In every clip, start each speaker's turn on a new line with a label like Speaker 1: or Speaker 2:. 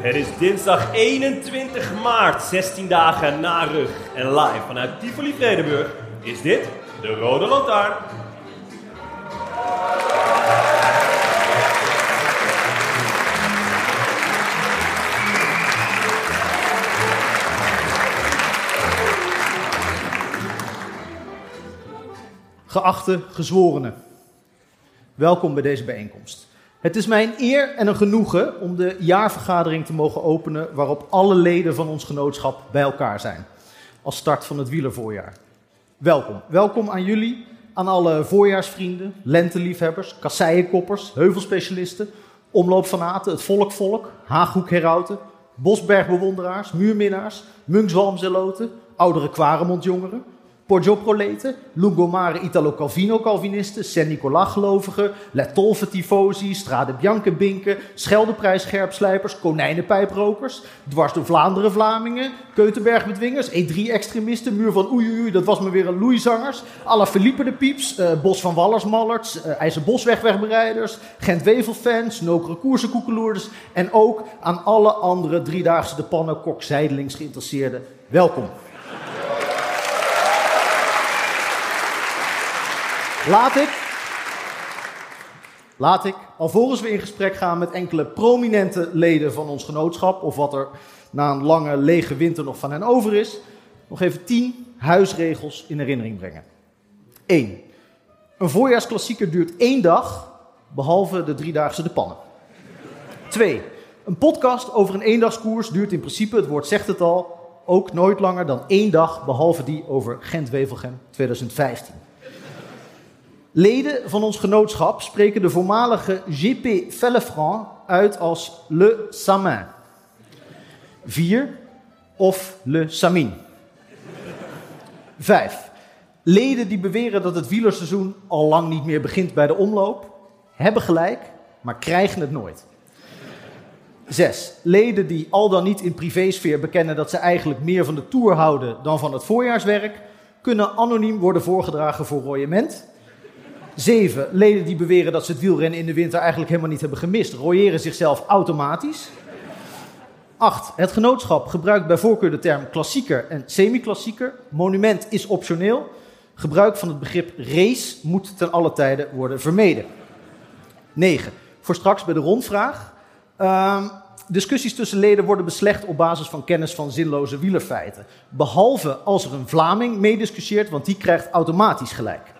Speaker 1: Het is dinsdag 21 maart, 16 dagen na rug. En live vanuit Tivoli Vredenburg is dit de Rode Lantaarn.
Speaker 2: Geachte gezworenen, welkom bij deze bijeenkomst. Het is mij een eer en een genoegen om de jaarvergadering te mogen openen waarop alle leden van ons genootschap bij elkaar zijn. Als start van het wielervoorjaar. Welkom. Welkom aan jullie, aan alle voorjaarsvrienden, lenteliefhebbers, kasseienkoppers, heuvelspecialisten, omloopfanaten, het volkvolk, Haaghoekherauten, bosbergbewonderaars, muurminnaars, munkswalmzeloten, oudere kwaremondjongeren, Poggioproleten, Lungomare Italo-Calvino-Calvinisten, Saint-Nicolas-gelovigen, Letolve-tifosi, Strade Bianca-binken, Scheldeprijs-scherpslijpers, Konijnenpijprokers, dwars door Vlaanderen-Vlamingen, Keutenberg-bedwingers, E3-extremisten, E Muur van Oei Oei, dat was me weer een Loeizangers, Alla Felipe de Pieps, eh, Bos van Wallers-Mallerts, eh IJzerboswegwegbereiders, Gent-Wevel-fans, Nokere Koersenkoekeloerders en ook aan alle andere driedaagse de pannen kok zijdelings geïnteresseerden. Welkom. Laat ik, laat ik, alvorens we in gesprek gaan met enkele prominente leden van ons genootschap, of wat er na een lange lege winter nog van hen over is, nog even tien huisregels in herinnering brengen. 1. Een voorjaarsklassieker duurt één dag, behalve de driedaagse de pannen. 2. Een podcast over een eendagskoers duurt in principe, het woord zegt het al, ook nooit langer dan één dag, behalve die over Gent-Wevelgem 2015. Leden van ons genootschap spreken de voormalige GP Fellefranc uit als Le Samin. 4 of Le Samin. 5. Leden die beweren dat het wielerseizoen al lang niet meer begint bij de omloop, hebben gelijk, maar krijgen het nooit. 6. Leden die al dan niet in privésfeer bekennen dat ze eigenlijk meer van de tour houden dan van het voorjaarswerk, kunnen anoniem worden voorgedragen voor royement. 7. Leden die beweren dat ze het wielrennen in de winter eigenlijk helemaal niet hebben gemist, royeren zichzelf automatisch. 8. Het genootschap gebruikt bij voorkeur de term klassieker en semi-klassieker. Monument is optioneel. Gebruik van het begrip race moet ten alle tijde worden vermeden. 9. Voor straks bij de rondvraag. Ehm, discussies tussen leden worden beslecht op basis van kennis van zinloze wielerfeiten. Behalve als er een Vlaming meediscussieert, want die krijgt automatisch gelijk.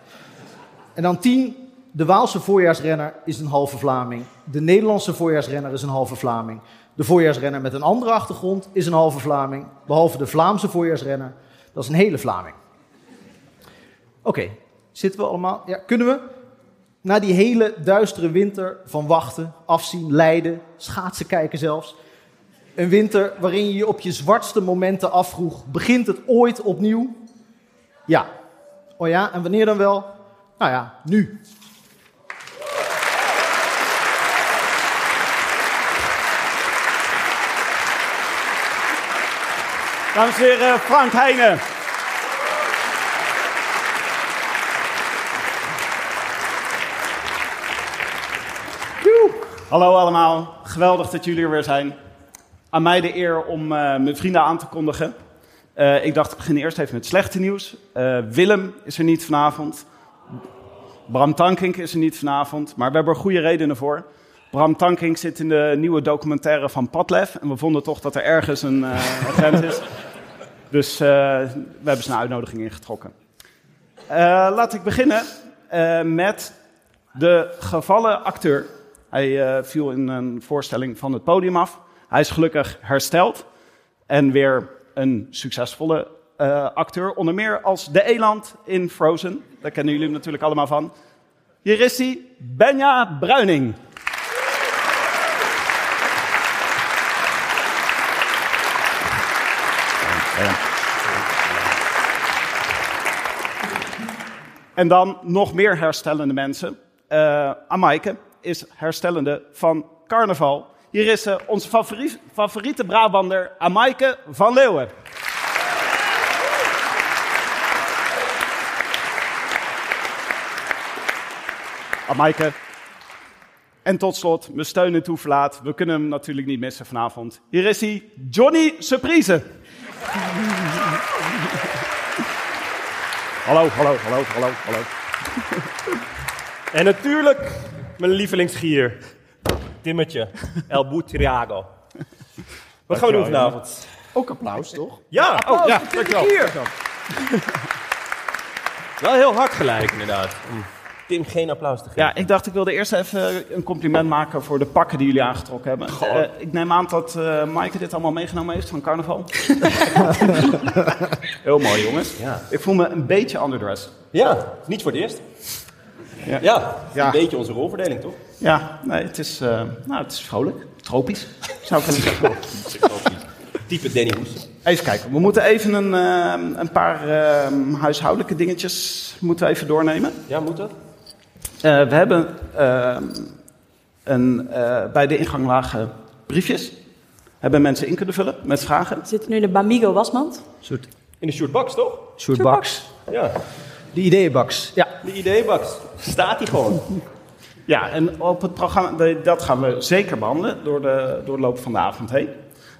Speaker 2: En dan 10. De Waalse voorjaarsrenner is een halve Vlaming. De Nederlandse voorjaarsrenner is een halve Vlaming. De voorjaarsrenner met een andere achtergrond is een halve Vlaming. Behalve de Vlaamse voorjaarsrenner, dat is een hele Vlaming. Oké, zitten we allemaal? Ja, kunnen we? Na die hele duistere winter van wachten, afzien, lijden, schaatsen kijken zelfs. Een winter waarin je je op je zwartste momenten afvroeg: begint het ooit opnieuw? Ja. Oh ja, en wanneer dan wel? Nou ja, nu.
Speaker 1: Dames en heren, Frank Heijnen.
Speaker 3: Hallo allemaal, geweldig dat jullie er weer zijn. Aan mij de eer om eh, mijn vrienden aan te kondigen. Eh, ik dacht, ik begin eerst even met slechte nieuws. Eh, Willem is er niet vanavond. Bram Tankink is er niet vanavond. Maar we hebben er goede redenen voor. Bram Tankink zit in de nieuwe documentaire van Padlef. En we vonden toch dat er ergens een eh agent is. Dus eh, we hebben zijn uitnodiging ingetrokken. Eh, laat ik beginnen eh, met de gevallen acteur. Hij eh, viel in een voorstelling van het podium af. Hij is gelukkig hersteld en weer een succesvolle eh, acteur. Onder meer als de eland in Frozen. Daar kennen jullie hem natuurlijk allemaal van. Hier is hij, Benja Bruining. En dan nog meer herstellende mensen. Eh Amaike is herstellende van carnaval. Hier is ze, onze favoriet- favoriete Brabander, Amaike van Leeuwen. Amaike. En tot slot, mijn steun en toeverlaat. We kunnen hem natuurlijk niet missen vanavond. Hier is hij, Johnny Surprise. Hallo, hallo, hallo, hallo, hallo.
Speaker 1: En natuurlijk mijn lievelingsgier. Timmetje. El Butriago. Wat gaan we doen vanavond?
Speaker 2: Ook applaus, toch?
Speaker 1: Ja, oh,
Speaker 4: ja, dankjewel.
Speaker 1: wel heel hard gelijk inderdaad. Om Tim geen applaus te geven.
Speaker 3: Ja, ik dacht ik wilde eerst even een compliment maken voor de pakken die jullie aangetrokken hebben. Eh, ik neem aan dat eh Maaike dit allemaal meegenomen heeft van carnaval. Heel mooi, jongens.
Speaker 1: Ja.
Speaker 3: Ik voel me een beetje underdressed.
Speaker 1: Ja, niet voor het eerst. Ja,
Speaker 2: Ja.
Speaker 1: een beetje onze rolverdeling toch?
Speaker 3: Ja, nee, het is, eh, nou, het is vrolijk. Tropisch, zou ik kunnen zeggen.
Speaker 1: Type Danny Hoes.
Speaker 3: Even kijken, we moeten even een, eh, een paar eh, huishoudelijke dingetjes moeten we even doornemen.
Speaker 1: Ja, moet dat?
Speaker 3: Eh, we hebben eh, een, eh, bij de ingang lagen briefjes. Hebben mensen in kunnen vullen met vragen.
Speaker 5: We zitten nu in de Bamigo wasmand.
Speaker 1: In de shortbox toch?
Speaker 2: soort baks.
Speaker 1: Ja,
Speaker 2: De ideeënbaks. Ja.
Speaker 1: de ideebox. Staat hij gewoon.
Speaker 3: Ja, en op het programma, de- dat gaan we zeker behandelen door de, door de loop van de avond heen.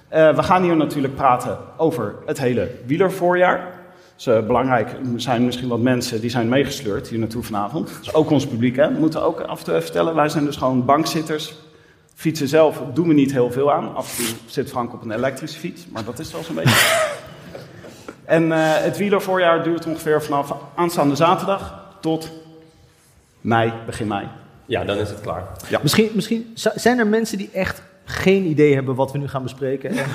Speaker 3: Eh, we gaan hier natuurlijk praten over het hele wielervoorjaar. Dus eh, belangrijk, er zijn misschien wat mensen die zijn meegesleurd hier naartoe vanavond. Dus ook ons publiek, hè. We moeten ook af en toe even vertellen, wij zijn dus gewoon bankzitters. Fietsen zelf doen we niet heel veel aan. Af en toe zit Frank op een elektrische fiets, maar dat is wel zo'n beetje. En eh, het wielervoorjaar duurt ongeveer vanaf aanstaande zaterdag tot mei, begin mei.
Speaker 1: Ja, dan is het klaar.
Speaker 2: Misschien, misschien z- zijn er mensen die echt geen idee hebben wat we nu gaan bespreken. En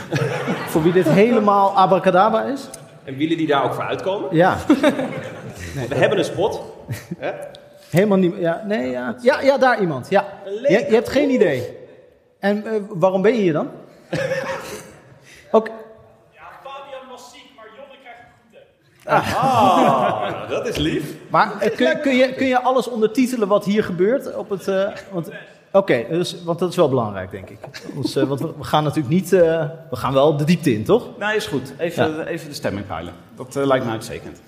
Speaker 2: voor wie dit helemaal abracadabra is.
Speaker 1: En willen die daar ook voor uitkomen?
Speaker 2: Ja,
Speaker 1: We hebben een spot.
Speaker 2: helemaal niet. Ja, nee, ja. Ja, ja, daar iemand. Ja.
Speaker 1: Een
Speaker 2: Je,
Speaker 1: leger.
Speaker 2: je hebt geen idee. En eh, waarom ben je hier dan? Oké.
Speaker 1: Nou, dat is lief.
Speaker 2: Maar eh, kun, kun, je, kun je alles ondertitelen wat hier gebeurt? Op het, eh, want, Oké, dus, want dat is wel belangrijk, denk ik. Dus, eh, want we, we gaan natuurlijk niet... eh, we gaan wel de diepte in, toch?
Speaker 3: Nou, is goed. Even, even de stemming peilen. Dat eh, lijkt me uitstekend.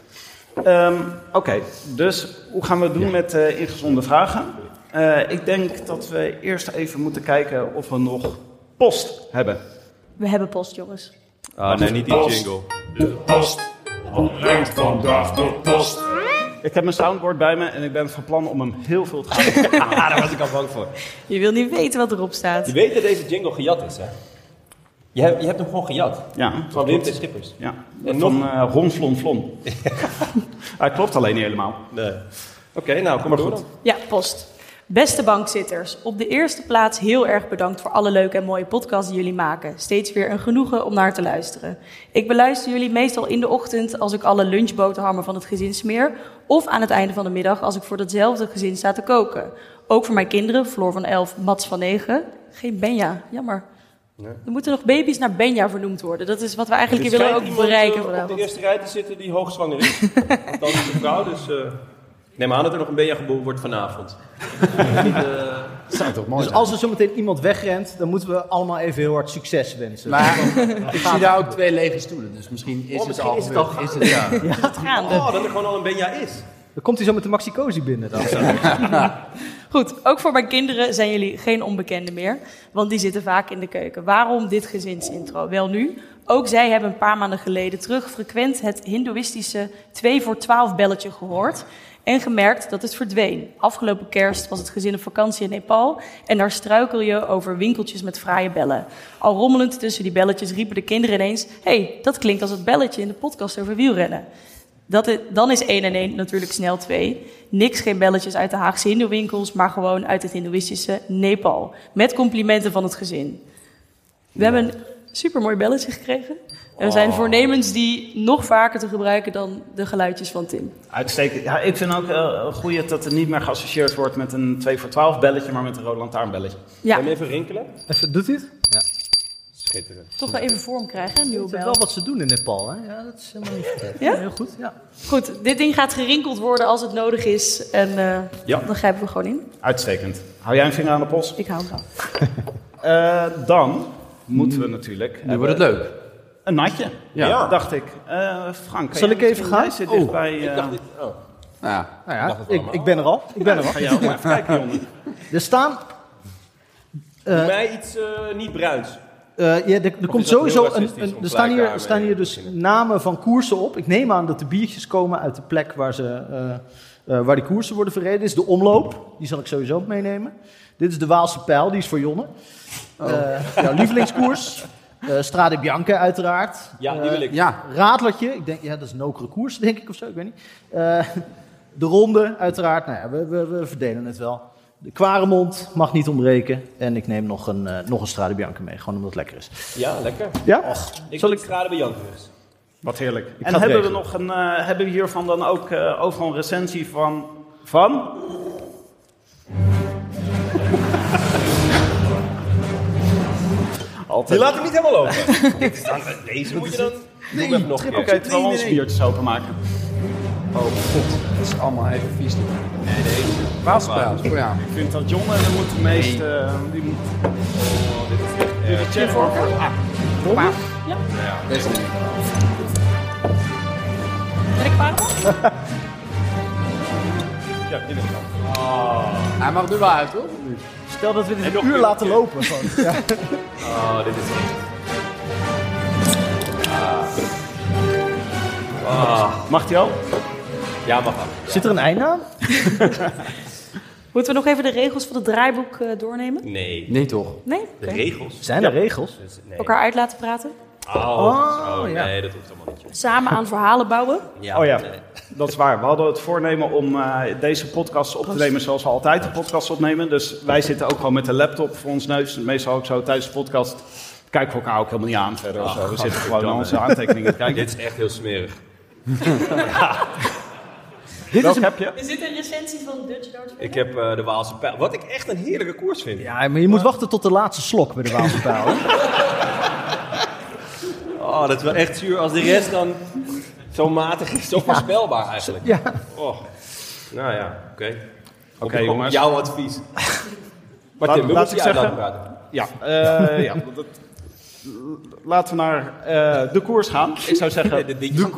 Speaker 3: Ehm, Oké, dus hoe gaan we het doen met eh, ingezonde vragen? Eh, ik denk dat we eerst even moeten kijken of we nog post hebben.
Speaker 5: We hebben post, jongens.
Speaker 1: Ah, nee, niet die jingle.
Speaker 6: post. Wat brengt vandaag de post?
Speaker 3: Ik heb mijn soundboard bij me en ik ben van plan om hem heel veel te gaan.
Speaker 1: Ah, daar was ik al bang voor.
Speaker 5: Je wil niet weten wat erop staat.
Speaker 1: Je weet dat deze jingle gejat is, hè? Je hebt, je hebt hem gewoon gejat.
Speaker 3: Ja,
Speaker 1: Van Wim de Schippers.
Speaker 3: ja.
Speaker 1: En
Speaker 3: van
Speaker 1: nog-
Speaker 3: eh, Ron Flon Flon. Hij klopt alleen niet helemaal.
Speaker 1: Nee. Oké, nou, kom maar door dan.
Speaker 5: Ja, post. Beste bankzitters, op de eerste plaats heel erg bedankt voor alle leuke en mooie podcasts die jullie maken. Steeds weer een genoegen om naar te luisteren. Ik beluister jullie meestal in de ochtend als ik alle lunchboterhammen van het gezin smeer. Of aan het einde van de middag als ik voor datzelfde gezin sta te koken. Ook voor mijn kinderen, Floor van 11, Mats van 9. Geen Benja, jammer. Er moeten nog baby's naar Benja vernoemd worden. Dat is wat we eigenlijk hier willen ook bereiken
Speaker 1: eh, Op de
Speaker 5: vanavond.
Speaker 1: eerste rij te zitten die hoogzwanger is. Want dat is een vrouw, dus. eh neem aan dat er nog een beetje geboren wordt vanavond.
Speaker 2: Dus als er zometeen iemand wegrent, dan moeten we allemaal even heel hard succes wensen.
Speaker 7: Maar ik zie daar ook twee lege stoelen, dus misschien Ah, is
Speaker 1: Oh, misschien
Speaker 7: het al
Speaker 1: is het
Speaker 7: gebeurd.
Speaker 1: al
Speaker 7: Is het, ja.
Speaker 5: Gaande.
Speaker 1: Oh, dat er gewoon al een Benja is.
Speaker 2: Dan komt hij zo met de Maxi Cosi binnen dan.
Speaker 5: Goed, ook voor mijn kinderen zijn jullie geen onbekenden meer, want die zitten vaak in de keuken. Waarom dit gezinsintro? Wel nu, Ook zij hebben een paar maanden geleden terug frequent het hindoeïstische 2 voor 12 belletje gehoord. En gemerkt dat het verdween. Afgelopen kerst was het gezin op vakantie in Nepal. En daar struikel je over winkeltjes met fraaie bellen. Al rommelend tussen die belletjes riepen de kinderen ineens: hey, dat klinkt als het belletje in de podcast over wielrennen. Dat i- dan is 1 en 1 natuurlijk snel 2. Niks, geen belletjes uit de Haagse Hindoewinkels, maar gewoon uit het Hindoeïstische Nepal. Met complimenten van het gezin. We hebben een supermooi belletje gekregen. En we
Speaker 1: Oh.
Speaker 5: zijn voornemens die nog vaker te gebruiken dan de geluidjes van Tim.
Speaker 3: Uitstekend. Ja, ik vind ook eh goed dat het niet meer geassocieerd wordt met een 2 voor 12 belletje, maar met een rode lantaarnbelletje.
Speaker 5: Ja,
Speaker 1: Even rinkelen.
Speaker 2: Even, doet dit?
Speaker 5: toch wel even vorm krijgen, een nieuwe
Speaker 2: Dat is
Speaker 5: bel.
Speaker 2: wel wat ze doen in Nepal, hè? Ja, dat is helemaal niet verkeerd.
Speaker 5: Ja?
Speaker 2: Heel goed, ja.
Speaker 5: Goed, dit ding gaat gerinkeld worden als het nodig is. En eh,
Speaker 3: Ja.
Speaker 5: dan grijpen we gewoon in.
Speaker 3: Uitstekend. Hou jij een vinger aan de pols?
Speaker 5: Ik hou hem dan.
Speaker 3: Eh, dan moeten we natuurlijk eh,
Speaker 7: Nu wordt het leuk.
Speaker 3: een natje.
Speaker 7: Ja.
Speaker 3: dacht ik. Eh, Frank,
Speaker 2: Zal ik even gaan?
Speaker 3: Hij zit dichtbij. eh,
Speaker 7: Ik dacht dit. Oh. Nou ja.
Speaker 2: Nou ja, ik, ik ben er al. Ik ben er al.
Speaker 3: Ga jij ook maar even kijken, jongen.
Speaker 2: Er staan...
Speaker 1: Doe
Speaker 2: eh,
Speaker 1: mij iets eh, niet bruins.
Speaker 2: eh, ja, er, er komt
Speaker 1: dat heel
Speaker 2: sowieso een,
Speaker 1: racistisch
Speaker 2: een-
Speaker 1: om eh,
Speaker 2: er staan hier,
Speaker 1: blijkbaar
Speaker 2: er staan hier dus namen van koersen op. Ik neem aan dat de biertjes komen uit de plek waar, ze, eh, eh, waar die koersen worden verreden. Dit is de omloop, die zal ik sowieso meenemen. Dit is de Waalse pijl, die is voor Jonne.
Speaker 1: Oh.
Speaker 2: Eh, jouw lievelingskoers. Eh Strade Bianca uiteraard.
Speaker 1: Ja, die
Speaker 2: Eh,
Speaker 1: wil ik.
Speaker 7: Ja.
Speaker 2: Raadlertje, ik denk, ja, dat is een okere koers, denk ik of zo, ik weet niet. Eh, de ronde, uiteraard, nou ja, we, we, we verdelen het wel. De kwaremond mag niet ontbreken. En ik neem nog een, eh, nog een Strade Bianca mee, gewoon omdat het lekker is.
Speaker 1: Ja, lekker.
Speaker 2: Ja?
Speaker 1: Ik
Speaker 2: Zal
Speaker 1: Zal
Speaker 2: ik-
Speaker 1: ik bij Jankers.
Speaker 3: Wat heerlijk.
Speaker 2: ga
Speaker 3: en
Speaker 2: het
Speaker 3: hebben we,
Speaker 2: regelen.
Speaker 3: nog een, eh, hebben we hiervan dan ook eh, overal een recensie van... Van?
Speaker 1: Die laat hem niet helemaal lopen. Dit is dan, deze moet je dan... Doe hem even nog een
Speaker 3: Oké,
Speaker 1: keer.
Speaker 3: terwijl we onze biertjes openmaken.
Speaker 7: Oh god. Dat is allemaal even vies. dit. Waalspijl. Oh ja.
Speaker 3: Ik vind dat John en dan moet de meest... eh, die moet... Doe de check voor. Ah,
Speaker 7: Deze.
Speaker 5: Ben ik paardenman?
Speaker 1: Ja, die wil ik dan.
Speaker 7: Hij mag nu wel uit, hoor.
Speaker 2: Stel dat we dit een
Speaker 1: nog
Speaker 2: uur
Speaker 1: een
Speaker 2: laten lopen. Gewoon. Ja.
Speaker 1: Oh, dit is echt...
Speaker 3: Mag die al?
Speaker 1: Ja, mag af.
Speaker 2: Zit er een einde aan?
Speaker 5: Moeten we nog even de regels van het draaiboek eh, doornemen?
Speaker 1: Nee.
Speaker 7: Nee toch?
Speaker 5: Nee? Oké.
Speaker 1: De regels?
Speaker 2: Zijn er regels?
Speaker 1: Dus, nee.
Speaker 5: Elkaar uit laten praten.
Speaker 1: Oh,
Speaker 2: Oh,
Speaker 1: zo,
Speaker 2: ja.
Speaker 1: nee, dat hoeft allemaal niet. joh.
Speaker 5: Samen aan verhalen bouwen.
Speaker 3: Oh ja,
Speaker 1: nee.
Speaker 3: dat is waar. We hadden het voornemen om eh, deze podcast op te nemen zoals we altijd de podcast opnemen. Dus wij zitten ook gewoon met de laptop voor ons neus. Dus Meestal ook zo tijdens de podcast kijken we elkaar ook helemaal niet aan verder of zo. We zitten gewoon naar onze aantekeningen te kijken.
Speaker 1: Dit is echt heel smerig.
Speaker 3: Dit is heb je?
Speaker 5: Is dit een recensie van Dutch Dart?
Speaker 1: Ik heb eh, de Waalse pijl. Wat ik echt een heerlijke koers vind.
Speaker 2: Ja, maar je moet wachten tot de laatste slok bij de Waalse Pijl. hè?
Speaker 1: Oh, dat is wel echt zuur als de rest dan zo matig is. Zo voorspelbaar eigenlijk.
Speaker 2: ja.
Speaker 1: Oh. Nou ja, oké. Oké,
Speaker 3: jongens.
Speaker 1: Jouw advies. Maar
Speaker 3: Laat-
Speaker 1: Tim, we
Speaker 3: laat
Speaker 1: moeten
Speaker 3: ik
Speaker 1: jou
Speaker 3: zeggen-
Speaker 1: laten praten.
Speaker 3: Ja, eh, ja. Dat, laten we naar eh, de koers gaan. Ik zou zeggen,
Speaker 1: De, ditjes en- De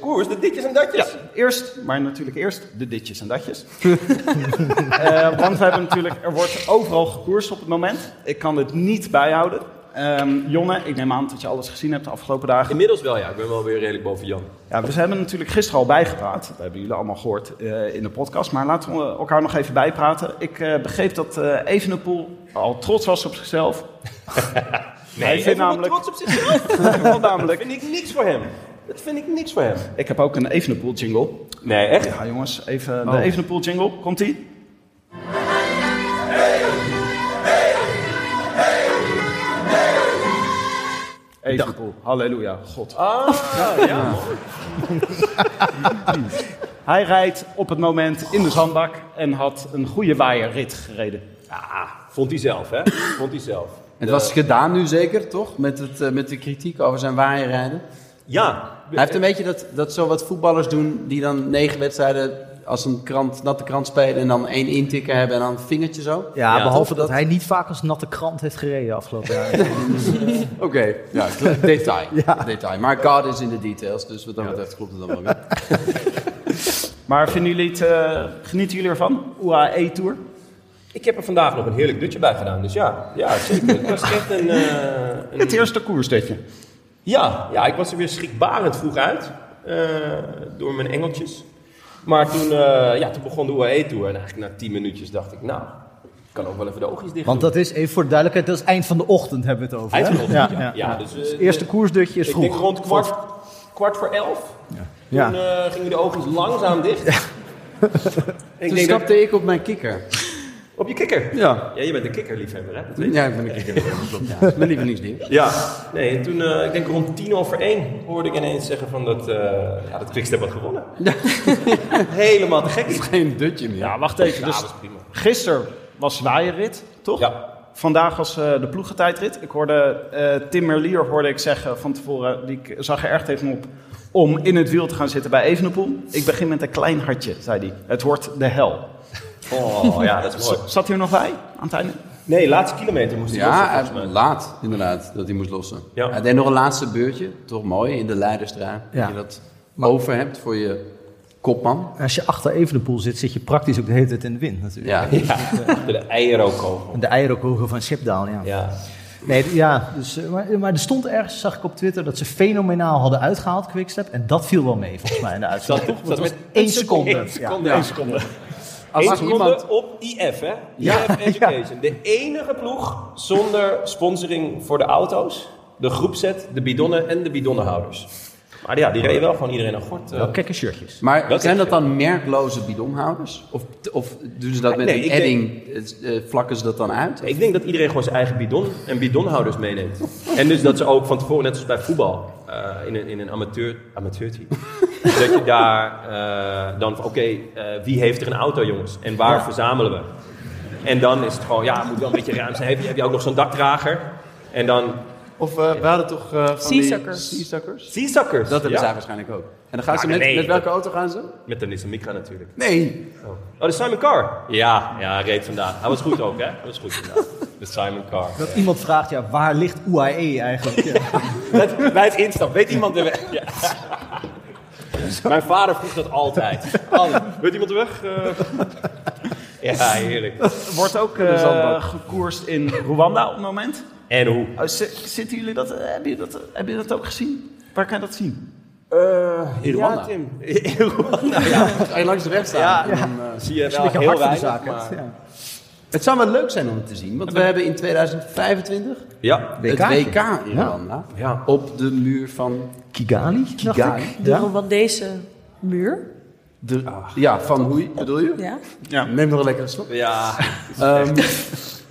Speaker 1: koers, de ditjes en datjes.
Speaker 3: Eerst, maar natuurlijk eerst de ditjes en datjes. Eh, want we hebben natuurlijk, er wordt overal gekoerst op het moment. Ik kan het niet bijhouden. Ehm, Jonne, ik neem aan dat je alles gezien hebt de afgelopen dagen.
Speaker 1: Inmiddels wel, ja. Ik ben wel weer redelijk boven Jan.
Speaker 3: Ja, dus we hebben natuurlijk gisteren al bijgepraat. Dat hebben jullie allemaal gehoord eh, in de podcast. Maar laten we elkaar nog even bijpraten. Ik eh, begreep dat eh Evenepoel al trots was op zichzelf.
Speaker 1: Nee,
Speaker 3: Hij vindt
Speaker 1: even
Speaker 3: namelijk-
Speaker 1: trots op zichzelf.
Speaker 3: Want namelijk,
Speaker 1: Dat vind ik niks voor hem. Dat vind ik niks voor hem.
Speaker 3: ik heb ook een Evenepoel jingle.
Speaker 1: Nee, echt.
Speaker 3: Ja, jongens, even de Evenepoel jingle. Komt-ie? Evenepoel, halleluja, God. Hij rijdt op het moment in de zandbak en had een goede waaierrit gereden.
Speaker 1: Vond hij zelf, hè? Vond hij zelf.
Speaker 7: Het was gedaan nu zeker, toch? Met, het, eh, met de kritiek over zijn waaierrijden.
Speaker 1: Ja.
Speaker 7: Hij heeft een beetje dat, dat zo wat voetballers doen die dan negen wedstrijden als een krant, natte krant spelen en dan één intikken hebben en dan een vingertje zo. Oké,
Speaker 2: Ja,
Speaker 1: Ja,
Speaker 2: behalve
Speaker 7: toch?
Speaker 2: dat
Speaker 7: Dat-
Speaker 2: hij niet vaak als natte krant heeft gereden afgelopen jaar.
Speaker 7: ja, kle- detail, detail. Maar God is in de details, dus wat dat betreft klopt het dan wel weer.
Speaker 3: Maar vinden jullie het, eh, genieten jullie ervan? UAE Tour?
Speaker 1: Ik heb er vandaag nog een heerlijk dutje bij gedaan, dus ja. Ja, zeker. Het was echt een... eh, een-
Speaker 3: Het eerste koersdetje.
Speaker 8: Ja, ja, ik was er weer schrikbarend vroeg uit. eh, door mijn engeltjes. Maar toen, eh, ja, toen begon de UAE Tour. En eigenlijk na tien minuutjes dacht ik, nou, ik kan ook wel even de oogjes dicht
Speaker 2: Want
Speaker 8: doen.
Speaker 2: dat is, even voor de duidelijkheid, dat is eind van de ochtend hebben we het over. hè?
Speaker 8: Eind van de ochtend, ja.
Speaker 2: ja,
Speaker 8: Ja, dus, eh,
Speaker 2: Het eerste koersdutje is
Speaker 8: Ik
Speaker 2: vroeg.
Speaker 8: denk rond kwart, kwart voor elf.
Speaker 2: Ja.
Speaker 8: Toen eh, gingen de oogjes langzaam dicht. En ik
Speaker 7: Toen
Speaker 8: denk dat-
Speaker 7: stapte ik op mijn kikker.
Speaker 8: op je kikker.
Speaker 7: Ja.
Speaker 8: Ja, je bent een kikkerliefhebber, hè? Dat weet ik.
Speaker 7: Ja, ik ben een kikker. Ja, dat is mijn lievelingsding.
Speaker 8: Ja, nee, en toen, eh, ik denk rond tien over één, hoorde ik ineens zeggen van dat, eh ja, dat Quickstep had gewonnen. Helemaal te gek.
Speaker 7: Geen dutje meer.
Speaker 3: Ja, wacht even.
Speaker 8: Ja,
Speaker 3: Dus
Speaker 8: dat is prima.
Speaker 3: gisteren was zwaaierrit, toch?
Speaker 8: Ja.
Speaker 3: Vandaag was eh, de ploegentijdrit. Ik hoorde eh, Tim Merlier hoorde ik zeggen van tevoren, die k- zag er echt even op, om in het wiel te gaan zitten bij Evenepoel. Ik begin met een klein hartje, zei hij. Het wordt de hel.
Speaker 8: Oh, ja, dat is mooi.
Speaker 3: Z- Zat hij er nog bij aan het einde?
Speaker 8: Nee, laatste kilometer moest hij lossen,
Speaker 7: Ja,
Speaker 8: volgens
Speaker 7: hij-
Speaker 8: mij.
Speaker 7: laat inderdaad, dat hij moest lossen.
Speaker 8: Ja.
Speaker 7: Hij deed nog een laatste beurtje, toch mooi, in de leidersdraai.
Speaker 2: Ja.
Speaker 7: Dat je dat over hebt voor je kopman.
Speaker 2: Als je achter Evenepoel zit, zit je praktisch ook de hele tijd in de wind natuurlijk.
Speaker 7: Ja,
Speaker 8: Ja, achter de eierokogel.
Speaker 2: En de eierkogel van Schipdaal, ja.
Speaker 8: Ja.
Speaker 2: Nee, d- ja dus, eh, maar, maar er stond ergens, zag ik op Twitter, dat ze fenomenaal hadden uitgehaald, Quickstep. En dat viel wel mee, volgens mij, in de uitslag.
Speaker 8: Zat-
Speaker 2: toch?
Speaker 8: zat
Speaker 2: Want het
Speaker 8: met
Speaker 2: was één seconde.
Speaker 8: Eén seconde. één seconde.
Speaker 7: als
Speaker 8: Eén seconde
Speaker 7: iemand...
Speaker 8: op IF, hè? IF Education. De enige ploeg zonder sponsoring voor de auto's. De groepset, de bidonnen en de bidonnenhouders. Maar ja, die reden wel gewoon iedereen aan gort. eh.
Speaker 2: Ja. Kekke shirtjes.
Speaker 7: Maar
Speaker 8: Dat
Speaker 7: zijn
Speaker 8: is-
Speaker 7: dat dan merkloze bidonhouders? Of, of doen ze dat met
Speaker 8: Nee,
Speaker 7: een
Speaker 8: ik denk-
Speaker 7: edding, eh, eh, vlakken ze dat dan uit?
Speaker 8: Ik denk dat iedereen gewoon zijn eigen bidon en bidonhouders meeneemt. En dus dat ze ook van tevoren, net als bij voetbal, eh, in een, in een amateur, amateurteam, dat je daar eh, dan van, oké, eh, wie heeft er een auto jongens? En waar verzamelen we? En dan is het gewoon, ja, het moet wel een beetje ruim zijn. Heb je, heb je ook nog zo'n dakdrager? En dan
Speaker 7: Of eh, we hadden toch eh, van
Speaker 5: Seasuckers.
Speaker 7: die seasuckers?
Speaker 8: zeezakkers.
Speaker 7: Dat hebben
Speaker 8: ja.
Speaker 7: zij waarschijnlijk ook. En dan gaan ze
Speaker 8: Maar
Speaker 7: met,
Speaker 8: nee,
Speaker 7: met welke
Speaker 8: dat-
Speaker 7: auto gaan ze?
Speaker 8: Met de Nissan Micra natuurlijk.
Speaker 7: Nee.
Speaker 8: Oh, de Simon Carr. Ja, ja, hij reed vandaag. Hij was goed ook, hè? Hij was goed vandaag. De Simon Carr.
Speaker 2: Dat iemand vraagt, ja, waar ligt UAE eigenlijk? Ja.
Speaker 8: Bij- Bij het instap, weet iemand de weg? Ja. Mijn vader vroeg dat altijd. Altijd. Weet iemand de weg? Eh, Ja, heerlijk.
Speaker 3: Er wordt ook eh, gekoerst in Rwanda op het moment.
Speaker 8: En hoe?
Speaker 3: Oh, zi- zitten jullie dat, eh, hebben jullie dat, hebben jullie dat ook gezien? Waar kan je dat zien?
Speaker 7: In Rwanda.
Speaker 8: Ja, Tim. In Rwanda, ja.
Speaker 7: Ga je langs de weg staan. en dan, eh,
Speaker 8: Zie je
Speaker 2: Dat
Speaker 8: wel
Speaker 2: is een beetje hard
Speaker 8: heel
Speaker 2: voor de
Speaker 8: weinig.
Speaker 2: zaak. hè?
Speaker 8: maar-
Speaker 2: Ja.
Speaker 7: Het zou wel leuk zijn om het te zien, want we hebben in 2025
Speaker 8: Ja.
Speaker 7: het
Speaker 2: WK
Speaker 7: WK in Rwanda.
Speaker 8: Ja.
Speaker 7: Op de muur van,
Speaker 2: Kigali, dacht
Speaker 7: Kigali.
Speaker 2: ik.
Speaker 5: De
Speaker 2: Ja.
Speaker 5: Rwandese muur.
Speaker 7: de,
Speaker 8: Ah.
Speaker 7: ja, van hoe bedoel je?
Speaker 5: Ja.
Speaker 7: Neem nog een lekkere slok.
Speaker 8: Ja.
Speaker 7: Ehm,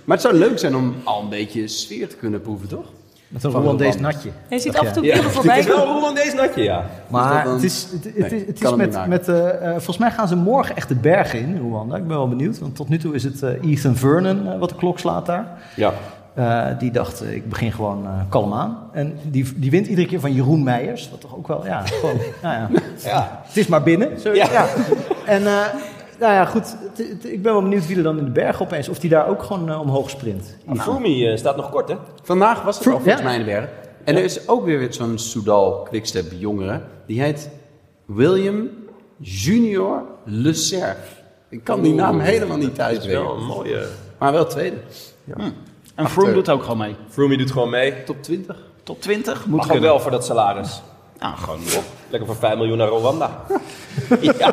Speaker 7: maar het zou leuk zijn om al een beetje sfeer te kunnen proeven, toch?
Speaker 2: Met een
Speaker 7: Van
Speaker 2: Rwandees
Speaker 7: Rwanda.
Speaker 2: natje.
Speaker 5: Je ziet
Speaker 2: Dacht
Speaker 5: af en toe
Speaker 8: Ja.
Speaker 5: beelden voorbij
Speaker 8: Het is wel
Speaker 5: komen.
Speaker 8: Roland Oh, deze natje, ja.
Speaker 7: Dus dat
Speaker 2: Maar
Speaker 7: dan-
Speaker 2: het is, het, het
Speaker 7: Nee,
Speaker 2: is, het
Speaker 7: kan
Speaker 2: is
Speaker 7: hem niet
Speaker 2: met,
Speaker 7: maken.
Speaker 2: met eh, eh, volgens mij gaan ze morgen echt de bergen in, Rwanda. Ik ben wel benieuwd, want tot nu toe is het eh, Ethan Vernon eh, wat de klok slaat daar.
Speaker 8: Ja.
Speaker 2: Eh, die dacht, eh, ik begin gewoon eh, kalm aan. En die, die wint iedere keer van Jeroen Meijers. Wat toch ook wel, ja, gewoon, nou ja. Het is maar binnen. Zo, ja. En, eh, nou ja, goed. het- het- ik ben wel benieuwd wie er dan in de berg opeens... of die daar ook gewoon eh, omhoog sprint.
Speaker 8: Fumi eh, staat nog kort, hè?
Speaker 7: Vandaag was het
Speaker 2: Vro-
Speaker 7: al volgens
Speaker 2: ja.
Speaker 7: mij in de berg. En er is ook weer weer zo'n Soudal Quickstep jongere. Die heet William Junior Le Cerf. Ik kan die naam helemaal niet
Speaker 8: Dat is wel
Speaker 7: uitspreken.
Speaker 8: een mooie...
Speaker 7: Maar wel tweede.
Speaker 3: En Froome doet ook gewoon mee.
Speaker 8: Froomey doet gewoon mee.
Speaker 7: Top 20.
Speaker 3: Top 20 moet
Speaker 8: Mag je
Speaker 3: gewoon
Speaker 8: wel voor dat salaris.
Speaker 3: Nou, gewoon
Speaker 8: Lekker voor 5 miljoen naar Rwanda. ja.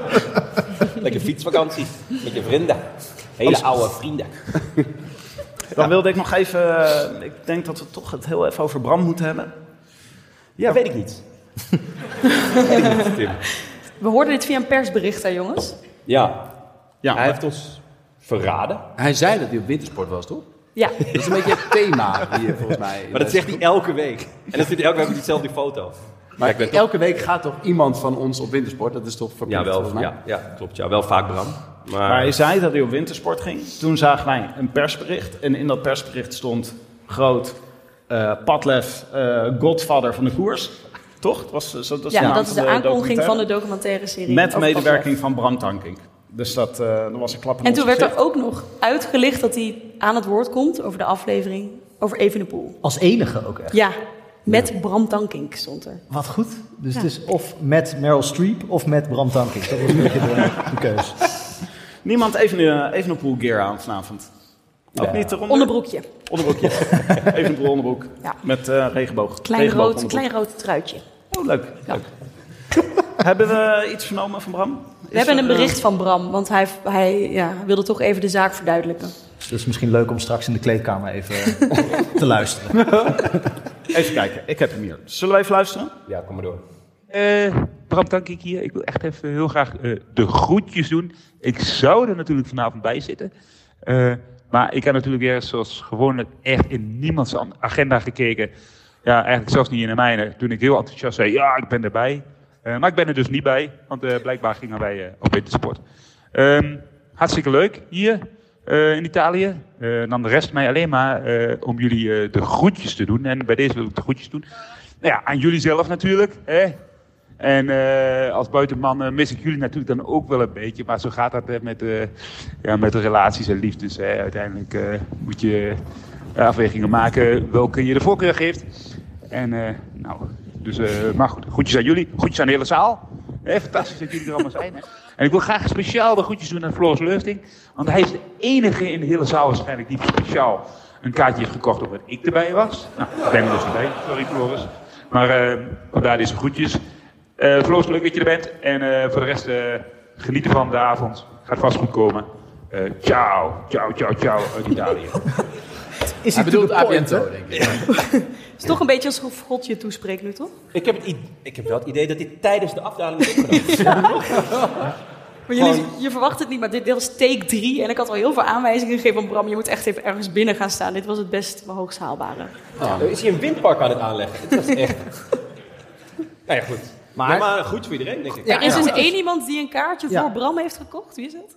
Speaker 8: Lekker fietsvakantie. Met je vrienden. Hele oude vrienden.
Speaker 3: Dan wilde ik nog even. eh, Ik denk dat we toch het heel even over Bram moeten hebben.
Speaker 8: Ja, weet ik niet. Tim.
Speaker 5: We hoorden dit via een persbericht, hè, jongens?
Speaker 8: Ja.
Speaker 3: Ja,
Speaker 8: Hij heeft ons verraden.
Speaker 7: Hij zei dat hij op wintersport was, toch?
Speaker 5: Ja.
Speaker 7: Dat is een beetje het thema hier volgens mij. Dus-
Speaker 8: Maar dat zegt hij elke week. En dan zit hij elke week op diezelfde foto.
Speaker 7: Maar elke week gaat toch iemand van ons op wintersport? Dat is toch verplicht
Speaker 8: Ja,
Speaker 7: volgens
Speaker 8: wel.
Speaker 7: mij?
Speaker 8: Ja, ja klopt. Ja, wel vaak Bram.
Speaker 3: Maar hij
Speaker 8: Maar
Speaker 3: zei dat hij op wintersport ging. Toen zagen wij een persbericht. En in dat persbericht stond groot eh Padlef, eh, godfather van de koers. Toch? Dat, was, dat, is de
Speaker 5: Ja,
Speaker 3: naam
Speaker 5: dat is de aankondiging van Oh, de
Speaker 3: documentaire.
Speaker 5: documentaire serie.
Speaker 3: Met
Speaker 5: over
Speaker 3: medewerking van Bram Tankink. Dus dat, eh, dat was een klap in
Speaker 5: En
Speaker 3: ons
Speaker 5: toen werd er
Speaker 3: gezicht.
Speaker 5: ook nog uitgelicht dat hij aan het woord komt over de aflevering over Evenepoel.
Speaker 2: Als enige ook echt.
Speaker 5: Ja, met Bram Tankink stond er.
Speaker 2: Wat goed. Dus het is of met Meryl Streep of met Bram Tankink. Dat was een beetje de, de keus. Dus
Speaker 3: Niemand even, eh, even een poolgear aan vanavond. Ook niet eronder?
Speaker 5: Onderbroekje.
Speaker 3: Onderbroekje. Even een onderbroek.
Speaker 5: Ja.
Speaker 3: Met eh, regenboog.
Speaker 5: Klein
Speaker 3: Regenboog
Speaker 5: rood,
Speaker 3: onderbroek.
Speaker 5: klein rood truitje.
Speaker 3: Oh, leuk. leuk. Hebben we iets vernomen van Bram?
Speaker 5: We hebben een bericht van Bram, want hij, hij ja, wilde toch even de zaak verduidelijken.
Speaker 2: Dus het is misschien leuk om straks in de kleedkamer even eh, te luisteren.
Speaker 3: even kijken, ik heb hem hier. Zullen we even luisteren?
Speaker 8: Ja, kom maar door.
Speaker 9: Eh, Bram Tankink hier. Ik wil echt even heel graag eh, de groetjes doen. Ik zou er natuurlijk vanavond bij zitten. Eh, maar ik heb natuurlijk weer zoals gewoonlijk echt in niemands an- agenda gekeken. Ja, eigenlijk zelfs niet in de mijne. Toen ik heel enthousiast zei, ja, ik ben erbij. Eh, maar ik ben er dus niet bij, want eh, blijkbaar gingen wij eh, op wintersport. Ehm, hartstikke leuk hier eh, in Italië. Eh, dan de rest mij alleen maar eh, om jullie eh, de groetjes te doen. En bij deze wil ik de groetjes doen. Nou ja, aan jullie zelf natuurlijk. Hè? En eh, als buitenman eh, mis ik jullie natuurlijk dan ook wel een beetje. Maar zo gaat dat hè, met, eh, ja, met de relaties en liefdes. Hè. Uiteindelijk eh, moet je eh, afwegingen maken welke je de voorkeur geeft. En eh, nou, dus, eh, maar goed, groetjes aan jullie. Groetjes aan de hele zaal. Hè, fantastisch dat jullie er allemaal zijn. Hè. En ik wil graag speciaal de groetjes doen aan Floris Leufting. Want hij is de enige in de hele zaal waarschijnlijk die speciaal een kaartje heeft gekocht omdat ik erbij was. Nou, ik ben er dus niet bij. Sorry Floris. Maar eh vandaar deze groetjes. Eh Floos, leuk dat je er bent. En eh, voor de rest, eh, genieten van de avond. Gaat vast goed komen. Eh, ciao, ciao, ciao, ciao uit Italië.
Speaker 2: Is
Speaker 7: Hij
Speaker 2: het to
Speaker 7: bedoelt
Speaker 2: the point, hè?
Speaker 7: Abiento, denk ik.
Speaker 5: Het is toch een beetje alsof God je toespreekt nu, toch?
Speaker 8: Ik heb, het i- ik heb wel het idee dat dit tijdens de afdaling is opgenomen.
Speaker 5: Maar jullie, je verwacht het niet, maar dit deel is take 3. En ik had al heel veel aanwijzingen gegeven van Bram. Je moet echt even ergens binnen gaan staan. Dit was het best hoogst haalbare.
Speaker 8: Er is hier een windpark aan het aanleggen. Dat is echt... nou ja, goed. Maar,
Speaker 2: Maar-
Speaker 8: maar goed voor iedereen, denk ik.
Speaker 5: er is dus één iemand die een kaartje
Speaker 2: Ja.
Speaker 5: voor Bram heeft gekocht. Wie is het?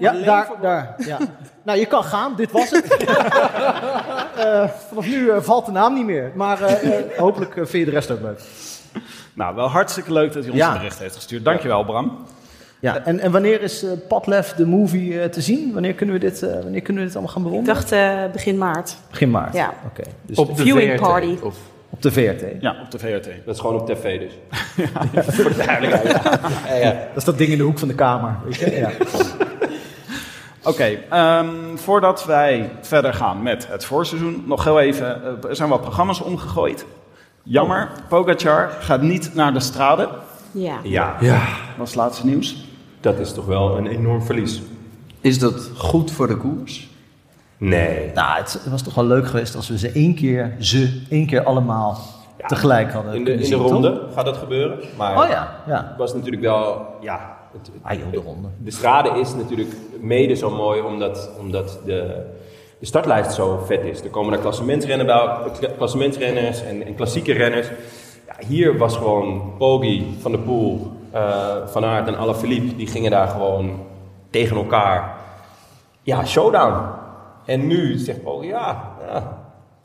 Speaker 2: Ja, daar, daar. Ja. Nou, je kan gaan, dit was het. Eh, vanaf nu eh, valt de naam niet meer. Maar eh, eh, hopelijk eh, vind je de rest ook leuk.
Speaker 3: Nou, wel hartstikke leuk dat hij ons
Speaker 2: Ja.
Speaker 3: een bericht heeft gestuurd. Dankjewel, Bram.
Speaker 2: Ja, en, en wanneer is eh, Padlef de movie eh, te zien? Wanneer kunnen, we dit, eh, wanneer kunnen we dit allemaal gaan
Speaker 5: Ik
Speaker 2: bewonderen?
Speaker 5: dacht eh, begin maart.
Speaker 2: Begin maart.
Speaker 5: Ja.
Speaker 2: Oké, dus
Speaker 7: Op de
Speaker 5: viewing
Speaker 7: VRT,
Speaker 5: party.
Speaker 7: Of
Speaker 2: op de VRT.
Speaker 3: Ja, op de VRT.
Speaker 8: Dat is gewoon op tv dus. voor de duidelijkheid. Ja, ja.
Speaker 2: Dat is dat ding in de hoek van de kamer. Weet je? Ja.
Speaker 3: Oké, ehm, voordat wij verder gaan met het voorseizoen, nog heel even, eh, er zijn wat programma's omgegooid. Jammer, Pogacar gaat niet naar de strade.
Speaker 5: Ja.
Speaker 8: Ja,
Speaker 3: Dat was het laatste nieuws.
Speaker 8: dat is toch wel een enorm verlies.
Speaker 7: Is dat goed voor de koers?
Speaker 8: Nee.
Speaker 2: Nou, het, was toch wel leuk geweest als we ze één keer, ze, één keer allemaal tegelijk hadden
Speaker 8: In de,
Speaker 2: kunnen
Speaker 8: in de
Speaker 2: zien, toch?
Speaker 8: ronde gaat dat gebeuren. Maar
Speaker 2: Oh ja, ja.
Speaker 8: het was natuurlijk wel... Ja, het- het-
Speaker 2: Ah joh, de ronde.
Speaker 8: De strade is natuurlijk mede zo mooi omdat, omdat de, de startlijst zo vet is. Er komen daar klassementsrennen bij, kla- klassementsrenners en, en klassieke renners. Ja, hier was gewoon Poggi, Van der Poel, eh, Van Aert en Alaphilippe, die gingen daar gewoon tegen elkaar. Ja, showdown. En nu zegt Poggi, ja, ja,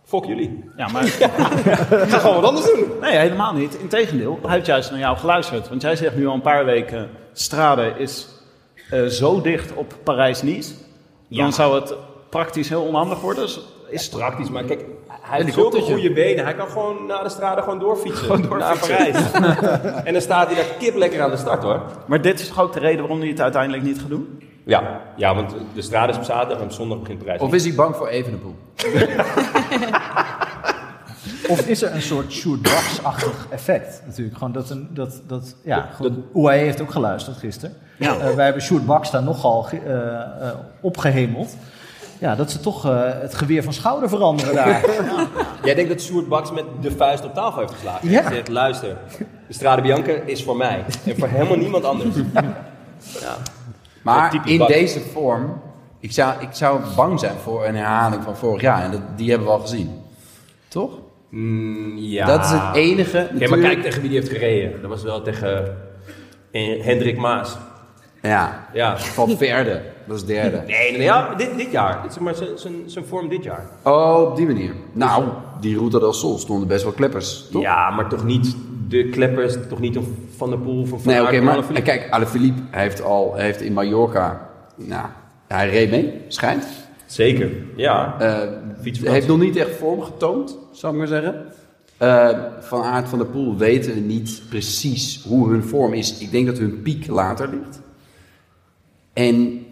Speaker 8: fuck jullie.
Speaker 3: Ja, maar
Speaker 8: Ik ga gewoon wat anders doen.
Speaker 3: nee, helemaal niet. Integendeel, hij heeft juist naar jou geluisterd. Want jij zegt nu al een paar weken, strade is eh, zo dicht op Parijs-Nice. Dan zou het praktisch heel onhandig worden. Dus is het
Speaker 8: Praktisch, maar kijk, hij heeft zulke goede benen. Hij kan gewoon naar de strade gewoon doorfietsen. Naar Parijs. en dan staat hij daar kip lekker aan de start hoor.
Speaker 3: Maar dit is toch ook de reden waarom hij het uiteindelijk niet gaat doen?
Speaker 8: Ja, ja want de strade is op zaterdag en op zondag begint Parijs.
Speaker 7: Of is hij bang voor Evenepoel?
Speaker 2: Of is er een soort Sjoerdrags-achtig effect natuurlijk? Gewoon dat, een, dat, dat ja, gewoon, UAE heeft ook geluisterd gisteren.
Speaker 3: Ja.
Speaker 2: Eh, wij hebben Sjoerd Baks daar nogal ge- eh, eh, opgehemeld. Ja, dat ze toch eh, het geweer van schouder veranderen daar.
Speaker 8: Jij denkt dat Sjoerd Baks met de vuist op tafel heeft geslagen.
Speaker 2: Ja.
Speaker 8: Hij zegt, luister, de strade Bianca is voor mij. En voor helemaal niemand anders.
Speaker 7: Maar
Speaker 8: typisch
Speaker 7: in
Speaker 8: Bas.
Speaker 7: deze vorm, ik zou, ik zou bang zijn voor een herhaling van vorig jaar. En dat, die hebben we al gezien. Toch?
Speaker 8: Mm, ja.
Speaker 7: Dat is het enige.
Speaker 8: Oké, maar
Speaker 7: natuurlijk-
Speaker 8: kijk tegen wie die heeft gereden. Dat was wel tegen eh, Hendrik Maas.
Speaker 7: Ja,
Speaker 8: Ja.
Speaker 7: van Verde. Dat is derde.
Speaker 8: Nee, nee, nee, ja, dit, dit jaar. Dit is maar zijn- zijn- zijn vorm dit jaar.
Speaker 7: Oh, op die manier. Nou, die Ruta del Sol stonden best wel kleppers, toch?
Speaker 8: Ja, maar toch niet de kleppers, toch niet een Van der Poel, van Van
Speaker 7: Nee, oké,
Speaker 8: Aert, van
Speaker 7: maar
Speaker 8: Alaphilippe.
Speaker 7: kijk, Alaphilippe heeft al heeft in Mallorca, nou, hij reed mee, schijnt.
Speaker 8: Zeker, ja.
Speaker 7: Eh,
Speaker 8: Fietsvakantie.
Speaker 7: heeft nog niet echt vorm getoond, zou ik maar zeggen. Eh, van Aard van der Poel weten we niet precies hoe hun vorm is. Ik denk dat hun piek later ligt. En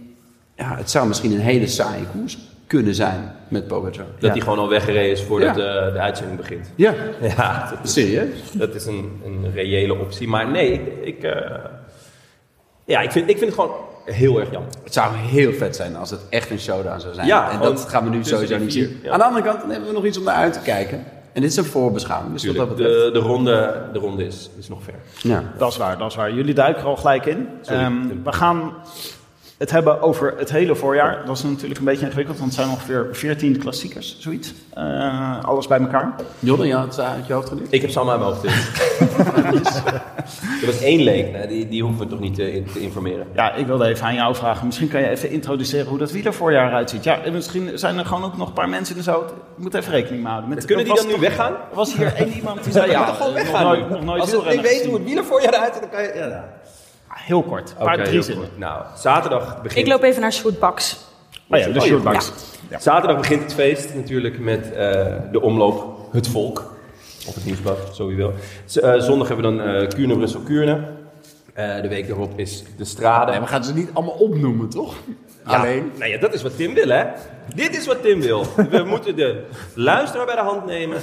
Speaker 7: ja, het zou misschien een hele saaie koers kunnen zijn met Pogacar.
Speaker 8: Dat hij gewoon al weggereden is voordat eh, de uitzending begint.
Speaker 7: Ja,
Speaker 8: Ja, dat is,
Speaker 7: serieus.
Speaker 8: dat is een, een reële optie. Maar nee, ik, ik, eh, ja, ik, vind, ik vind het gewoon heel erg jammer.
Speaker 7: Het zou heel vet zijn als het echt een showdown zou zijn.
Speaker 8: Ja,
Speaker 7: en
Speaker 8: want
Speaker 7: dat gaan we nu
Speaker 8: tussen
Speaker 7: sowieso
Speaker 8: die
Speaker 7: niet
Speaker 8: vier,
Speaker 7: zien.
Speaker 8: ja.
Speaker 7: Aan de andere kant dan hebben we nog iets om naar uit te kijken. En dit is een voorbeschouwing, dus wat dat betreft...
Speaker 8: De, de ronde, de ronde is, is nog ver.
Speaker 7: ja.
Speaker 3: Dat is waar, dat is waar. Jullie duiken er al gelijk in.
Speaker 8: Sorry.
Speaker 3: Ehm, we gaan het hebben over het hele voorjaar. Dat is natuurlijk een beetje ingewikkeld, want het zijn ongeveer 14 klassiekers, zoiets. Eh, alles bij elkaar.
Speaker 7: Jonne, je had het eh, uit je hoofd geleerd?
Speaker 8: Ik heb Sam aan mijn hoofd. dus. er was één leek, nou, die, die hoeven we toch niet te, in- te informeren.
Speaker 3: Ja, ik wilde even aan jou vragen. Misschien kan je even introduceren hoe dat wielervoorjaar eruit ziet. Ja, en misschien zijn er gewoon ook nog een paar mensen en zo. Ik moet even rekening mee houden. Met,
Speaker 8: Kunnen die
Speaker 3: was
Speaker 8: dan nu weggaan?
Speaker 3: Er was hier één iemand die zei, ja,
Speaker 8: dan gewoon
Speaker 3: nog
Speaker 8: weggaan.
Speaker 3: nooit- nog nooit
Speaker 8: Als ze niet
Speaker 3: wielrennen
Speaker 8: weten
Speaker 3: gezien.
Speaker 8: hoe het wielen voor je eruit ziet, dan kan je... Ja, nou.
Speaker 3: Heel kort, een paar
Speaker 8: Oké,
Speaker 3: drie
Speaker 8: heel
Speaker 3: zinnen.
Speaker 8: goed. Nou, zaterdag begint...
Speaker 5: Ik loop even naar Shootbox.
Speaker 3: Oh ja, de
Speaker 8: Oh ja.
Speaker 3: shortbacks.
Speaker 8: Zaterdag begint het feest natuurlijk met eh, de omloop Het Volk. Of het Nieuwsblad, zo wie wil. Z- eh, zondag hebben we dan eh Kuurne, Brussel, Kuurne. Eh, de week daarop is de Strade.
Speaker 7: Nee, we gaan ze niet allemaal opnoemen, toch?
Speaker 8: Ja,
Speaker 7: Alleen.
Speaker 8: Nou ja, dat is wat Tim wil, hè? Dit is wat Tim wil. We moeten de luisteraar bij de hand nemen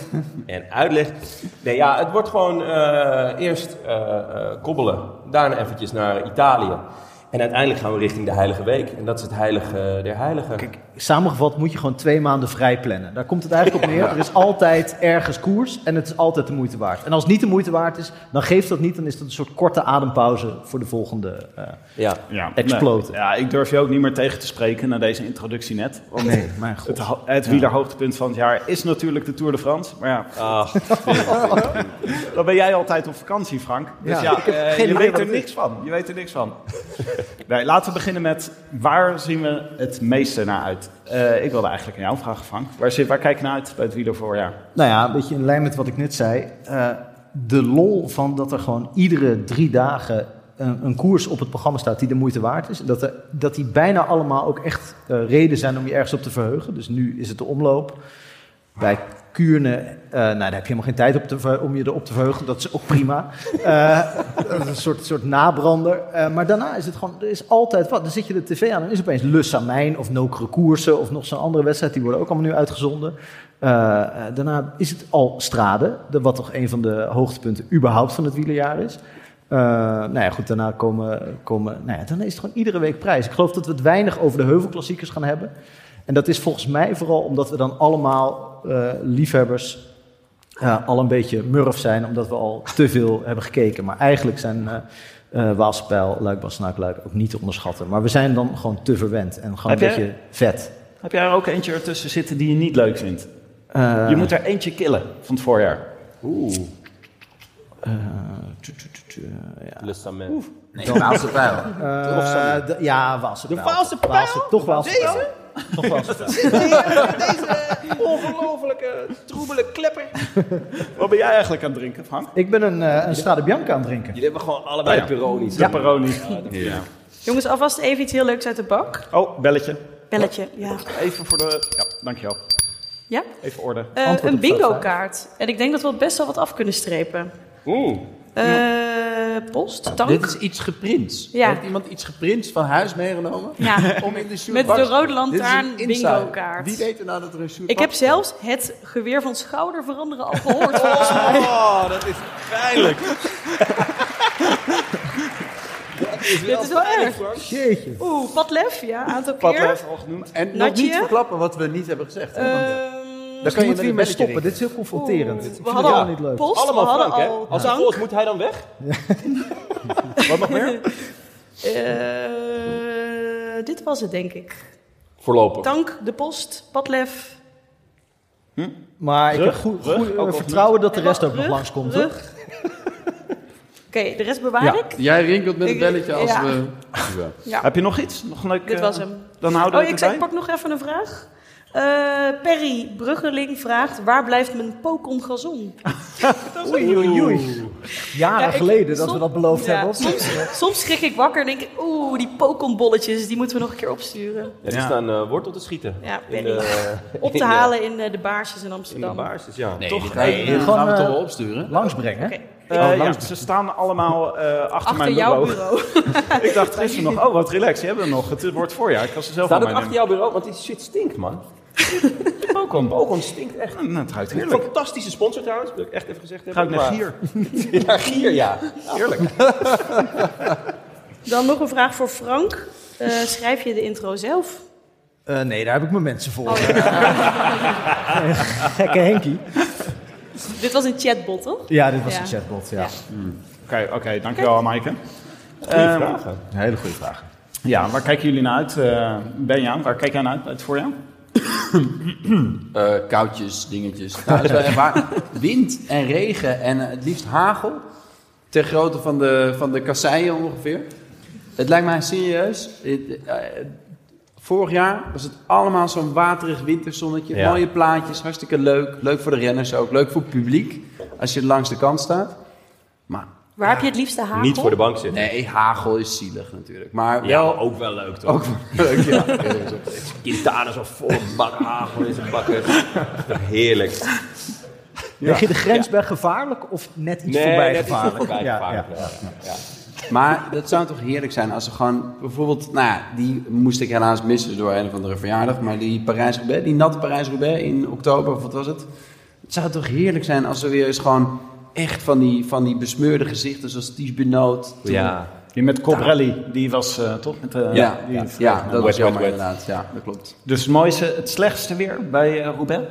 Speaker 8: en uitleggen. Nee, ja, het wordt gewoon eh, eerst eh, eh, kobbelen, daarna eventjes naar Italië. En uiteindelijk gaan we richting de Heilige Week. En dat is het Heilige der Heiligen.
Speaker 2: Kijk, samengevat moet je gewoon twee maanden vrij plannen. Daar komt het eigenlijk op neer. Er is altijd ergens koers en het is altijd de moeite waard. En als het niet de moeite waard is, dan geeft dat niet. Dan is dat een soort korte adempauze voor de volgende. eh.
Speaker 8: ja.
Speaker 3: Ja,
Speaker 2: Exploten.
Speaker 3: nee. Ja, ik durf je ook niet meer tegen te spreken na deze introductie net. Want
Speaker 2: Oh, Nee, mijn god.
Speaker 3: Het, ho- het wielerhoogtepunt van het jaar is natuurlijk de Tour de France. Maar ja,
Speaker 8: Ach,
Speaker 3: dan ben jij altijd op vakantie, Frank. Dus
Speaker 2: Ja,
Speaker 3: ja,
Speaker 2: ik heb
Speaker 3: eh,
Speaker 2: geen idee
Speaker 3: je weet
Speaker 2: wat
Speaker 3: er
Speaker 2: het is.
Speaker 3: niks van. Je weet er niks van. nee, laten we beginnen met waar zien we het meeste naar uit? Eh, ik wilde eigenlijk aan jou vragen, Frank. Waar, zit, waar kijk je naar uit bij het wielervoorjaar?
Speaker 2: Nou ja, een beetje in lijn met wat ik net zei. Eh, de lol van dat er gewoon iedere drie dagen een, een koers op het programma staat die de moeite waard is. En Dat, er, dat die bijna allemaal ook echt eh reden zijn om je ergens op te verheugen. Dus nu is het de omloop. Bij Kuurne, eh, nou, daar heb je helemaal geen tijd op te ver- om je erop te verheugen. Dat is ook prima. Eh, dat is een soort, soort nabrander. Eh, maar daarna is het gewoon, er is altijd wat. Dan zit je de tv aan en is opeens Lus aan Mijn of Nokere Koersen of nog zo'n andere wedstrijd. Die worden ook allemaal nu uitgezonden. Eh, eh, daarna is het al Strade, de, wat toch een van de hoogtepunten überhaupt van het wielerjaar is. Eh, nou ja, goed, daarna komen, komen nou ja, dan is het gewoon iedere week prijs. Ik geloof dat we het weinig over de heuvelklassiekers gaan hebben. En dat is volgens mij vooral omdat we dan allemaal eh, liefhebbers eh, al een beetje murf zijn, omdat we al te veel hebben gekeken. Maar eigenlijk zijn eh eh Waalspijl, Luik, Bastenaak, Luik ook niet te onderschatten. Maar we zijn dan gewoon te verwend en gewoon
Speaker 3: Heb
Speaker 2: een
Speaker 3: jij-
Speaker 2: beetje vet.
Speaker 3: Heb jij er ook eentje ertussen zitten die je niet leuk vindt?
Speaker 2: Eh,
Speaker 3: Je moet er eentje killen van het voorjaar.
Speaker 2: eh, tu- tu- tu- tu- eh, ja.
Speaker 8: Le Samen.
Speaker 7: Nee, de laatste pijl.
Speaker 2: Eh, de- ja, Waalse De Waalse Toch Waalse Deze? Toch Waalse Pijl.
Speaker 8: Ongelofelijke, troebele klepper.
Speaker 3: Wat ben jij eigenlijk aan het drinken, Frank?
Speaker 2: Ik ben een, eh, een Strade Bianca aan het drinken.
Speaker 8: Jullie hebben gewoon allebei Peroni's.
Speaker 3: Ja. Peroni.
Speaker 5: Jongens, alvast even iets heel leuks uit de bak.
Speaker 3: Oh, belletje.
Speaker 5: Belletje, ja.
Speaker 3: Even voor de... Ja, dankjewel.
Speaker 5: Ja?
Speaker 3: Even orde.
Speaker 5: Eh,
Speaker 2: Antwoord
Speaker 5: een
Speaker 2: op vraag
Speaker 5: bingo
Speaker 2: vijf.
Speaker 5: kaart. En ik denk dat we het best wel wat af kunnen strepen.
Speaker 8: Oeh.
Speaker 5: Eh, post,
Speaker 7: Dit
Speaker 5: tank.
Speaker 7: is iets geprint.
Speaker 5: Ja.
Speaker 7: Heeft iemand iets geprint van huis meegenomen?
Speaker 5: Ja.
Speaker 7: Om in de shoot
Speaker 5: Met
Speaker 7: box-
Speaker 5: de rode lantaarn
Speaker 7: Dit is een insider.
Speaker 5: bingo-kaart.
Speaker 7: Wie weet er nou dat er een shoot
Speaker 5: Ik heb
Speaker 7: box-
Speaker 5: zelfs het geweer van schouder veranderen al gehoord. volgens mij.
Speaker 8: Oh, dat is pijnlijk.
Speaker 5: Dit is wel erg.
Speaker 2: Jeetje.
Speaker 5: Oeh, Patlef, ja, aantal keer.
Speaker 3: Padlef al genoemd.
Speaker 7: En nog
Speaker 5: Natje?
Speaker 7: niet verklappen wat we niet hebben gezegd. hè, want-
Speaker 5: Ehm,
Speaker 2: Daar
Speaker 7: kan je
Speaker 2: moeten
Speaker 7: met
Speaker 2: we hier
Speaker 7: een
Speaker 2: mee stoppen.
Speaker 7: belletje rekenen.
Speaker 2: Dit is heel confronterend. Ik
Speaker 5: we
Speaker 2: vind het
Speaker 5: hadden al
Speaker 2: helemaal niet leuk.
Speaker 5: post,
Speaker 8: Allemaal
Speaker 5: we hadden
Speaker 8: Frank, hè?
Speaker 5: al
Speaker 8: Als het
Speaker 5: dank.
Speaker 8: volgt, moet hij dan weg? Wat nog meer?
Speaker 5: Eh, dit was het, denk ik.
Speaker 8: Voorlopig.
Speaker 5: Tank, de post, Patlef.
Speaker 2: Maar ik heb
Speaker 3: Rug?
Speaker 2: goed,
Speaker 3: Rug?
Speaker 2: goed, eh,
Speaker 3: Ook al
Speaker 2: vertrouwen dat de
Speaker 5: En
Speaker 2: rest
Speaker 5: wat?
Speaker 2: ook nog
Speaker 5: Rug?
Speaker 2: langskomt. hoor.
Speaker 5: Rug. Oké, de rest bewaar
Speaker 7: Ja,
Speaker 5: ik.
Speaker 7: jij rinkelt met een
Speaker 5: Ik-
Speaker 7: belletje als
Speaker 5: ja.
Speaker 7: we...
Speaker 3: Heb je nog iets? Nog een leuk...
Speaker 5: Dit
Speaker 3: eh,
Speaker 5: was hem.
Speaker 3: Dan houden
Speaker 5: Oh,
Speaker 3: we
Speaker 5: ik,
Speaker 3: het
Speaker 5: zei,
Speaker 3: erbij.
Speaker 5: ik pak nog even een vraag. Eh, Perry Bruggeling vraagt, waar blijft mijn Pokon Gazon?
Speaker 2: Oei, oei, oei. Jaren
Speaker 5: Ja, ik-
Speaker 2: Ah, geleden dat we
Speaker 5: som-
Speaker 2: dat beloofd
Speaker 5: ja,
Speaker 2: hebben. of niet?
Speaker 5: Soms, soms schrik ik wakker en denk ik, oeh, die pokonbolletjes, die moeten we nog een keer opsturen.
Speaker 8: Het
Speaker 3: Ja.
Speaker 8: is dan eh, wortel te schieten.
Speaker 5: Ja,
Speaker 8: in
Speaker 5: Benny.
Speaker 8: de,
Speaker 5: Op
Speaker 8: in
Speaker 5: te
Speaker 8: de-
Speaker 5: halen in eh, de baarsjes in
Speaker 8: In de
Speaker 5: Amsterdam.
Speaker 8: baars, dus ja.
Speaker 7: Nee,
Speaker 8: Toch.
Speaker 7: die ga je- die
Speaker 2: Gewoon,
Speaker 7: gaan we
Speaker 2: eh,
Speaker 7: toch wel opsturen?
Speaker 2: Langsbrengen.
Speaker 5: Oké,
Speaker 3: Eh, ja,
Speaker 2: langs-
Speaker 3: ze staan allemaal eh, achter,
Speaker 5: Oh, Achter
Speaker 3: mijn
Speaker 5: jouw
Speaker 3: bureau.
Speaker 5: bureau.
Speaker 3: ik dacht gisteren nog, oh wat relax, je hebt hem nog. Het wordt voorjaar, ik kan ze zelf
Speaker 8: Staat
Speaker 3: aan
Speaker 8: het
Speaker 3: mij
Speaker 8: achter
Speaker 3: nemen.
Speaker 8: jouw bureau? Want die shit stinkt, man. Bokom. Bokom stinkt echt.
Speaker 3: Nou, het ruikt heerlijk.
Speaker 8: Fantastische sponsor trouwens, wil ik echt even gezegd
Speaker 3: Ruikt
Speaker 8: hebben.
Speaker 3: naar
Speaker 8: maar-
Speaker 3: gier.
Speaker 8: Naar gier, ja. Heerlijk.
Speaker 5: Dan nog een vraag voor Frank. Eh, schrijf je de intro zelf?
Speaker 2: Eh, nee, daar heb ik mijn mensen voor. Gekke Henkie.
Speaker 5: Dit was een chatbot, toch?
Speaker 2: Ja, dit was
Speaker 5: Ja.
Speaker 2: een chatbot. Ja.
Speaker 3: Oké, oké, dankjewel Maaike.
Speaker 8: Goeie
Speaker 3: Ehm,
Speaker 8: vragen.
Speaker 2: Een hele goede vraag.
Speaker 3: Ja, waar kijken jullie naar uit? eh Benja, waar kijk jij naar uit bij het voorjaar?
Speaker 7: Eh, koudjes, dingetjes. Nou, dat is wel echt waar. Wind en regen en eh, het liefst hagel. Ter grootte van de, van de kasseien ongeveer. Het lijkt mij serieus. het, eh, vorig jaar was het allemaal zo'n waterig winterzonnetje.
Speaker 8: Ja.
Speaker 7: Mooie plaatjes, hartstikke leuk. Leuk voor de renners ook. Leuk voor het publiek als je langs de kant staat. Maar
Speaker 5: Waar heb je het liefste hagel?
Speaker 8: Niet voor de bank zitten.
Speaker 7: nee, hagel is zielig natuurlijk. Maar
Speaker 8: Ja,
Speaker 7: wel
Speaker 8: maar ook wel leuk toch?
Speaker 7: ook leuk. Ja.
Speaker 8: Quintana zo vol een bak hagel in zijn bakken. Heerlijk.
Speaker 2: Leg je de grens bij gevaarlijk of net iets voorbij
Speaker 8: dat is toch
Speaker 2: gevaarlijk?
Speaker 8: voorbij
Speaker 2: Ja,
Speaker 8: gevaarlijk.
Speaker 2: ja.
Speaker 8: Ja.
Speaker 7: Maar dat zou toch heerlijk zijn als ze gewoon bijvoorbeeld, nou ja, die moest ik helaas missen door een of andere verjaardag, maar die Parijs-Roubaix, die natte Parijs-Roubaix in oktober, of wat was het? Het zou toch heerlijk zijn als er weer eens gewoon echt van die, van die besmeurde gezichten zoals Ties Benoot. toen-
Speaker 8: Ja.
Speaker 3: Die met Cobrelli, die was eh, toch? Met, eh,
Speaker 7: Ja,
Speaker 3: die
Speaker 7: ja,
Speaker 3: vergeten.
Speaker 7: dat was
Speaker 8: wet,
Speaker 7: jammer
Speaker 8: wet.
Speaker 7: inderdaad. Ja, dat klopt.
Speaker 3: Dus het mooiste, het slechtste weer bij eh Roubaix?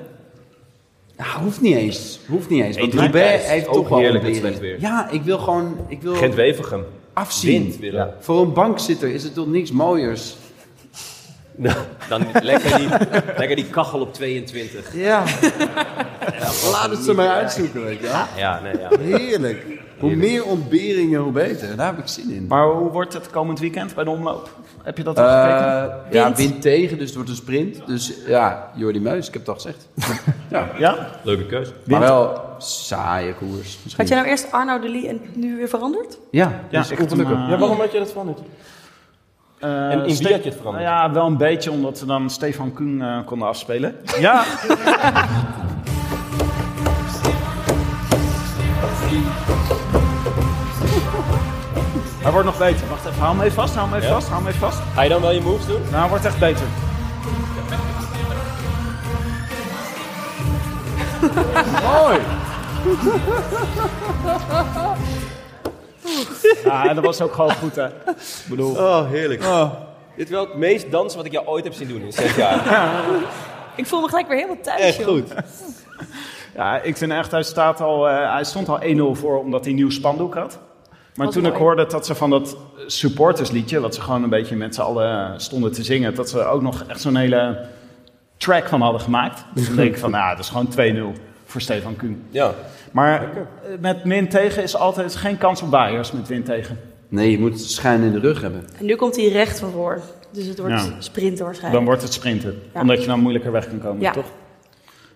Speaker 7: Nou, hoeft niet eens. Hoeft niet eens. Want
Speaker 8: Eet
Speaker 7: Roubaix
Speaker 8: Rijnkaard.
Speaker 7: heeft
Speaker 8: Ook
Speaker 7: toch wel
Speaker 8: heerlijk
Speaker 7: een
Speaker 8: met
Speaker 7: beren.
Speaker 8: slecht weer.
Speaker 7: Ja, ik wil gewoon ik wil
Speaker 8: Gent Wevergem.
Speaker 7: afzien.
Speaker 8: Wind willen.
Speaker 7: Ja. Voor een bankzitter is het toch niks mooiers.
Speaker 8: Nou, Dan lekker die, lekker die kachel op 22.
Speaker 7: Ja. Laat het ze maar uitzoeken, weet je wel.
Speaker 8: Ja, nee, ja.
Speaker 7: Heerlijk. Hoe meer ontberingen, hoe beter. Daar heb ik zin in.
Speaker 3: Maar hoe wordt het komend weekend bij de omloop? Heb je dat al gekeken?
Speaker 7: Eh, ja, wind tegen, dus het wordt een sprint. Dus ja, Jordi Meus, ik heb het al gezegd.
Speaker 3: Ja?
Speaker 8: Leuke keus.
Speaker 7: Maar wel saaie koers. Misschien.
Speaker 5: Had je nou eerst Arno de Lee en nu weer veranderd?
Speaker 7: Ja,
Speaker 3: Ja,
Speaker 7: dus
Speaker 3: echt
Speaker 7: ongelukkig.
Speaker 3: een, eh,
Speaker 8: Ja, waarom had je dat veranderd?
Speaker 3: Eh,
Speaker 8: En in
Speaker 3: Ste-
Speaker 8: wie had je het veranderd?
Speaker 3: Nou ja, wel een beetje, omdat we dan Stefan Kuhn eh, konden afspelen. Ja. Hij wordt nog beter. Wacht even, hou hem even vast, hou hem even
Speaker 8: Ja?
Speaker 3: vast, hou hem even vast.
Speaker 8: Ga je dan wel je moves doen?
Speaker 3: Nou, hij wordt echt beter. Mooi! Ja, en dat was ook gewoon goed, hè? Ik bedoel...
Speaker 8: Oh, heerlijk. Dit is wel het meest dansen wat ik jou ooit heb zien doen in zes jaar.
Speaker 5: Ik voel me gelijk weer helemaal thuis,
Speaker 8: Echt
Speaker 5: joh.
Speaker 8: goed.
Speaker 3: Ja, ik vind echt, hij, staat al, eh, hij stond al 1-0 voor omdat hij een nieuw spandoek had. Maar
Speaker 5: Wat
Speaker 3: toen ik
Speaker 5: mooi.
Speaker 3: hoorde dat ze van dat supportersliedje, wat ze gewoon een beetje met z'n allen stonden te zingen, dat ze ook nog echt zo'n hele track van hadden gemaakt. Dus dan denk ik van, nou, dat is gewoon 2-0 voor Stefan Kuhn.
Speaker 8: Ja.
Speaker 3: Maar eh, met min tegen is altijd geen kans op waaiers met win tegen.
Speaker 7: Nee, je moet schijn in de rug hebben.
Speaker 5: En nu komt hij recht vanvoor. Dus het wordt
Speaker 3: Ja.
Speaker 5: sprinten waarschijnlijk.
Speaker 3: Dan wordt het sprinten,
Speaker 5: Ja.
Speaker 3: omdat je dan moeilijker weg kan komen,
Speaker 5: Ja.
Speaker 3: toch?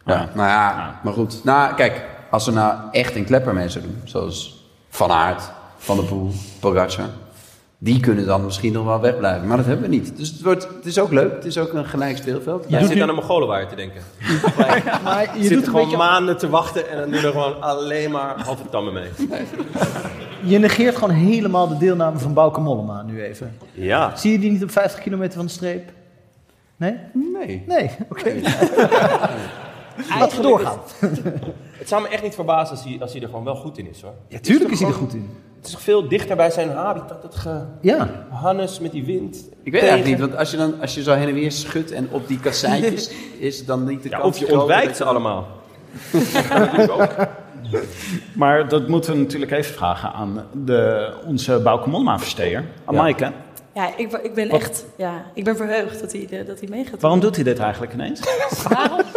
Speaker 7: Ja,
Speaker 3: Ah.
Speaker 7: nou ja, maar goed. Nou, kijk, als we nou echt een klepper mee zouden doen, zoals Van Aert, Van der Poel, Pogacar, die kunnen dan misschien nog wel wegblijven. Maar dat hebben we niet. Dus het, wordt, het is ook leuk. Het is ook een gelijk speelveld.
Speaker 8: Jij zit aan een Mongolenwaard te denken.
Speaker 2: Maar je,
Speaker 8: Je
Speaker 2: doet
Speaker 8: zit
Speaker 2: een
Speaker 8: gewoon
Speaker 2: beetje,
Speaker 8: maanden te wachten en dan doe je er gewoon alleen maar tammen mee.
Speaker 2: je negeert gewoon helemaal de deelname van Bouke Mollema nu even.
Speaker 8: Ja.
Speaker 2: Zie je die niet op 50 kilometer van de streep? Nee?
Speaker 7: Nee.
Speaker 2: Nee, oké. Laten we doorgaan.
Speaker 8: Het zou me echt niet verbazen als hij, als hij er gewoon wel goed in is hoor.
Speaker 2: Ja, tuurlijk is hij er goed in.
Speaker 8: Het is toch veel dichter bij zijn habitat, dat
Speaker 2: Ja.
Speaker 8: gehannes met die wind.
Speaker 7: Ik weet eigenlijk niet, want als je, dan, als je zo heen en weer schudt en op die kasseitjes, is het dan niet de
Speaker 8: Ja,
Speaker 7: kans
Speaker 8: of je
Speaker 7: groter
Speaker 8: ontwijkt
Speaker 7: dat
Speaker 8: ze allemaal.
Speaker 3: Maar dat moeten we natuurlijk even vragen aan de, onze Bauke Mollema-versteer, aan
Speaker 8: Ja.
Speaker 3: Maaike.
Speaker 5: Ja, ik, ik ben echt ja, ik ben verheugd dat hij, eh, dat hij mee gaat.
Speaker 3: Waarom doet hij dit eigenlijk ineens?
Speaker 5: Waarom?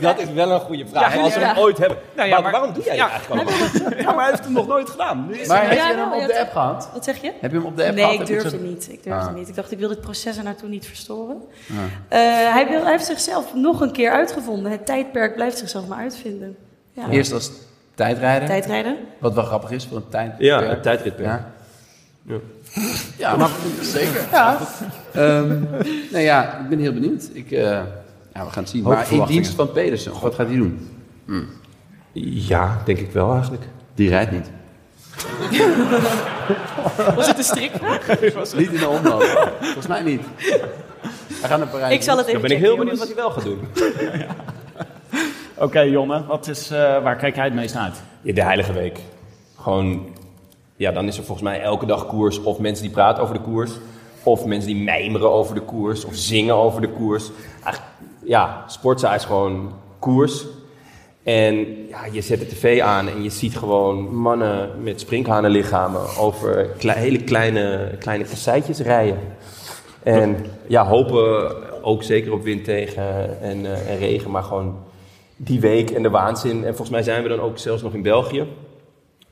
Speaker 8: Dat is wel een goede vraag.
Speaker 5: Ja,
Speaker 8: als we
Speaker 5: ja.
Speaker 8: hem ooit hebben.
Speaker 3: Nou ja,
Speaker 8: Maar
Speaker 3: maar-
Speaker 8: waarom doe jij
Speaker 3: Ja.
Speaker 8: het eigenlijk allemaal?
Speaker 3: Ja, maar hij heeft hem nog nooit gedaan.
Speaker 7: Maar heb
Speaker 5: Ja,
Speaker 7: je
Speaker 5: ja,
Speaker 7: hem op
Speaker 5: ja,
Speaker 7: de
Speaker 5: toch.
Speaker 7: app gehad?
Speaker 5: Wat zeg je?
Speaker 7: Heb je hem op de app
Speaker 5: nee,
Speaker 7: gehad?
Speaker 5: ik
Speaker 7: Heb je
Speaker 5: durfde
Speaker 7: zo-
Speaker 5: niet. Ik durfde
Speaker 7: Ah.
Speaker 5: niet. Ik dacht, ik wil dit proces er naartoe niet verstoren. Eh, hij, wil, hij heeft zichzelf nog een keer uitgevonden. Het tijdperk blijft zichzelf maar uitvinden. Ja.
Speaker 7: Eerst als tijdrijder,
Speaker 5: Tijdrijden?
Speaker 7: wat wel grappig is voor een tijd.
Speaker 8: Ja, het tijdritperk.
Speaker 7: Ja. Ja, maar zeker. Ja. Ehm, nou ja, ik ben heel benieuwd. Ik, eh, ja, we gaan het zien. Maar in dienst van Pedersen, wat gaat hij doen?
Speaker 8: Ja, denk ik wel eigenlijk.
Speaker 7: Die rijdt niet.
Speaker 5: Was het een strikvraag?
Speaker 7: Niet in de omloop. Volgens mij niet. We gaan naar Parijs.
Speaker 5: Ik zal het even
Speaker 8: Dan ben ik
Speaker 5: checken,
Speaker 8: heel benieuwd wat
Speaker 5: jongens.
Speaker 8: hij wel gaat doen.
Speaker 3: Oké, Jonne, wat is, eh, waar kijk jij het meest naar uit?
Speaker 8: Ja, de Heilige Week. Gewoon, ja, dan is er volgens mij elke dag koers. Of mensen die praten over de koers. Of mensen die mijmeren over de koers. Of zingen over de koers. Eigenlijk, ja, sportza is gewoon koers. En ja, je zet de tv aan en je ziet gewoon mannen met springhanenlichamen over kle- hele kleine, kleine kasseitjes rijden. En ja, hopen ook zeker op wind tegen en, eh, en regen, maar gewoon die week en de waanzin. En volgens mij zijn we dan ook zelfs nog in België.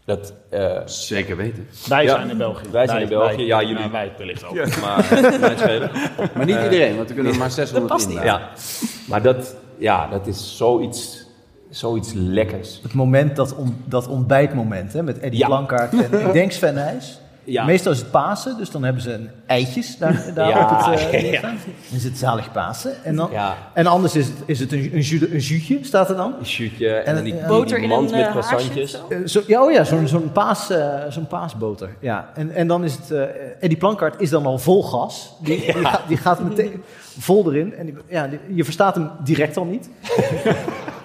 Speaker 8: Dat, eh,
Speaker 7: Zeker weten.
Speaker 3: Wij
Speaker 8: Ja.
Speaker 3: zijn in België.
Speaker 8: Wij zijn in België, ja, jullie-
Speaker 3: nou, wij wellicht ook.
Speaker 8: maar, eh, mijn schelen.
Speaker 7: Maar niet iedereen, want we kunnen er maar 600
Speaker 5: past
Speaker 7: in
Speaker 5: niet.
Speaker 7: laten.
Speaker 8: ja. maar dat, ja, dat is zoiets, zoiets lekkers.
Speaker 2: Het moment, dat, on- dat ontbijtmoment hè, met Eddie
Speaker 8: Ja.
Speaker 2: Blankaart en ik denk Sven Nys.
Speaker 8: Ja.
Speaker 2: Meestal is het Pasen, dus dan hebben ze een eitjes daar, daar
Speaker 8: Ja,
Speaker 2: op het eh,
Speaker 8: ja.
Speaker 2: ding staan. Dan is het zalig Pasen. En, dan,
Speaker 8: Ja.
Speaker 2: en anders is het, is het een, een, ju- een zuutje, staat er dan.
Speaker 8: Een shootje en,
Speaker 2: En
Speaker 8: dan die,
Speaker 2: het-
Speaker 8: die,
Speaker 5: Boter in
Speaker 8: mand
Speaker 5: een
Speaker 8: met
Speaker 5: eh, haarsje of
Speaker 8: croissantjes.
Speaker 5: zo?
Speaker 2: Eh, zo, ja, oh ja, zo'n zo'n paas, eh, zo'n paasboter. Ja. En, en dan is het, eh Eddie Plankaart is dan al vol gas. Die, die, gaat, die gaat meteen vol erin. En die- ja, die- je verstaat hem direct al niet.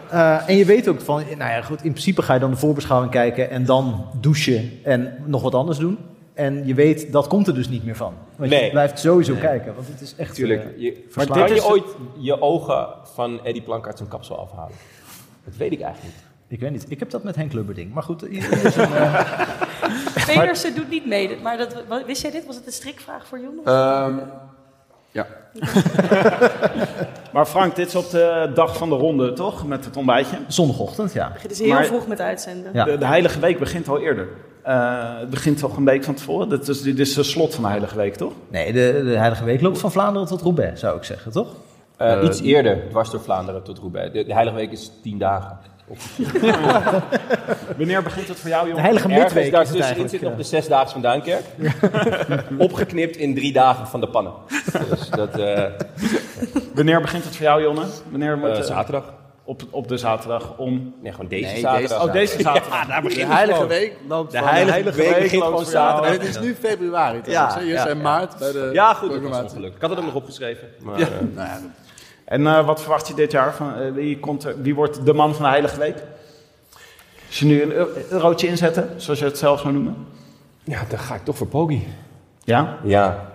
Speaker 2: Eh, en je weet ook van, nou ja, goed, in principe ga je dan de voorbeschouwing kijken en dan douchen en nog wat anders doen. En je weet, dat komt er dus niet meer van. Want
Speaker 8: Nee.
Speaker 2: je blijft sowieso kijken, want het is echt... eh,
Speaker 8: Tuurlijk. Je, maar
Speaker 2: verslaafd.
Speaker 8: kan
Speaker 2: Dit
Speaker 8: je
Speaker 2: is-
Speaker 8: ooit je ogen van Eddie Plankaart zijn kapsel afhalen? Dat weet ik eigenlijk niet.
Speaker 2: ik weet niet, ik heb dat met Henk Lubberding. Maar goed, ieder ieder zijn, eh,
Speaker 5: Pedersen doet niet mee. Maar dat, wa- wist jij dit? Was het een strikvraag voor Jon?
Speaker 7: Ehm, ja.
Speaker 3: Maar Frank, dit is op de dag van de ronde, toch? Met het ontbijtje.
Speaker 2: zondagochtend, ja.
Speaker 5: Het is dus heel
Speaker 3: maar-
Speaker 5: vroeg met uitzenden.
Speaker 2: Ja.
Speaker 3: De, de Heilige Week begint al eerder. Eh, het begint toch een week van tevoren. Dit is, dit is de slot van de Heilige Week, toch?
Speaker 2: Nee, de, de Heilige Week loopt van Vlaanderen tot Roubaix, zou ik zeggen, toch?
Speaker 8: Eh, iets eerder, dwars door Vlaanderen tot Roubaix. De, de Heilige Week is tien dagen.
Speaker 3: Wanneer begint het voor jou,
Speaker 2: De
Speaker 3: jongen?
Speaker 2: Heilige Midweek
Speaker 8: Ergens
Speaker 2: is het
Speaker 8: daartussenin
Speaker 2: eigenlijk.
Speaker 8: zit
Speaker 2: ja.
Speaker 8: nog de zesdaagse van Duinkerk. Opgeknipt in drie dagen van de pannen. Dus dat, eh,
Speaker 3: Wanneer begint het voor jou, Jonne? Wanneer moet,
Speaker 8: eh,
Speaker 3: eh,
Speaker 8: zaterdag.
Speaker 3: op, op de zaterdag om...
Speaker 8: Nee, gewoon deze
Speaker 7: Nee,
Speaker 8: zaterdag.
Speaker 7: deze
Speaker 3: Oh, deze zaterdag. daar
Speaker 7: De Heilige Week loopt
Speaker 8: De
Speaker 7: van-
Speaker 8: Heilige, Week
Speaker 3: Week
Speaker 8: begint
Speaker 3: loopt
Speaker 8: gewoon
Speaker 3: voor jou.
Speaker 8: zaterdag.
Speaker 7: En het is nu februari trouwens. Ja, Eerst zijn maart bij de
Speaker 8: Ja, goed, dat was een
Speaker 7: programmatie.
Speaker 8: ongeluk. Ik had het hem nog opgeschreven. Maar,
Speaker 7: Ja.
Speaker 8: eh,
Speaker 7: Nou ja, dat-
Speaker 3: En eh, wat verwacht je dit jaar? Van, eh, wie, komt er- wie wordt de man van de Heilige Week? Als je nu een eu- eurotje inzetten, zoals je het zelf zou noemen.
Speaker 8: ja, dan ga ik toch voor Poggi.
Speaker 3: Ja?
Speaker 8: Ja.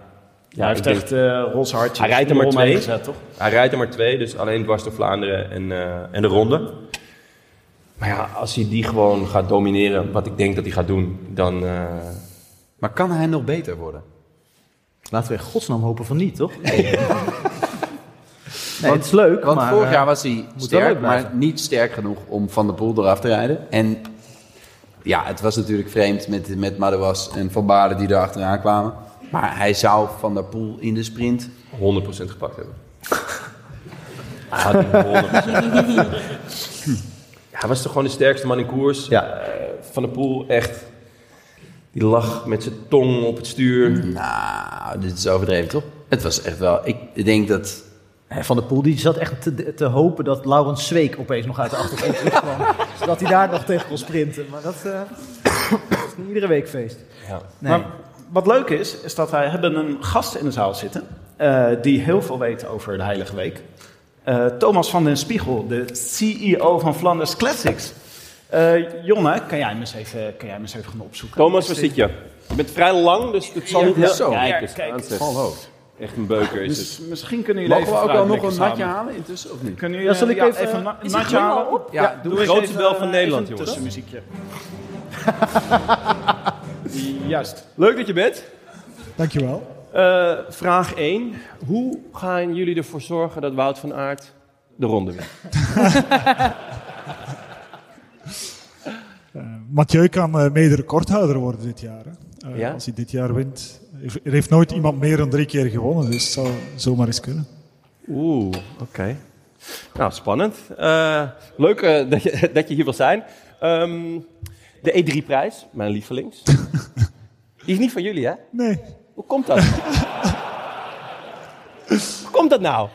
Speaker 3: Hij heeft
Speaker 8: ik denk-
Speaker 3: echt eh roze hartjes.
Speaker 8: Hij rijdt er
Speaker 3: in de
Speaker 8: maar
Speaker 3: ronde
Speaker 8: twee.
Speaker 3: gezet, toch?
Speaker 8: Hij rijdt er maar twee, dus alleen dwars door Vlaanderen en, eh, en de ronde. Maar ja, als hij die gewoon gaat domineren, wat ik denk dat hij gaat doen, dan... eh,
Speaker 7: Maar kan hij nog beter worden?
Speaker 2: Laten we in godsnaam hopen van niet, toch? Nee, het is leuk,
Speaker 7: Want
Speaker 2: maar...
Speaker 7: vorig
Speaker 2: eh,
Speaker 7: jaar was hij
Speaker 2: moet wel
Speaker 7: sterk,
Speaker 2: leuk blijven.
Speaker 7: maar niet sterk genoeg om Van der Poel eraf te rijden. En ja, het was natuurlijk vreemd met, met Madouas en Van Baarden die erachteraan kwamen. Maar hij zou Van der Poel in de sprint...
Speaker 8: 100% gepakt hebben. Hij had die 100%. Hij was toch gewoon de sterkste man in koers.
Speaker 2: Ja.
Speaker 8: Eh, Van der Poel echt. Die lag met zijn tong op het stuur.
Speaker 7: Nou, dit is overdreven, toch? Het was echt wel... Ik denk dat...
Speaker 2: hè, Van der Poel die zat echt te, te hopen dat Laurens Zweek opeens nog uit de achtergrond terugkwam. zodat hij daar nog tegen kon sprinten. Maar dat, eh, dat is niet iedere week feest.
Speaker 8: Ja.
Speaker 2: Nee.
Speaker 3: Maar wat leuk is, is dat wij hebben een gast in de zaal zitten eh, die heel veel weet over de Heilige Week. Eh, Thomas van den Spiegel, de CEO van Flanders Classics. Eh, Jonne, kan jij, hem eens even, kan jij hem eens even gaan opzoeken?
Speaker 8: Thomas, waar zit je? Je bent vrij lang, dus het zal niet heel...
Speaker 7: Zo.
Speaker 8: Kijk eens,
Speaker 3: Kijk,
Speaker 8: aanzet. Echt een beuker is het.
Speaker 3: Dus misschien kunnen jullie
Speaker 7: Mogen we
Speaker 3: even
Speaker 7: ook wel nog een natje
Speaker 3: vooruitblikken samen.
Speaker 7: halen intussen, of niet?
Speaker 3: Kunnen jullie eh,
Speaker 2: Ja, zal ik
Speaker 3: ja,
Speaker 2: even-
Speaker 3: een na-
Speaker 5: Is hij
Speaker 3: natje
Speaker 5: helemaal
Speaker 3: halen?
Speaker 5: op?
Speaker 7: Ja, doe
Speaker 3: eens
Speaker 8: Grootste
Speaker 3: even,
Speaker 8: bel van
Speaker 3: eh,
Speaker 8: Nederland,
Speaker 3: even
Speaker 8: jongens.
Speaker 3: een tussenmuziekje. Juist.
Speaker 8: Leuk dat je bent.
Speaker 10: Dankjewel.
Speaker 8: Eh, vraag 1. Hoe gaan jullie ervoor zorgen dat Wout van Aert de ronde wint?
Speaker 10: Eh, Mathieu kan eh, mede recordhouder worden dit jaar. hè. Eh,
Speaker 8: Ja?
Speaker 10: Als hij dit jaar wint. Er heeft nooit iemand meer dan drie keer gewonnen, dus het zou zomaar eens kunnen.
Speaker 8: Oeh, oké. Nou, spannend. Eh, leuk eh, dat, je, dat je hier wil zijn. Ehm, de E3-prijs, mijn lievelings. Die is niet van jullie, hè?
Speaker 10: Nee,
Speaker 8: Hoe komt dat? Hoe komt dat nou?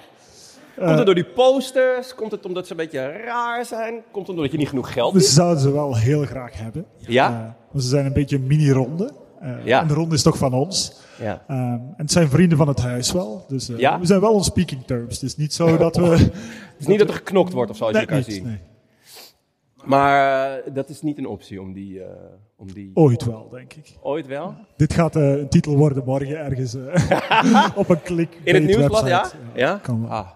Speaker 8: Komt
Speaker 10: Eh.
Speaker 8: het door die posters? Komt het omdat ze een beetje raar zijn? Komt het omdat je niet genoeg geld
Speaker 10: we
Speaker 8: hebt?
Speaker 10: zouden ze wel heel graag hebben.
Speaker 8: Ja?
Speaker 10: Eh, maar ze zijn een beetje een mini-ronde. Eh,
Speaker 8: Ja.
Speaker 10: En de ronde is toch van ons.
Speaker 8: Ja.
Speaker 10: Ehm, en het zijn vrienden van het huis wel. Dus eh,
Speaker 8: Ja.
Speaker 10: we zijn wel on speaking terms. Het is niet zo dat we...
Speaker 8: Het is niet dat er geknokt wordt of zo, als
Speaker 10: Nee,
Speaker 8: je elkaar
Speaker 10: niet,
Speaker 8: ziet.
Speaker 10: nee.
Speaker 8: Maar eh, dat is niet een optie om die... eh, om die...
Speaker 10: Ooit wel, denk ik.
Speaker 8: Ooit wel?
Speaker 10: Dit gaat eh, een titel worden morgen ergens eh, op een klik.
Speaker 8: In het nieuwsblad, ja?
Speaker 10: website.
Speaker 8: Ja? Ah.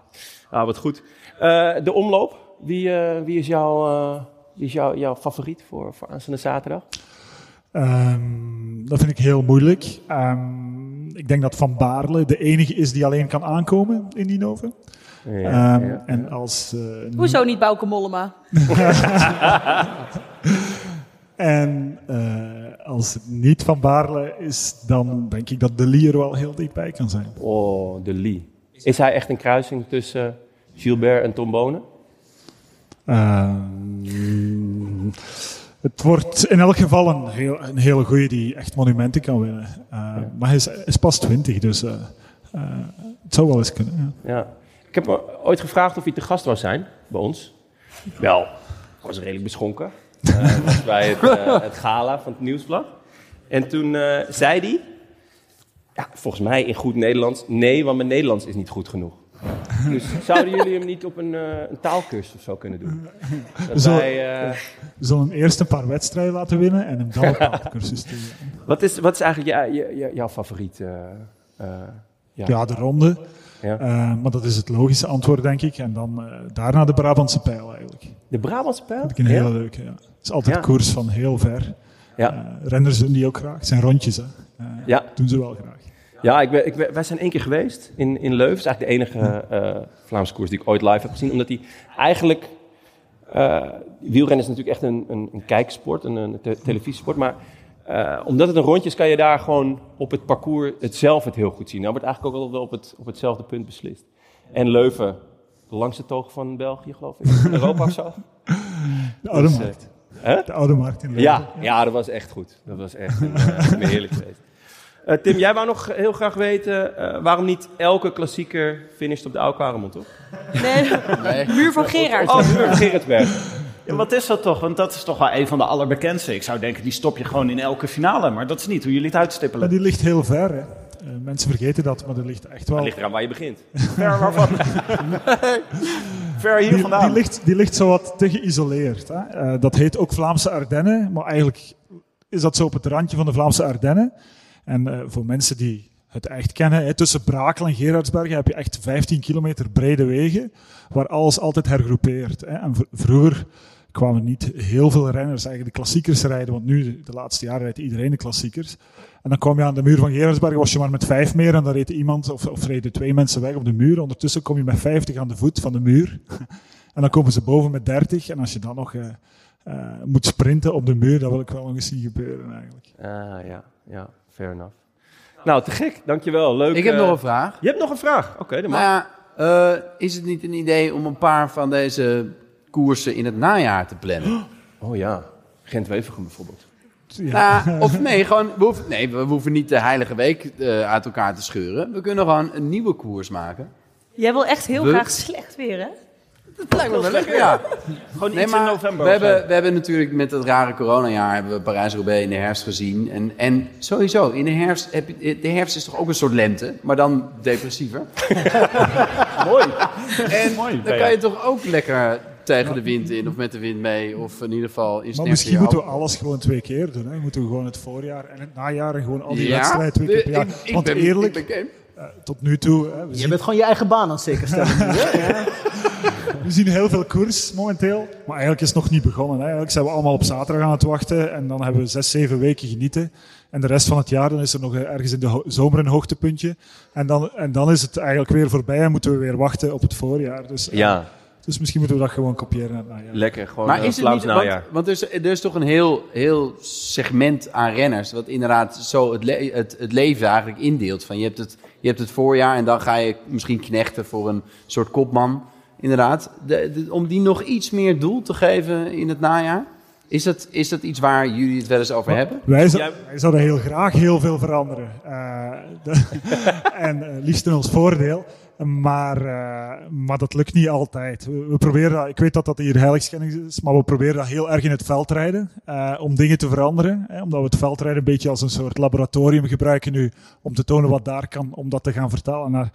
Speaker 8: ah, wat goed. Eh, de omloop, wie, eh, wie is, jouw, eh, wie is jouw, jouw favoriet voor, voor aanstaande zaterdag?
Speaker 10: Ehm, dat vind ik heel moeilijk. Ehm, ik denk dat Van Baarle de enige is die alleen kan aankomen in die noven.
Speaker 9: Ja,
Speaker 10: Ehm,
Speaker 9: ja,
Speaker 10: En als... eh,
Speaker 5: Hoezo niet Bouke Mollema?
Speaker 10: En eh, als het niet Van Baarle is, dan denk ik dat De Lier wel heel dichtbij kan zijn.
Speaker 8: Oh, de Lee. Is hij echt een kruising tussen Gilbert en Tom Bonen?
Speaker 10: Ehm, het wordt in elk geval een, heel, een hele goeie die echt monumenten kan winnen. Eh, Maar hij is, is pas 20, dus eh, eh, het zou wel eens kunnen. Ja.
Speaker 8: Ja. Ik heb me ooit gevraagd of hij te gast wou zijn bij ons. Wel, ik was redelijk beschonken. Eh, was bij het, eh, het gala van het nieuwsblad. En toen eh, zei hij, ja, volgens mij in goed Nederlands, nee, want mijn Nederlands is niet goed genoeg. Dus zouden jullie hem niet op een, eh een taalkursus of zo kunnen doen? Dat
Speaker 10: Zo-
Speaker 8: wij, eh,
Speaker 10: We zullen hem eerst een paar wedstrijden laten winnen en hem dan een taalkursus te
Speaker 8: wat, is, wat is eigenlijk jou- jou- jou- jouw favoriet? eh, eh,
Speaker 10: Ja, de ronde.
Speaker 8: Ja.
Speaker 10: Eh, maar dat is het logische antwoord, denk ik. En dan eh, daarna de Brabantse pijl eigenlijk.
Speaker 8: De Brabantse pijl?
Speaker 10: Vind ik een
Speaker 8: Ja?
Speaker 10: hele leuke, ja. Het is altijd
Speaker 8: Ja.
Speaker 10: koers van heel ver.
Speaker 8: Ja.
Speaker 10: Eh, renners doen die ook graag. Het zijn rondjes, hè. Eh,
Speaker 8: Ja.
Speaker 10: Doen ze wel graag.
Speaker 8: Ja, ik ben, ik ben- wij zijn één keer geweest in, in Leuven. Het is eigenlijk de enige eh Vlaamse koers die ik ooit live heb gezien. Omdat die eigenlijk... eh wielrennen is natuurlijk echt een, een, een kijksport, een, een te- televisiesport. Maar eh, omdat het een rondje is, kan je daar gewoon op het parcours het zelf het heel goed zien. Nou wordt eigenlijk ook altijd wel op, het, op hetzelfde punt beslist. En Leuven, de langste toog van België, geloof ik. In Europa of zo.
Speaker 10: De Oude
Speaker 8: Dus, eh,
Speaker 10: Markt.
Speaker 8: hè?
Speaker 10: De Oude Markt in Leuven.
Speaker 8: Ja, ja, dat was echt goed. Dat was echt een, eh, een heerlijk feest. Eh, Tim, jij wou nog heel graag weten eh, waarom niet elke klassieker finisht op de Oude Karemond, toch?
Speaker 5: Nee, Muur van Gerard.
Speaker 8: Oh, Muur van Gerardsberg.
Speaker 3: Ja, wat is dat toch? Want dat is toch wel een van de allerbekendste. Ik zou denken, die stop je gewoon in elke finale. Maar dat is niet hoe jullie het
Speaker 10: Maar
Speaker 3: uitstippelen.
Speaker 10: die ligt heel ver, hè. Eh, mensen vergeten dat, maar die ligt echt
Speaker 7: Oh.
Speaker 10: wel...
Speaker 8: Dat ligt eraan waar je begint.
Speaker 3: Ver waarvan? Ver hier
Speaker 10: Die,
Speaker 3: vandaan.
Speaker 10: die, ligt, die ligt zo wat te geïsoleerd. Hè? Eh, dat heet ook Vlaamse Ardennen, maar eigenlijk is dat zo op het randje van de Vlaamse Ardennen. En eh, voor mensen die het echt kennen, hè, tussen Brakel en Gerardsbergen heb je echt 15 kilometer brede wegen, waar alles altijd hergroepeert. Hè? En vr- vroeger kwamen niet heel veel renners eigenlijk de klassiekers rijden, want nu, de laatste jaren, rijdt iedereen de klassiekers. En dan kwam je aan de muur van Gerardsbergen, was je maar met vijf meer en dan reed iemand of, of reden twee mensen weg op de muur. Ondertussen kom je met 50 aan de voet van de muur. En dan komen ze boven met 30. En als je dan nog eh, eh, moet sprinten op de muur, dat wil ik wel nog eens zien gebeuren eigenlijk.
Speaker 8: Ah, ja, ja, fair enough. Nou, te gek. Dankjewel. Leuk.
Speaker 7: Ik heb
Speaker 8: eh,
Speaker 7: nog een vraag.
Speaker 8: Je hebt nog een vraag? Oké, dan mag.
Speaker 7: Nou ja, eh, is het niet een idee om een paar van deze koersen in het najaar te plannen?
Speaker 8: Oh ja, Gent-Wevergem bijvoorbeeld.
Speaker 7: Nou, of nee, gewoon, we hoeven, nee, we hoeven niet de heilige week eh, uit elkaar te scheuren. We kunnen gewoon een nieuwe koers maken.
Speaker 5: Jij wil echt heel
Speaker 7: We-
Speaker 5: graag slecht weer, hè?
Speaker 7: Dat lijkt me wel lekker, ja.
Speaker 3: Gewoon
Speaker 7: Nee,
Speaker 3: iets in
Speaker 7: maar
Speaker 3: november.
Speaker 7: we
Speaker 3: of zo.
Speaker 7: hebben, we hebben natuurlijk met dat rare coronajaar hebben we Parijs-Roubaix in de herfst gezien. En, en sowieso, in de herfst, heb je, de herfst is toch ook een soort lente, maar dan depressiever.
Speaker 3: Mooi.
Speaker 7: En
Speaker 3: Mooi.
Speaker 7: dan kan je toch ook lekker tegen de wind in of met de wind mee. Of in ieder geval in
Speaker 10: Maar misschien moeten we alles gewoon twee keer doen. Hè? Moeten we gewoon het voorjaar en het najaar en gewoon al die
Speaker 7: Ja,
Speaker 10: wedstrijden twee keer per
Speaker 7: ik-
Speaker 10: jaar.
Speaker 7: ik
Speaker 10: Want
Speaker 7: ben-
Speaker 10: eerlijk,
Speaker 7: ik ben game.
Speaker 10: eh, tot nu toe, hè, we,
Speaker 11: Je
Speaker 10: zien,
Speaker 11: bent gewoon je eigen baan aan het zeker stellen. nu, hè?
Speaker 10: we zien heel veel koers momenteel. Maar eigenlijk is het nog niet begonnen. Hè? Eigenlijk zijn we allemaal op zaterdag aan het wachten. En dan hebben we zes, zeven weken genieten. En de rest van het jaar, dan is er nog eh, ergens in de ho- zomer een hoogtepuntje. En dan, en dan is het eigenlijk weer voorbij en moeten we weer wachten op het voorjaar. Dus, eh,
Speaker 8: Ja,
Speaker 10: Dus misschien moeten we dat gewoon kopiëren naar het najaar.
Speaker 8: lekker. Gewoon
Speaker 7: Maar
Speaker 8: eh,
Speaker 7: is het
Speaker 8: Vlaams
Speaker 7: niet, want,
Speaker 8: najaar.
Speaker 7: want er, is, er is toch een heel, heel segment aan renners, wat inderdaad zo het, le- het, het leven eigenlijk indeelt. Van je, hebt het, je hebt het voorjaar en dan ga je misschien knechten voor een soort kopman. Inderdaad, De- de- om die nog iets meer doel te geven in het najaar. Is dat, is dat iets waar jullie het wel eens over hebben?
Speaker 10: Wij, zou- wij zouden heel graag heel veel veranderen. Eh, de- en eh, liefst in ons voordeel. Maar, eh, maar dat lukt niet altijd. We, we proberen dat, ik weet dat dat hier heiligschennis is, maar we proberen dat heel erg in het veld te rijden. eh, om dingen te veranderen. Hè, omdat we het veldrijden een beetje als een soort laboratorium gebruiken nu. Om te tonen wat daar kan, om dat te gaan vertalen naar,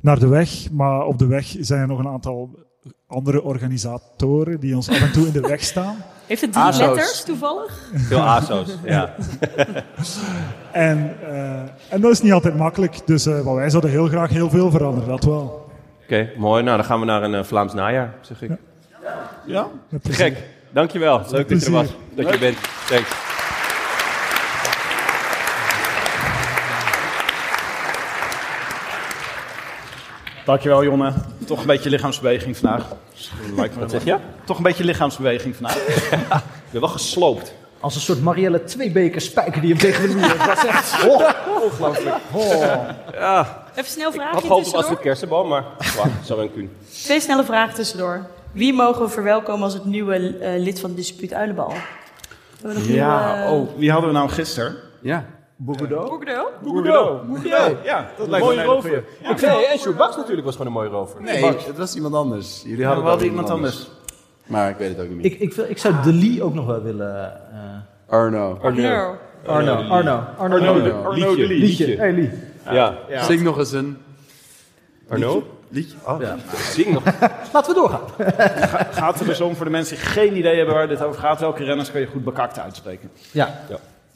Speaker 10: naar de weg. Maar op de weg zijn er nog een aantal andere organisatoren die ons af en toe in de weg staan.
Speaker 5: Heeft het drie
Speaker 10: ASO's.
Speaker 5: letters toevallig?
Speaker 8: Veel ASO's, ja.
Speaker 10: En, eh, en dat is niet altijd makkelijk. Dus eh, maar wij zouden heel graag heel veel veranderen, dat wel.
Speaker 8: Oké, mooi. Nou, dan gaan we naar een eh, Vlaams najaar, zeg ik.
Speaker 10: Ja? Met plezier.
Speaker 8: Gek. Dankjewel. Leuk dat je er was.
Speaker 10: plezier.
Speaker 8: Dat je bent. Thanks.
Speaker 3: Dankjewel, Jonne. Toch een beetje lichaamsbeweging vandaag. Lijkt me
Speaker 8: Wat
Speaker 3: wel.
Speaker 8: zeg je?
Speaker 3: Toch een beetje lichaamsbeweging vandaag.
Speaker 8: Ik ben wel gesloopt.
Speaker 11: Als een soort Marielle Tweebeker spijker die hem tegen de muur heeft. Dat is echt... Oh,
Speaker 8: Ongelooflijk.
Speaker 11: oh.
Speaker 8: Ja.
Speaker 5: Even snel
Speaker 8: Ik had
Speaker 5: vragen
Speaker 8: gehoopt op wat
Speaker 5: tussendoor.
Speaker 8: voor kersenboom, maar... Wacht, zou wel een kun.
Speaker 5: Twee snelle vragen tussendoor. Wie mogen we verwelkomen als het nieuwe eh, lid van de dispuut Uilenbal? We hebben nog
Speaker 3: Ja,
Speaker 5: nieuwe-
Speaker 3: oh, wie hadden we nou gisteren?
Speaker 7: Ja.
Speaker 3: Boegedo?
Speaker 5: Boegedo?
Speaker 3: Boegedo.
Speaker 8: Boegedo.
Speaker 3: Ja, dat
Speaker 8: Een
Speaker 3: lijkt me
Speaker 8: mooie
Speaker 3: een hele
Speaker 8: rover.
Speaker 3: goeie.
Speaker 8: Ik zei, en Sjoerd Baks natuurlijk was gewoon een mooie rover.
Speaker 7: Nee,
Speaker 8: Baks.
Speaker 7: het was iemand anders. Jullie
Speaker 3: Ja,
Speaker 7: hadden
Speaker 3: we
Speaker 7: wel
Speaker 3: hadden iemand
Speaker 7: Maar ik weet het ook niet meer.
Speaker 11: Ik, ik, wil- ik zou De Lee ook nog wel willen... eh,
Speaker 7: Arno.
Speaker 3: Oh,
Speaker 11: Arno. Arno. Arno. Arno. Arno.
Speaker 7: Arno de-
Speaker 11: Arno
Speaker 7: Liedje.
Speaker 11: de Lee.
Speaker 7: Liedje.
Speaker 11: Hey, Lee.
Speaker 8: Ja.
Speaker 7: Ja. Zing nog eens een...
Speaker 8: Arno?
Speaker 7: Liedje?
Speaker 8: Oh, Zing nog.
Speaker 11: Laten we doorgaan.
Speaker 3: Ga- Gaat er dus om voor de mensen die geen idee hebben waar dit over gaat. Welke renners kan je goed bekakt uitspreken?
Speaker 11: Ja.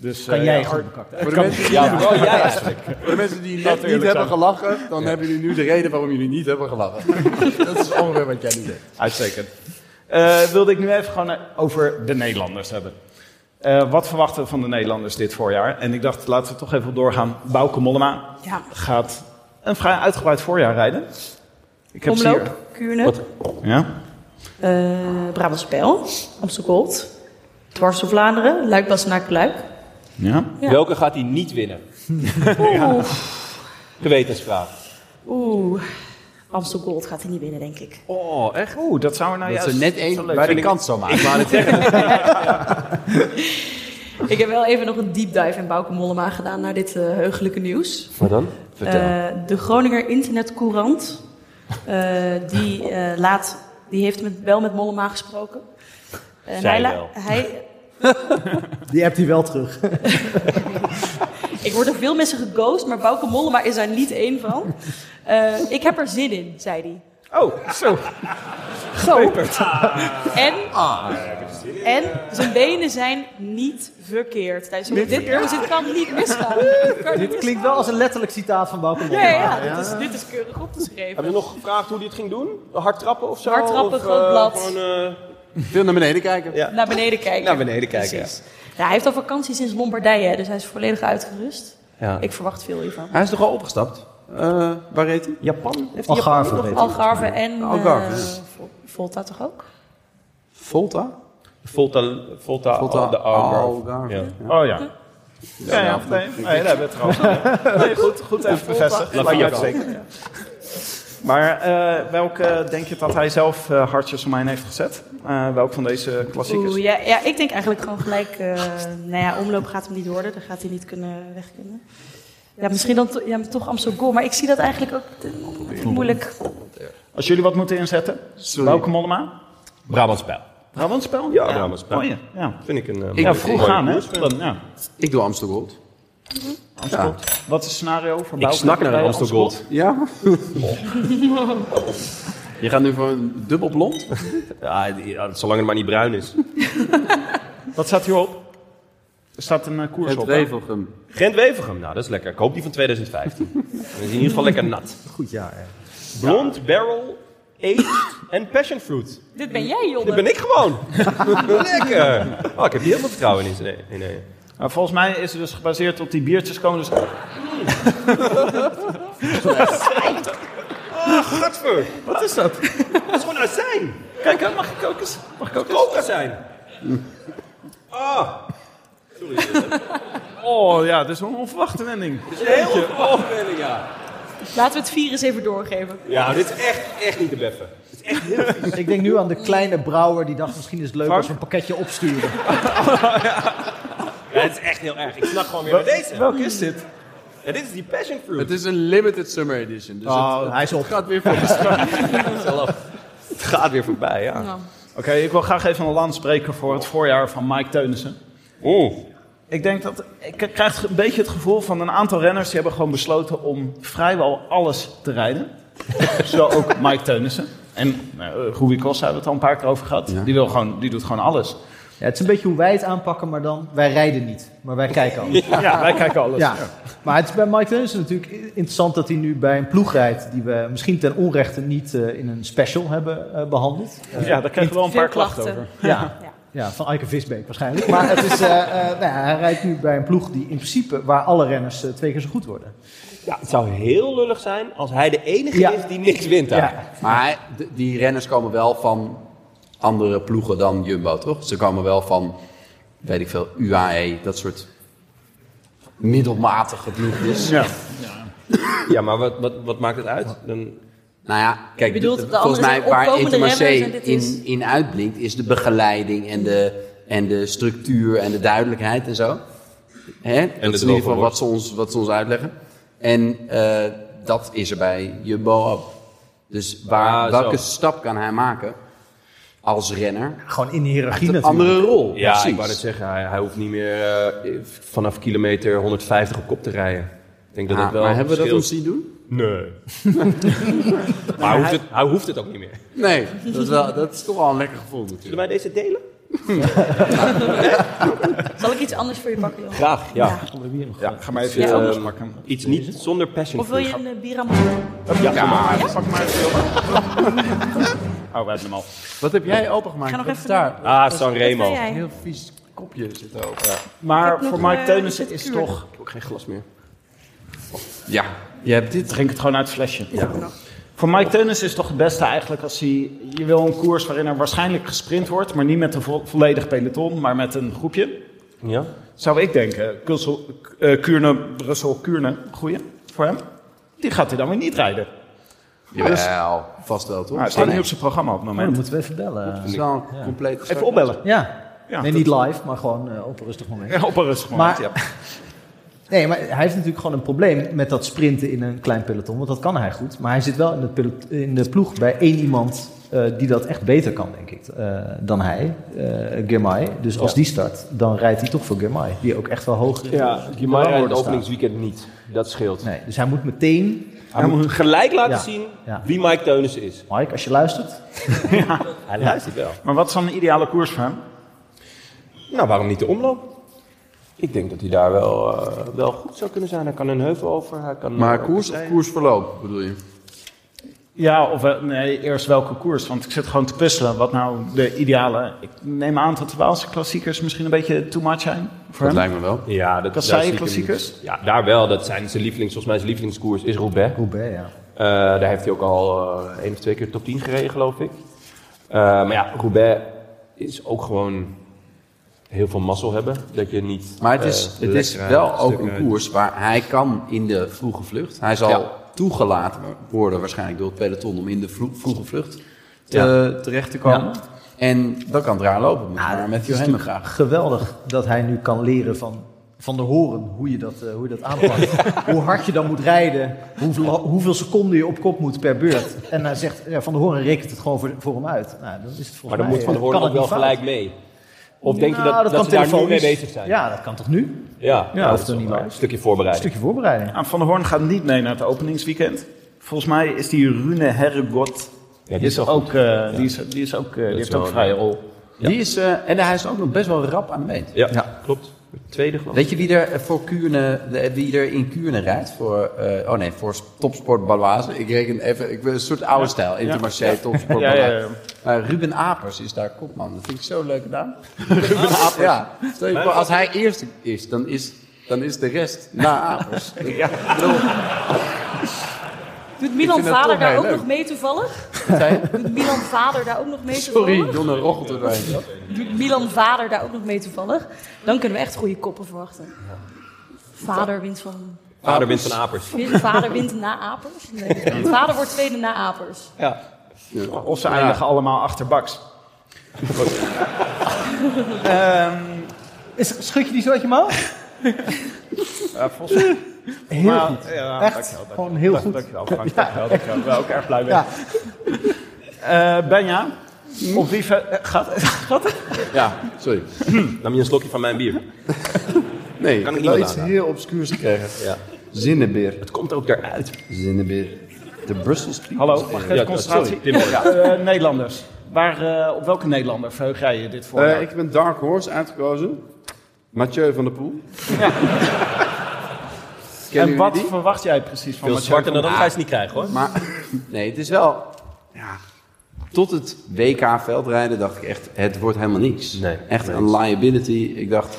Speaker 3: Dus,
Speaker 11: Kan
Speaker 3: eh,
Speaker 11: jij
Speaker 3: ja,
Speaker 11: goed
Speaker 3: Ar-
Speaker 11: bekakt
Speaker 3: Kan-
Speaker 7: Voor de, mensen die,
Speaker 3: Ja, vooral jij eigenlijk.
Speaker 7: voor de mensen die
Speaker 3: Laten
Speaker 7: net
Speaker 3: we
Speaker 7: niet
Speaker 3: eerlijk
Speaker 7: hebben
Speaker 3: zijn.
Speaker 7: gelachen, dan hebben jullie nu de reden waarom jullie niet hebben gelachen. dat is ongeveer wat jij nu deed.
Speaker 3: Uitstekend. Eh, wilde ik nu even gewoon eh, over de Nederlanders hebben. Eh, wat verwachten we van de Nederlanders dit voorjaar? En ik dacht, laten we toch even op doorgaan. Bouke Mollema
Speaker 5: Ja.
Speaker 3: gaat een vrij uitgebreid voorjaar rijden. Ik heb ze
Speaker 5: Omloop, Kuurne.
Speaker 3: hier. Ja?
Speaker 5: Eh Brabantspel, Amsterdam Gold, Dwars door Vlaanderen, Luikbas naar Kluik.
Speaker 3: Ja?
Speaker 5: Ja.
Speaker 8: Welke gaat hij niet winnen?
Speaker 5: Oeh,
Speaker 8: Gewetensvraag.
Speaker 5: oeh. Amstel Gold gaat hij niet winnen, denk ik.
Speaker 8: Oh, echt?
Speaker 3: Oeh, dat zou er nou
Speaker 7: Dat
Speaker 3: juist...
Speaker 7: ze net één bij de kant zou maken.
Speaker 8: Ik wou het zeggen.
Speaker 5: Ik heb wel even nog een deep dive in Bauke Mollema gedaan naar dit eh, heugelijke nieuws.
Speaker 8: Wat dan?
Speaker 5: Eh, de Groninger Internetcourant, eh, die, eh, laat, die heeft met, wel met Mollema gesproken. En
Speaker 8: Zij
Speaker 5: hij la-
Speaker 8: wel.
Speaker 5: Hij,
Speaker 11: Die hebt hij wel terug.
Speaker 5: ik word er veel mensen geghost, maar Bauke Mollema is daar niet één van. Eh, ik heb er zin in, zei hij.
Speaker 3: Oh, zo.
Speaker 5: Zo. Ah. En, en zijn benen zijn niet verkeerd. Hij is op dit jongens, het kan niet misgaan. Het kan niet
Speaker 11: Dit klinkt wel als een letterlijk citaat van Bauke
Speaker 5: misgaan.
Speaker 11: Mollema.
Speaker 5: Ja, ja, dit is, dit is keurig opgeschreven.
Speaker 8: Hebben we nog gevraagd hoe hij het ging doen? Hard trappen of zo?
Speaker 5: Hard trappen,
Speaker 8: Of, eh,
Speaker 5: groot blad.
Speaker 8: Gewoon, eh,
Speaker 7: Veel naar beneden kijken.
Speaker 8: ja.
Speaker 5: Naar beneden kijken.
Speaker 8: Naar beneden kijken,
Speaker 5: Precies. Ja, hij heeft al vakantie sinds Lombardije, hè, dus hij is volledig uitgerust.
Speaker 8: Ja.
Speaker 5: Ik verwacht veel hiervan.
Speaker 7: Hij is toch al opgestapt? Eh, waar reed hij? Japan? Heeft hij
Speaker 11: Algarve
Speaker 7: Japan
Speaker 11: reed
Speaker 7: nog?
Speaker 5: Algarve en eh,
Speaker 7: Algarve, ja.
Speaker 5: Vol- Volta toch ook?
Speaker 7: Volta? Oh,
Speaker 8: Volta, Volta,
Speaker 7: Volta.
Speaker 8: de Algarve.
Speaker 7: Algarve.
Speaker 8: Ja.
Speaker 3: Oh ja. Ja, ja, nee, nee, daar hebben we het trouwens. over. Nee, goed, goed even bevestigd.
Speaker 8: La
Speaker 3: Lijkt me
Speaker 8: Via wel.
Speaker 3: uitstekend, ja. Maar eh, welke denk je dat hij zelf eh, hartjes omheen heeft gezet? Eh, welk van deze klassiekers?
Speaker 5: Oeh, ja, ja, ik denk eigenlijk gewoon gelijk. eh, nou ja, omloop gaat hem niet worden. Dan gaat hij niet kunnen weg kunnen. Ja, misschien dan to- ja, maar toch Amsterdam Goal. Maar ik zie dat eigenlijk ook te- moeilijk.
Speaker 3: Als jullie wat moeten inzetten, welke Mollema?
Speaker 8: Brabantspel.
Speaker 3: Brabantspel?
Speaker 8: Ja, Brabantspel.
Speaker 3: Mooi, ja.
Speaker 8: Vind ik een... eh,
Speaker 3: Ja,
Speaker 8: mooie-
Speaker 3: vroeg
Speaker 8: mooie
Speaker 3: gaan, hè?
Speaker 8: koers.
Speaker 3: Dan, ja.
Speaker 7: Ik doe Amstel Gold.
Speaker 3: Amsterdam. Wat is het scenario voor
Speaker 8: Ik
Speaker 3: Bouke
Speaker 8: snak naar
Speaker 3: bij
Speaker 8: een Amstel Gold.
Speaker 7: Ja? Je gaat nu voor een dubbel blond?
Speaker 8: Ja, die- ja, zolang het maar niet bruin is.
Speaker 3: Wat staat hierop? Er staat een eh, koers
Speaker 7: Het
Speaker 3: op. hè?
Speaker 7: Wevelgem.
Speaker 8: Gent Wevergem, nou dat is lekker. Ik hoop die van 2015. Dan is hij in ieder geval lekker nat.
Speaker 11: Goed jaar, hè.
Speaker 8: Blond, barrel, aged en passion fruit.
Speaker 5: Dit ben jij, Jonne.
Speaker 8: Dat ben ik gewoon. lekker. Oh, ik heb hier heel veel vertrouwen in. Nee, nee, nee.
Speaker 3: Nou, volgens mij is het dus gebaseerd op die biertjes komen.
Speaker 8: Ah,
Speaker 3: Dus
Speaker 8: Gadver,
Speaker 3: wat is dat?
Speaker 8: dat is gewoon azijn.
Speaker 3: Kijk, hè, mag ik ook eens? Mag ik ook eens? Hm.
Speaker 8: Kookazijn. Ah,
Speaker 3: Oh ja, dit is wel een onverwachte wending.
Speaker 8: dat is een heel onverwachte melding, ja.
Speaker 5: Laten we het virus even doorgeven.
Speaker 8: Ja, dit is echt, echt niet te beffen.
Speaker 2: Ik denk nu aan de kleine brouwer die dacht misschien is het leuk als we een pakketje opsturen.
Speaker 8: Ja, dit is echt heel erg. Ik snap gewoon weer naar deze.
Speaker 7: welke is dit?
Speaker 8: Ja, dit is die passion fruit.
Speaker 7: Het is een limited summer edition. Dus
Speaker 8: Oh,
Speaker 7: het,
Speaker 8: hij is op.
Speaker 7: Het gaat weer voor de straat.
Speaker 8: Het is al af. Het gaat weer voorbij, ja.
Speaker 5: Nou.
Speaker 3: Oké, ik wil graag even een land spreken voor het voorjaar van Mike Teunissen.
Speaker 8: Oeh.
Speaker 3: Ik denk dat. Ik krijg een beetje het gevoel van een aantal renners die hebben gewoon besloten om vrijwel alles te rijden. Zo ook Mike Teunissen. En nou, eh, Rui Costa hebben we het al een paar keer over gehad. Die, wil gewoon, die doet gewoon alles.
Speaker 2: Ja, het is een beetje hoe wij het aanpakken, maar dan wij rijden niet, maar wij kijken alles.
Speaker 3: Ja, wij kijken alles,
Speaker 2: Ja.
Speaker 3: ja.
Speaker 2: Maar het is bij Mike Teunissen natuurlijk i- interessant dat hij nu bij een ploeg rijdt die we misschien ten onrechte niet eh, in een special hebben eh, behandeld. Eh,
Speaker 3: Ja, daar krijgen we wel een
Speaker 2: niet-
Speaker 3: paar Veel klachten klachten. over.
Speaker 2: Ja.
Speaker 3: Ja.
Speaker 2: Ja. van Eike Visbeek waarschijnlijk. Maar het is, eh, eh, nou ja, hij rijdt nu bij een ploeg die in principe waar alle renners eh, twee keer zo goed worden.
Speaker 8: Ja, het zou heel lullig zijn als hij de enige is die niks wint daar.
Speaker 7: Ja. Maar d- die renners komen wel van andere ploegen dan Jumbo, toch? Ze komen wel van, weet ik veel, UAE, dat soort middelmatige ploegjes.
Speaker 8: Ja. Ja, maar wat, wat, wat maakt het uit? Dan...
Speaker 7: Nou ja, kijk,
Speaker 5: Je bedoelt,
Speaker 7: d-
Speaker 5: de
Speaker 7: volgens
Speaker 5: anderen
Speaker 7: mij
Speaker 5: zijn
Speaker 7: waar
Speaker 5: opkomende
Speaker 7: Intermarché
Speaker 5: renners en dit is-
Speaker 7: in, in uitblinkt, is de begeleiding en de, en de structuur en de duidelijkheid en zo. Hè? dat is in
Speaker 8: droge
Speaker 7: ieder geval
Speaker 8: worst.
Speaker 7: wat ze, ons, wat ze ons uitleggen. En eh, dat is er bij Jumbo ook. Dus waar,
Speaker 8: Ah,
Speaker 7: welke
Speaker 8: zo.
Speaker 7: stap kan hij maken als renner?
Speaker 2: Gewoon in de hiërarchie
Speaker 7: Een
Speaker 2: natuurlijk.
Speaker 7: andere rol,
Speaker 8: Ja,
Speaker 7: precies.
Speaker 8: ik wou net zeggen, hij, hij hoeft niet meer eh, vanaf kilometer 150 op kop te rijden. Ik denk dat
Speaker 7: Ah,
Speaker 8: dat wel
Speaker 7: maar hebben we dat
Speaker 8: scheelt.
Speaker 7: ons zien doen?
Speaker 8: Nee. maar hij hoeft, het, hij hoeft het ook niet meer.
Speaker 7: Nee, dat is, wel, dat is toch wel een lekker gevoel natuurlijk.
Speaker 8: Zullen wij deze delen?
Speaker 5: Zal ik iets anders voor je pakken, joh?
Speaker 8: Graag, ja. Ja,
Speaker 3: ga maar even
Speaker 8: Ja.
Speaker 3: iets anders
Speaker 8: Ehm,
Speaker 3: pakken.
Speaker 8: Iets niet zonder passion
Speaker 5: Of wil je
Speaker 8: fruit.
Speaker 5: een eh, bieramon?
Speaker 3: Ja,
Speaker 8: Ja,
Speaker 3: maar,
Speaker 5: ja.
Speaker 3: pak maar even. Oh, we hebben hem al.
Speaker 7: Wat heb jij opengemaakt?
Speaker 5: Ga nog
Speaker 7: Wat
Speaker 5: even
Speaker 7: is daar?
Speaker 8: Ah, Sanremo.
Speaker 5: Wat ben jij?
Speaker 7: Heel vies kopje zit er ook.
Speaker 5: Ik heb
Speaker 3: Maar
Speaker 5: nog
Speaker 3: voor
Speaker 5: een,
Speaker 3: Mike
Speaker 5: eh,
Speaker 3: Teunissen is
Speaker 5: receptuur.
Speaker 3: toch.
Speaker 8: Ik heb ook geen glas meer.
Speaker 7: Ja, je hebt dit.
Speaker 3: Drink het gewoon uit het flesje. Voor Mike Teunis is het toch het beste eigenlijk als hij... Je wil een koers waarin er waarschijnlijk gesprint wordt, maar niet met een vo- volledig peloton, maar met een groepje.
Speaker 8: Ja?
Speaker 3: Zou ik denken, Kussel, eh, Kuurne, Brussel, Kuurne, goeie voor hem. Die gaat hij dan weer niet rijden.
Speaker 7: Jawel, Dus- vast wel toch?
Speaker 3: Maar het staat
Speaker 7: Nee,
Speaker 3: niet op zijn programma op het
Speaker 2: Oh, dan
Speaker 3: moment.
Speaker 2: moeten we even bellen.
Speaker 7: Het is wel een compleet
Speaker 3: Even opbellen.
Speaker 2: Ja,
Speaker 3: Ja,
Speaker 2: nee,
Speaker 3: dat-
Speaker 2: niet live, maar gewoon eh, op een rustig moment.
Speaker 3: Ja, op een rustig moment,
Speaker 2: Maar-
Speaker 3: ja.
Speaker 2: Nee, maar hij heeft natuurlijk gewoon een probleem met dat sprinten in een klein peloton. Want dat kan hij goed. Maar hij zit wel in de, pelot- in de ploeg bij één iemand eh, die dat echt beter kan, denk ik, eh, dan hij. eh Girmay. Dus als die start, dan rijdt hij toch voor Girmay. Die ook echt wel hoog in de
Speaker 8: Ja, je
Speaker 2: rangorde
Speaker 8: rijdt het
Speaker 2: staat.
Speaker 8: openingsweekend niet. Dat scheelt.
Speaker 2: Nee, dus hij moet meteen...
Speaker 8: Hij moet gelijk laten
Speaker 2: Ja,
Speaker 8: zien
Speaker 2: ja.
Speaker 8: wie Mike Teunis is.
Speaker 2: Mike, als je luistert...
Speaker 8: Hij luistert wel.
Speaker 3: Maar wat is dan een ideale koers voor hem?
Speaker 8: Nou, waarom niet de omloop? Ik denk dat hij daar wel, eh, wel goed zou kunnen zijn. Hij kan een heuvel over. Hij kan,
Speaker 7: Maar
Speaker 8: eh,
Speaker 7: koers of
Speaker 8: partijen.
Speaker 7: koersverloop bedoel je?
Speaker 3: Ja, of wel- nee, eerst welke koers? Want ik zit gewoon te puzzelen wat nou de ideale... Ik neem aan dat de Waalse klassiekers misschien een beetje too much zijn voor
Speaker 7: Dat
Speaker 3: hem.
Speaker 7: lijkt me wel.
Speaker 8: Ja, dat,
Speaker 3: Kassei
Speaker 8: daar zie ik hem-
Speaker 3: klassiekers?
Speaker 8: Ja, daar wel. Dat zijn zijn lievelings, volgens mij zijn lievelingskoers is Roubaix.
Speaker 2: Roubaix, ja.
Speaker 8: Eh, daar heeft hij ook al eh, één of twee keer top 10 gereden, geloof ik. Eh, maar ja, Roubaix is ook gewoon heel veel mazzel hebben. Dat je niet...
Speaker 7: Maar het is,
Speaker 8: eh,
Speaker 7: het is
Speaker 8: lekker
Speaker 7: wel ook
Speaker 8: stukken-
Speaker 7: een koers waar hij kan in de vroege vlucht. Hij zal
Speaker 8: Ja.
Speaker 7: toegelaten worden waarschijnlijk door het peloton om in de vro- vroege vlucht te,
Speaker 8: Ja.
Speaker 7: terecht te komen. En dan kan het raar lopen, maar
Speaker 2: Het
Speaker 7: met
Speaker 2: is
Speaker 7: Johan
Speaker 2: natuurlijk
Speaker 7: graag.
Speaker 2: geweldig dat hij nu kan leren van, van de horen hoe je dat, eh, hoe je dat aanpakt. hoe hard je dan moet rijden, hoeveel, hoeveel seconden je op kop moet per beurt. En hij zegt, ja, van de horen rekent het gewoon voor, voor hem uit. Nou, dan is het volgens
Speaker 8: Maar dan
Speaker 2: mij,
Speaker 8: moet Van
Speaker 2: eh,
Speaker 8: de Hoorn
Speaker 2: kan
Speaker 8: ook
Speaker 2: het
Speaker 8: wel
Speaker 2: niet
Speaker 8: gelijk
Speaker 2: fout.
Speaker 8: mee. Of denk je
Speaker 2: Nou,
Speaker 8: dat, dat,
Speaker 2: kan
Speaker 8: ze daar nu mee
Speaker 2: telefonisch.
Speaker 8: bezig zijn?
Speaker 2: Ja, dat kan toch nu?
Speaker 8: ja,
Speaker 2: Ja,
Speaker 8: dat
Speaker 2: of
Speaker 8: is
Speaker 2: dan
Speaker 8: wel
Speaker 2: niet
Speaker 8: waar.
Speaker 2: waar.
Speaker 8: Een stukje
Speaker 2: Een
Speaker 8: voorbereiding.
Speaker 2: stukje voorbereiding.
Speaker 3: Ah, Van der Hoorn gaat niet mee naar het openingsweekend. Volgens mij is die Rune Herregot.
Speaker 8: die
Speaker 3: die,
Speaker 8: is
Speaker 3: is
Speaker 8: wel
Speaker 3: ook, eh, die, is, die, is ook, eh, die heeft
Speaker 8: wel
Speaker 3: ook
Speaker 8: een-
Speaker 3: vrije rol.
Speaker 7: Die is, eh, en hij is ook nog best wel rap aan de meet.
Speaker 8: Ja, klopt. Tweede geloof ik.
Speaker 7: Weet je wie er, eh, voor Kuurne, de- wie er in Kuurne rijdt? Voor, eh, oh nee, voor Topsport Baloise. Ik reken even, ik wil een soort oude stijl. Intermarché, Topsport
Speaker 3: Ja, ja, ja.
Speaker 7: Baloise. Maar Ruben Apers is daar kopman. Dat vind ik zo'n leuke naam. Ruben Apers. Ja. Stel je voor, als hij eerste is, dan is, dan is de rest na Apers. ja.
Speaker 5: Doet Milan
Speaker 7: vind dat
Speaker 5: Vader
Speaker 7: toch
Speaker 5: daar
Speaker 7: heel
Speaker 5: ook
Speaker 7: leuk.
Speaker 5: nog mee toevallig?
Speaker 7: Zei-
Speaker 5: Doet Milan Vader daar ook nog mee
Speaker 7: Sorry,
Speaker 5: toevallig?
Speaker 7: Donner rochelt er doorheen.
Speaker 5: Doet Milan Vader daar ook nog mee toevallig? Dan kunnen we echt goede koppen verwachten. Vader wint van
Speaker 8: Vader wint van apers.
Speaker 5: Vader wint na Apers? Nee. Vader wordt tweede na Apers.
Speaker 3: Ja. Of ze eindigen allemaal achter Baks.
Speaker 11: Ehm, is, schud je die zo uit je mouw?
Speaker 3: Ja, volgens mij.
Speaker 11: Heel
Speaker 3: Maar,
Speaker 11: goed.
Speaker 3: ja,
Speaker 11: Echt,
Speaker 3: dankjewel, dankjewel.
Speaker 11: gewoon heel
Speaker 3: Dank-
Speaker 11: goed.
Speaker 3: Dankjewel, Frank. Dankjewel, dankjewel. Ik ben ook erg blij mee.
Speaker 11: Ja.
Speaker 3: Eh, Benja, op wie ver- eh, gaat, gaat het?
Speaker 8: Ja, sorry. Nam je een slokje van mijn bier?
Speaker 7: Nee,
Speaker 8: Kan
Speaker 7: kan
Speaker 8: ik
Speaker 7: ik
Speaker 8: niemand
Speaker 7: wel iets
Speaker 8: aanraden.
Speaker 7: heel obscuurs gekregen.
Speaker 8: Ja.
Speaker 7: Zinnebeer.
Speaker 8: Het komt ook daaruit.
Speaker 7: Zinnebeer. De Brussels People's
Speaker 3: Hallo, mag ik
Speaker 7: Beer.
Speaker 3: even concentratie?
Speaker 7: sorry, Tim.
Speaker 3: Ja, eh, Nederlanders. Waar, eh, op welke Nederlander verheug jij je dit voor?
Speaker 7: Eh, ik heb een Dark Horse uitgekozen. Mathieu van der Poel. Kennen
Speaker 3: en wat
Speaker 7: jullie die?
Speaker 3: verwacht jij precies van
Speaker 8: Veel
Speaker 3: Mathieu Ah,
Speaker 8: zwarter
Speaker 3: van
Speaker 8: dan dat
Speaker 3: Baal?
Speaker 8: ga je ze niet krijgen hoor.
Speaker 7: Maar nee, het is wel... Ja, tot het WK veldrijden dacht ik echt, het wordt helemaal niks.
Speaker 8: Nee,
Speaker 7: echt
Speaker 8: nee.
Speaker 7: een liability. Ik dacht,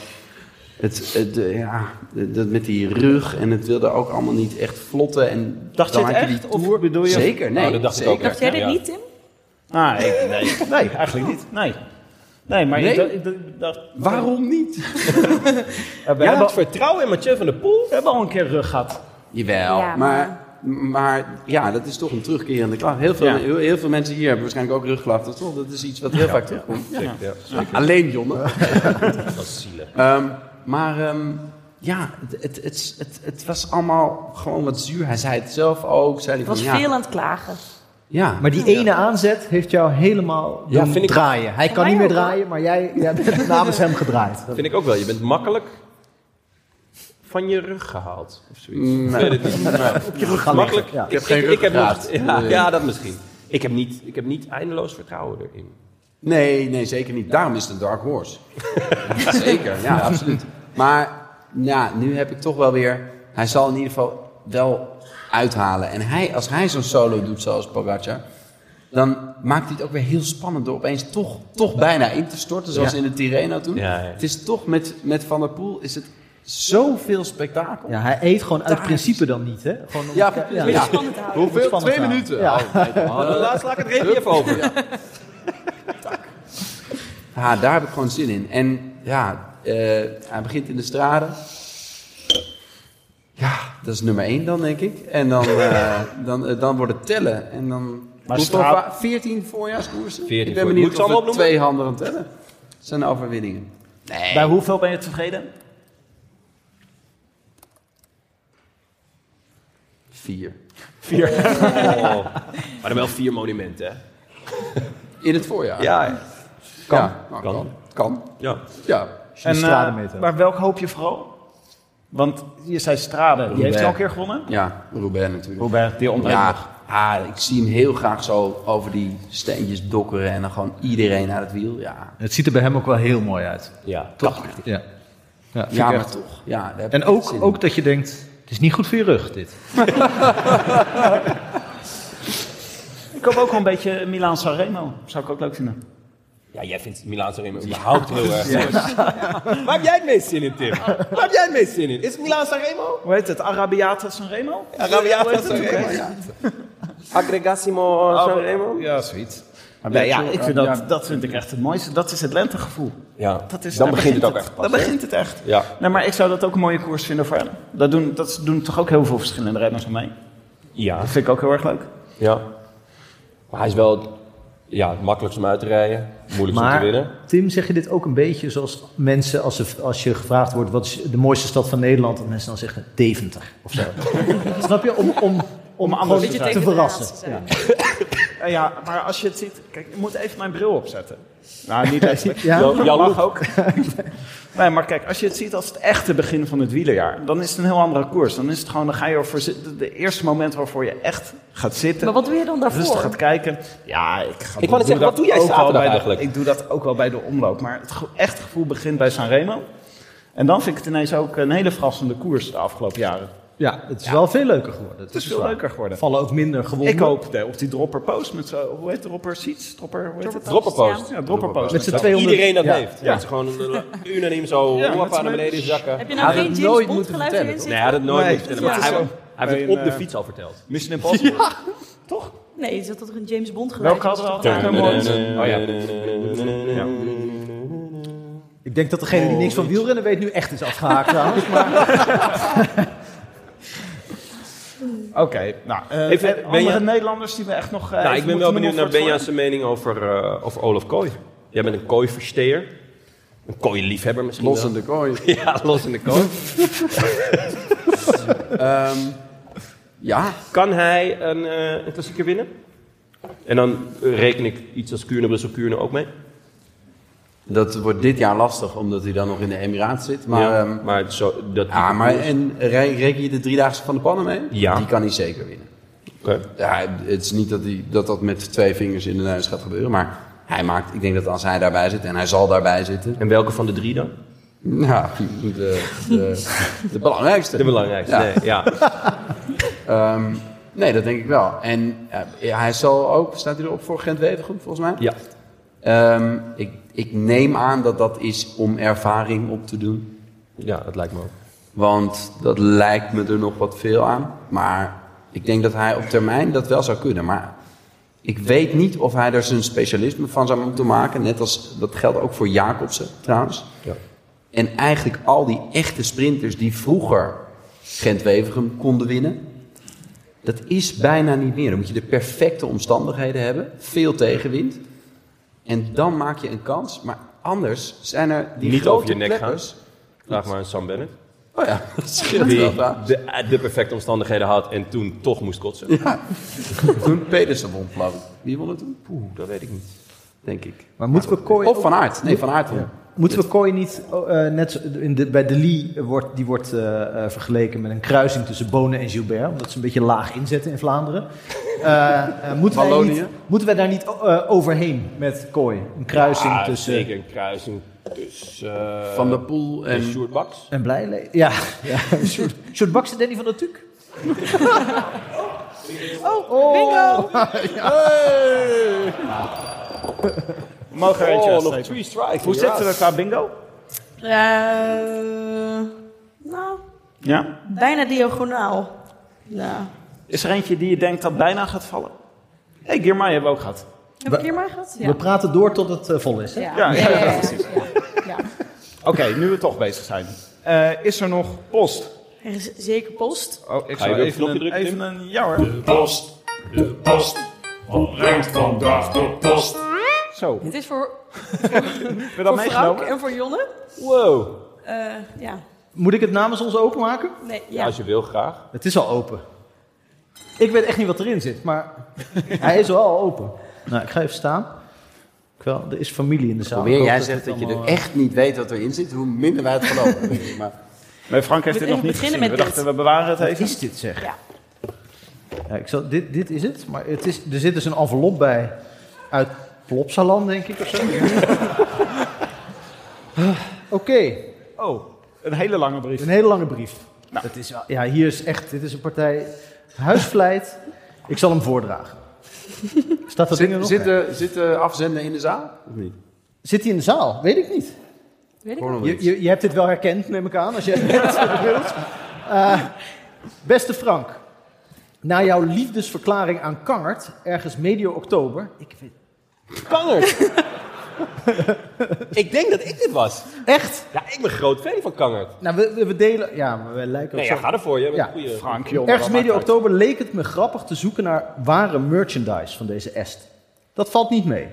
Speaker 7: het, het, eh, ja, dat met die rug en het wilde ook allemaal niet echt vlotten. En
Speaker 3: Dacht je
Speaker 7: dan
Speaker 3: het
Speaker 7: had
Speaker 3: echt?
Speaker 7: die
Speaker 3: Of
Speaker 7: Tour.
Speaker 3: bedoel je-
Speaker 7: Zeker, nee.
Speaker 8: Oh, dat dacht ik
Speaker 7: zeker.
Speaker 8: ook, ja.
Speaker 5: Dacht jij dit niet, Tim?
Speaker 3: Ah, ik- nee. nee, eigenlijk niet. Nee, nee maar
Speaker 7: Nee?
Speaker 3: Ik, dacht- ik dacht- dacht...
Speaker 7: Waarom niet?
Speaker 3: Eh, we
Speaker 8: Ja,
Speaker 3: hebben,
Speaker 8: het vertrouwen in Mathieu van der Poel.
Speaker 3: we hebben al een keer rug gehad.
Speaker 7: Jawel,
Speaker 5: Ja,
Speaker 7: maar... Maar ja, dat is toch een terugkerende klacht. Heel veel,
Speaker 3: Ja.
Speaker 7: heel, heel veel mensen hier hebben waarschijnlijk ook rugklachten. Dat is toch- Dat is iets wat heel vaak terugkomt.
Speaker 8: Ja. Ja.
Speaker 7: Alleen Jonne.
Speaker 8: Dat is zielig.
Speaker 7: Ehm, maar ehm, ja, het, het, het, het, het was allemaal gewoon wat zuur. Hij zei het zelf ook. Zei hij
Speaker 5: Het was
Speaker 7: van, ja,
Speaker 5: veel aan het klagen.
Speaker 7: ja,
Speaker 11: Maar die ene aanzet heeft jou helemaal
Speaker 8: Ja,
Speaker 11: doen
Speaker 8: vind ik-
Speaker 11: draaien. Hij kan
Speaker 5: mij
Speaker 11: niet meer
Speaker 5: ook, hoor.
Speaker 11: draaien, maar jij, jij bent namens hem gedraaid.
Speaker 8: Vind ik ook wel. Je bent makkelijk van je rug gehaald. Of zoiets. Ik weet
Speaker 7: mm,
Speaker 8: het niet.
Speaker 11: Op je rug gaan
Speaker 8: Makkelijk.
Speaker 11: liggen, ja.
Speaker 8: Ik, ik,
Speaker 7: geen
Speaker 8: ik heb nog,
Speaker 7: ruggengraat.
Speaker 8: ja,
Speaker 7: Nee.
Speaker 8: ja, dat misschien. Ik heb, niet, ik heb niet eindeloos vertrouwen erin.
Speaker 7: nee, nee, zeker niet. Daarom is het een Dark Horse. zeker, ja, absoluut. Maar ja, nu heb ik toch wel weer... Hij zal in ieder geval wel uithalen. En hij, als hij zo'n solo doet zoals Pogacar... dan maakt hij het ook weer heel spannend door opeens toch, toch bijna in te storten... zoals
Speaker 8: Ja.
Speaker 7: in de Tirreno toen.
Speaker 8: Ja, ja.
Speaker 7: Het is toch met, met Van der Poel is het zoveel spektakel.
Speaker 11: Ja, hij eet gewoon uit
Speaker 7: Daar
Speaker 11: principe dan niet, hè? Gewoon om-
Speaker 7: Ja,
Speaker 11: ja. dus
Speaker 5: Om het spannend te houden.
Speaker 7: Hoeveel?
Speaker 11: Spannend
Speaker 7: Twee
Speaker 11: aan.
Speaker 7: minuten.
Speaker 11: Ja.
Speaker 7: Oh, nee, dan-
Speaker 8: Oh, laatst laat ik het reden even over.
Speaker 7: Ja, daar heb ik gewoon zin in. En ja, eh, hij begint in de straten. Ja, dat is nummer één dan, denk ik. En dan, eh, dan, eh, dan wordt het tellen. En dan...
Speaker 3: Maar
Speaker 7: Hoeveel
Speaker 3: straat-
Speaker 7: va- 14 voorjaarskoersen?
Speaker 8: 14
Speaker 7: ik ben
Speaker 8: voor-
Speaker 7: benieuwd
Speaker 8: Moet ik
Speaker 7: of
Speaker 8: ze allemaal
Speaker 7: we
Speaker 8: opnoemen?
Speaker 7: twee handen aan tellen. Dat zijn de overwinningen. Nee.
Speaker 3: Bij hoeveel ben je tevreden?
Speaker 7: Vier.
Speaker 8: Vier. Oh. Maar dan wel vier monumenten, hè?
Speaker 7: In het voorjaar.
Speaker 8: Ja.
Speaker 7: kan. kan.
Speaker 8: Kan.
Speaker 7: Kan. Kan.
Speaker 8: ja.
Speaker 7: Ja.
Speaker 11: Als je de straten
Speaker 3: eh,
Speaker 11: meetelt.
Speaker 3: maar welk hoop je vooral? Want je zei Strade, die heeft hij al een keer gewonnen.
Speaker 7: Ja, Roubaix natuurlijk.
Speaker 3: Robert, die ontbreekt nog.
Speaker 7: Ja, ah, ik zie hem heel graag zo over die steentjes dokkeren en dan gewoon iedereen aan het wiel. Ja,
Speaker 2: Het ziet er bij hem ook wel heel mooi uit.
Speaker 8: ja.
Speaker 7: toch?
Speaker 2: Ja, ja, vind
Speaker 7: Ja,
Speaker 2: ik
Speaker 7: maar
Speaker 2: echt.
Speaker 7: toch. Ja, daar heb
Speaker 2: En
Speaker 7: ik echt
Speaker 2: ook,
Speaker 7: zin
Speaker 2: ook dat je denkt, het is niet goed voor je rug dit.
Speaker 3: Ik hoop ook wel een beetje Milaan Sanremo. Zou ik ook leuk vinden.
Speaker 8: Ja, jij vindt Milaan Sanremo überhaupt heel erg. Waar heb jij het meest zin in, Tim? Waar heb jij het meest zin in? Is het Milaan Sanremo?
Speaker 3: Hoe heet het? Arabiata Sanremo?
Speaker 8: Rabiata Sanremo. Aggregassimo Sanremo?
Speaker 2: Ja, zoiets.
Speaker 3: Nee, ja, ik vind dat, dat vind ik echt het mooiste. Dat is het lentegevoel.
Speaker 8: Ja.
Speaker 3: Dat is,
Speaker 8: dan
Speaker 3: daar
Speaker 8: begint het ook echt
Speaker 3: Dan
Speaker 8: pas.
Speaker 3: begint het echt.
Speaker 8: Ja.
Speaker 3: Nee, maar ik zou dat ook een mooie koers vinden voor hem. Dat doen, dat doen toch ook heel veel verschillende renners van mij.
Speaker 8: Ja.
Speaker 3: Dat vind ik ook heel erg leuk.
Speaker 8: Ja. Maar hij is wel ja, het makkelijkst om uit te rijden. Moeilijkst om te winnen.
Speaker 11: Maar Tim, zeg je dit ook een beetje zoals mensen, als, ze, als je gevraagd wordt wat is de mooiste stad van Nederland, dat mensen dan zeggen Deventer of zo. Snap je? Om, om, om
Speaker 3: anders
Speaker 11: gewoon
Speaker 3: te
Speaker 11: te
Speaker 3: zijn.
Speaker 11: verrassen.
Speaker 5: Ja.
Speaker 3: Eh, ja, maar als je het ziet... Kijk, ik moet even mijn bril opzetten. Nou, niet echt.
Speaker 11: Ja?
Speaker 8: Jan- Jan
Speaker 3: mag
Speaker 8: Loek.
Speaker 3: ook. nee, maar kijk, als je het ziet als het echte begin van het wielerjaar... dan is het een heel andere koers. Dan is het gewoon, dan ga je ervoor zitten... De eerste moment waarvoor je echt gaat zitten...
Speaker 5: Maar wat doe je dan
Speaker 3: rustig gaat
Speaker 5: daarvoor?
Speaker 3: kijken. Ja, ik ga.
Speaker 8: Ik wou net zeggen, wat doe jij
Speaker 3: ook wel
Speaker 8: zaterdag
Speaker 3: bij de-
Speaker 8: eigenlijk?
Speaker 3: ik doe dat ook wel bij de omloop, maar het ge- echt gevoel begint bij Sanremo. En dan vind ik het ineens ook een hele verrassende koers de afgelopen jaren.
Speaker 11: Ja, het is wel veel leuker geworden.
Speaker 3: Het is veel leuker geworden.
Speaker 11: vallen ook minder gewonden.
Speaker 3: Ik hoop de, op die dropper post met zo, hoe heet dropper seats? Dropper, hoe heet het?
Speaker 8: Dropperpost.
Speaker 3: Ja, dropper post.
Speaker 11: Met z'n
Speaker 3: zo-
Speaker 11: 200.
Speaker 8: Iedereen dat
Speaker 11: Ja.
Speaker 8: heeft. Dat is gewoon een- unaniem zo
Speaker 3: Ja,
Speaker 8: hoppa,
Speaker 3: dat is
Speaker 8: naar
Speaker 3: mijn-
Speaker 8: beneden zakken.
Speaker 5: Heb je nou
Speaker 7: Hij had
Speaker 5: geen
Speaker 7: het
Speaker 5: James
Speaker 7: nooit
Speaker 5: Bond
Speaker 7: moeten
Speaker 5: geluid
Speaker 7: vertellen,
Speaker 5: erin zitten?
Speaker 8: Nee, hij had het nooit
Speaker 3: Nee,
Speaker 8: moeten vertellen.
Speaker 3: dat
Speaker 8: Maar
Speaker 3: is
Speaker 8: hij,
Speaker 3: zo.
Speaker 8: hij heeft het
Speaker 3: Bij
Speaker 8: op
Speaker 3: een,
Speaker 8: de
Speaker 3: eh,
Speaker 8: fiets al verteld.
Speaker 3: Mission Impossible. Toch?
Speaker 5: Nee, is dat toch een James Bond geluid?
Speaker 3: Welke hadden we al?
Speaker 8: Oh ja. Oh,
Speaker 11: Ik denk dat degene die niks van wielrennen weet nu echt is afgehaakt trouwens. Maar
Speaker 3: Oké, nou. eh,
Speaker 8: Even,
Speaker 3: en
Speaker 8: Benja-
Speaker 3: andere Nederlanders die we echt nog. eh,
Speaker 8: nou,
Speaker 3: even
Speaker 8: ik ben wel
Speaker 3: moeten
Speaker 8: benieuwd naar
Speaker 3: noemen voor het
Speaker 8: Benja's mening over, eh, over Olaf Kooi. Jij bent een kooiversteer. Een kooiliefhebber misschien
Speaker 7: Los
Speaker 8: wel.
Speaker 7: in de kooi.
Speaker 8: Ja, los in de kooi.
Speaker 7: ja.
Speaker 8: Kan hij een, eh, een klassieker winnen? En dan eh, reken ik iets als Kuurne, Brussel, Kuurne ook mee.
Speaker 7: Dat wordt dit jaar lastig, omdat hij dan nog in de Emiraten zit. Maar,
Speaker 8: Ja,
Speaker 7: ehm,
Speaker 8: maar zo, dat
Speaker 7: ja, maar en re- reken je de driedaagse van de pannen mee?
Speaker 8: Ja.
Speaker 7: Die kan hij zeker winnen.
Speaker 8: Oké.
Speaker 7: Ja, het is niet dat, hij, dat dat met twee vingers in de neus gaat gebeuren, maar hij maakt, ik denk dat als hij daarbij zit, en hij zal daarbij zitten.
Speaker 8: En welke van de drie dan?
Speaker 7: Ja, de, de, de belangrijkste.
Speaker 8: De belangrijkste, nee, ja.
Speaker 7: Ehm, nee, dat denk ik wel. En eh, hij zal ook, staat hij erop voor Gent Wevergem volgens mij?
Speaker 8: Ja.
Speaker 7: Ehm, ik, ik neem aan dat dat is om ervaring op te doen.
Speaker 8: Ja, dat lijkt me ook.
Speaker 7: Want dat lijkt me er nog wat veel aan. Maar ik denk dat hij op termijn dat wel zou kunnen. Maar ik weet niet of hij er zijn specialisme van zou moeten maken. Net als, dat geldt ook voor Jacobsen trouwens.
Speaker 8: Ja.
Speaker 7: En eigenlijk al die echte sprinters die vroeger Gent-Wevergem konden winnen. Dat is bijna niet meer. Dan moet je de perfecte omstandigheden hebben. Veel tegenwind. En dan maak je een kans. Maar anders zijn er die
Speaker 8: Niet
Speaker 7: grote
Speaker 8: over je nek
Speaker 7: kleppers.
Speaker 8: gaan. Vraag maar aan Sam Bennett.
Speaker 7: Oh ja, dat scheelt wel,
Speaker 8: Die
Speaker 7: ja.
Speaker 8: de, de perfecte omstandigheden had en toen toch moest kotsen.
Speaker 7: Ja. Toen Pedersen won, geloof ik. Wie won het toen?
Speaker 8: Poeh, dat weet ik niet.
Speaker 7: Denk ik.
Speaker 2: Maar moeten we Kooi
Speaker 7: Of Van Aert. Nee, Van Aert won.
Speaker 2: Moeten we Kooi niet, oh, eh, net zo- in de, bij de Lee wordt, die wordt eh, eh, vergeleken met een kruising tussen Bonen en Gilbert, omdat ze een beetje laag inzetten in Vlaanderen. Eh, eh, moeten, wij
Speaker 7: Wallonië?
Speaker 2: niet, moeten wij daar niet eh, overheen met Kooi? Een kruising
Speaker 8: Ja,
Speaker 2: tussen...
Speaker 8: Ah, Zeker een kruising tussen... eh,
Speaker 7: Van der Poel en-
Speaker 8: Sjoerd Baks.
Speaker 2: En Blijle? Ja. ja. Een soort- een soort bakse Danny van der Tuk.
Speaker 5: Oh, bingo!
Speaker 3: voorstel. We mogen er eentje
Speaker 8: Oh, nog
Speaker 3: uitstrepen.
Speaker 8: three strikes.
Speaker 3: Hoe zitten we qua bingo?
Speaker 5: Eh, nou,
Speaker 3: Ja.
Speaker 5: bijna diagonaal. Nou,
Speaker 3: Is er eentje die je denkt dat bijna gaat vallen? Hé, hey, Girmay hebben we ook gehad.
Speaker 5: heb ik hier maar gehad? Ja.
Speaker 2: We praten door tot het eh, vol is. Hè?
Speaker 5: Ja,
Speaker 3: Ja, ja, ja, precies.
Speaker 5: ja.
Speaker 3: Oké, nu we toch bezig zijn. Eh, is er nog post?
Speaker 5: Er is zeker post.
Speaker 3: Oh, ik
Speaker 8: Ga je
Speaker 3: zal
Speaker 8: weer op
Speaker 3: even,
Speaker 8: knopje
Speaker 3: een,
Speaker 8: drukken,
Speaker 3: even
Speaker 8: Tim?
Speaker 3: een... Ja hoor.
Speaker 12: De post, de post, wat brengt vandaag de post?
Speaker 3: Zo,
Speaker 5: Het is voor,
Speaker 3: hebben we dat
Speaker 5: voor Frank
Speaker 3: meegenomen?
Speaker 5: en voor Jonne.
Speaker 8: Wow.
Speaker 5: Eh, ja.
Speaker 2: Moet ik het namens ons openmaken?
Speaker 5: Nee,
Speaker 8: Ja,
Speaker 5: ja.
Speaker 8: als je wil, graag.
Speaker 2: Het is al open. Ik weet echt niet wat erin zit, maar hij is wel al open. Nou, ik ga even staan. Ik wel, er is familie in de zaal.
Speaker 7: Hoe meer
Speaker 2: Ik hoop
Speaker 7: jij
Speaker 2: dat
Speaker 7: zegt
Speaker 2: het
Speaker 7: dat je er
Speaker 2: allemaal-
Speaker 7: echt niet weet wat erin zit, hoe minder wij het geloven. denk ik. Maar
Speaker 3: Maar Frank heeft
Speaker 5: Moet
Speaker 3: dit nog
Speaker 5: even
Speaker 3: niet
Speaker 5: beginnen
Speaker 3: gezien.
Speaker 5: met
Speaker 3: we
Speaker 5: dit.
Speaker 3: dachten, we bewaren het
Speaker 2: Wat
Speaker 3: even.
Speaker 2: is dit zeg?
Speaker 5: Ja.
Speaker 2: Ja, ik zal, dit, dit is het, maar het is, er zit dus een envelop bij uit Plopsaland, denk ik of zo. Oké,
Speaker 3: Oh, een hele lange brief.
Speaker 2: een hele lange brief.
Speaker 3: Nou.
Speaker 2: Dat is, wel- ja, hier is echt, dit is een partij huisvleit. ik zal hem voordragen. Staat dat ding er
Speaker 7: zit,
Speaker 2: nog?
Speaker 7: zit,
Speaker 2: Nee.
Speaker 7: de, zit de afzender in de zaal? Of niet?
Speaker 2: Zit hij in de zaal? Weet ik niet.
Speaker 5: Weet ik
Speaker 7: Hoor nog
Speaker 2: Je,
Speaker 7: iets.
Speaker 2: je, je hebt dit wel herkend, neem ik aan, als je het net wilt. Eh, beste Frank, na jouw liefdesverklaring aan Kangert, ergens medio oktober... Ik weet,
Speaker 8: Kangert! ik denk dat ik dit was.
Speaker 2: echt?
Speaker 8: Ja, ik ben een groot fan van Kangert.
Speaker 2: Nou, we, we, we delen... Ja, maar we lijken ook
Speaker 8: Nee,
Speaker 2: zo.
Speaker 8: ja, ga ervoor. Jij bent
Speaker 2: Ja,
Speaker 8: een goede...
Speaker 3: Frank, joh.
Speaker 2: Ergens
Speaker 3: wat
Speaker 2: medio
Speaker 3: maakt het
Speaker 2: oktober leek het me grappig te zoeken naar ware merchandise van deze est. Dat valt niet mee.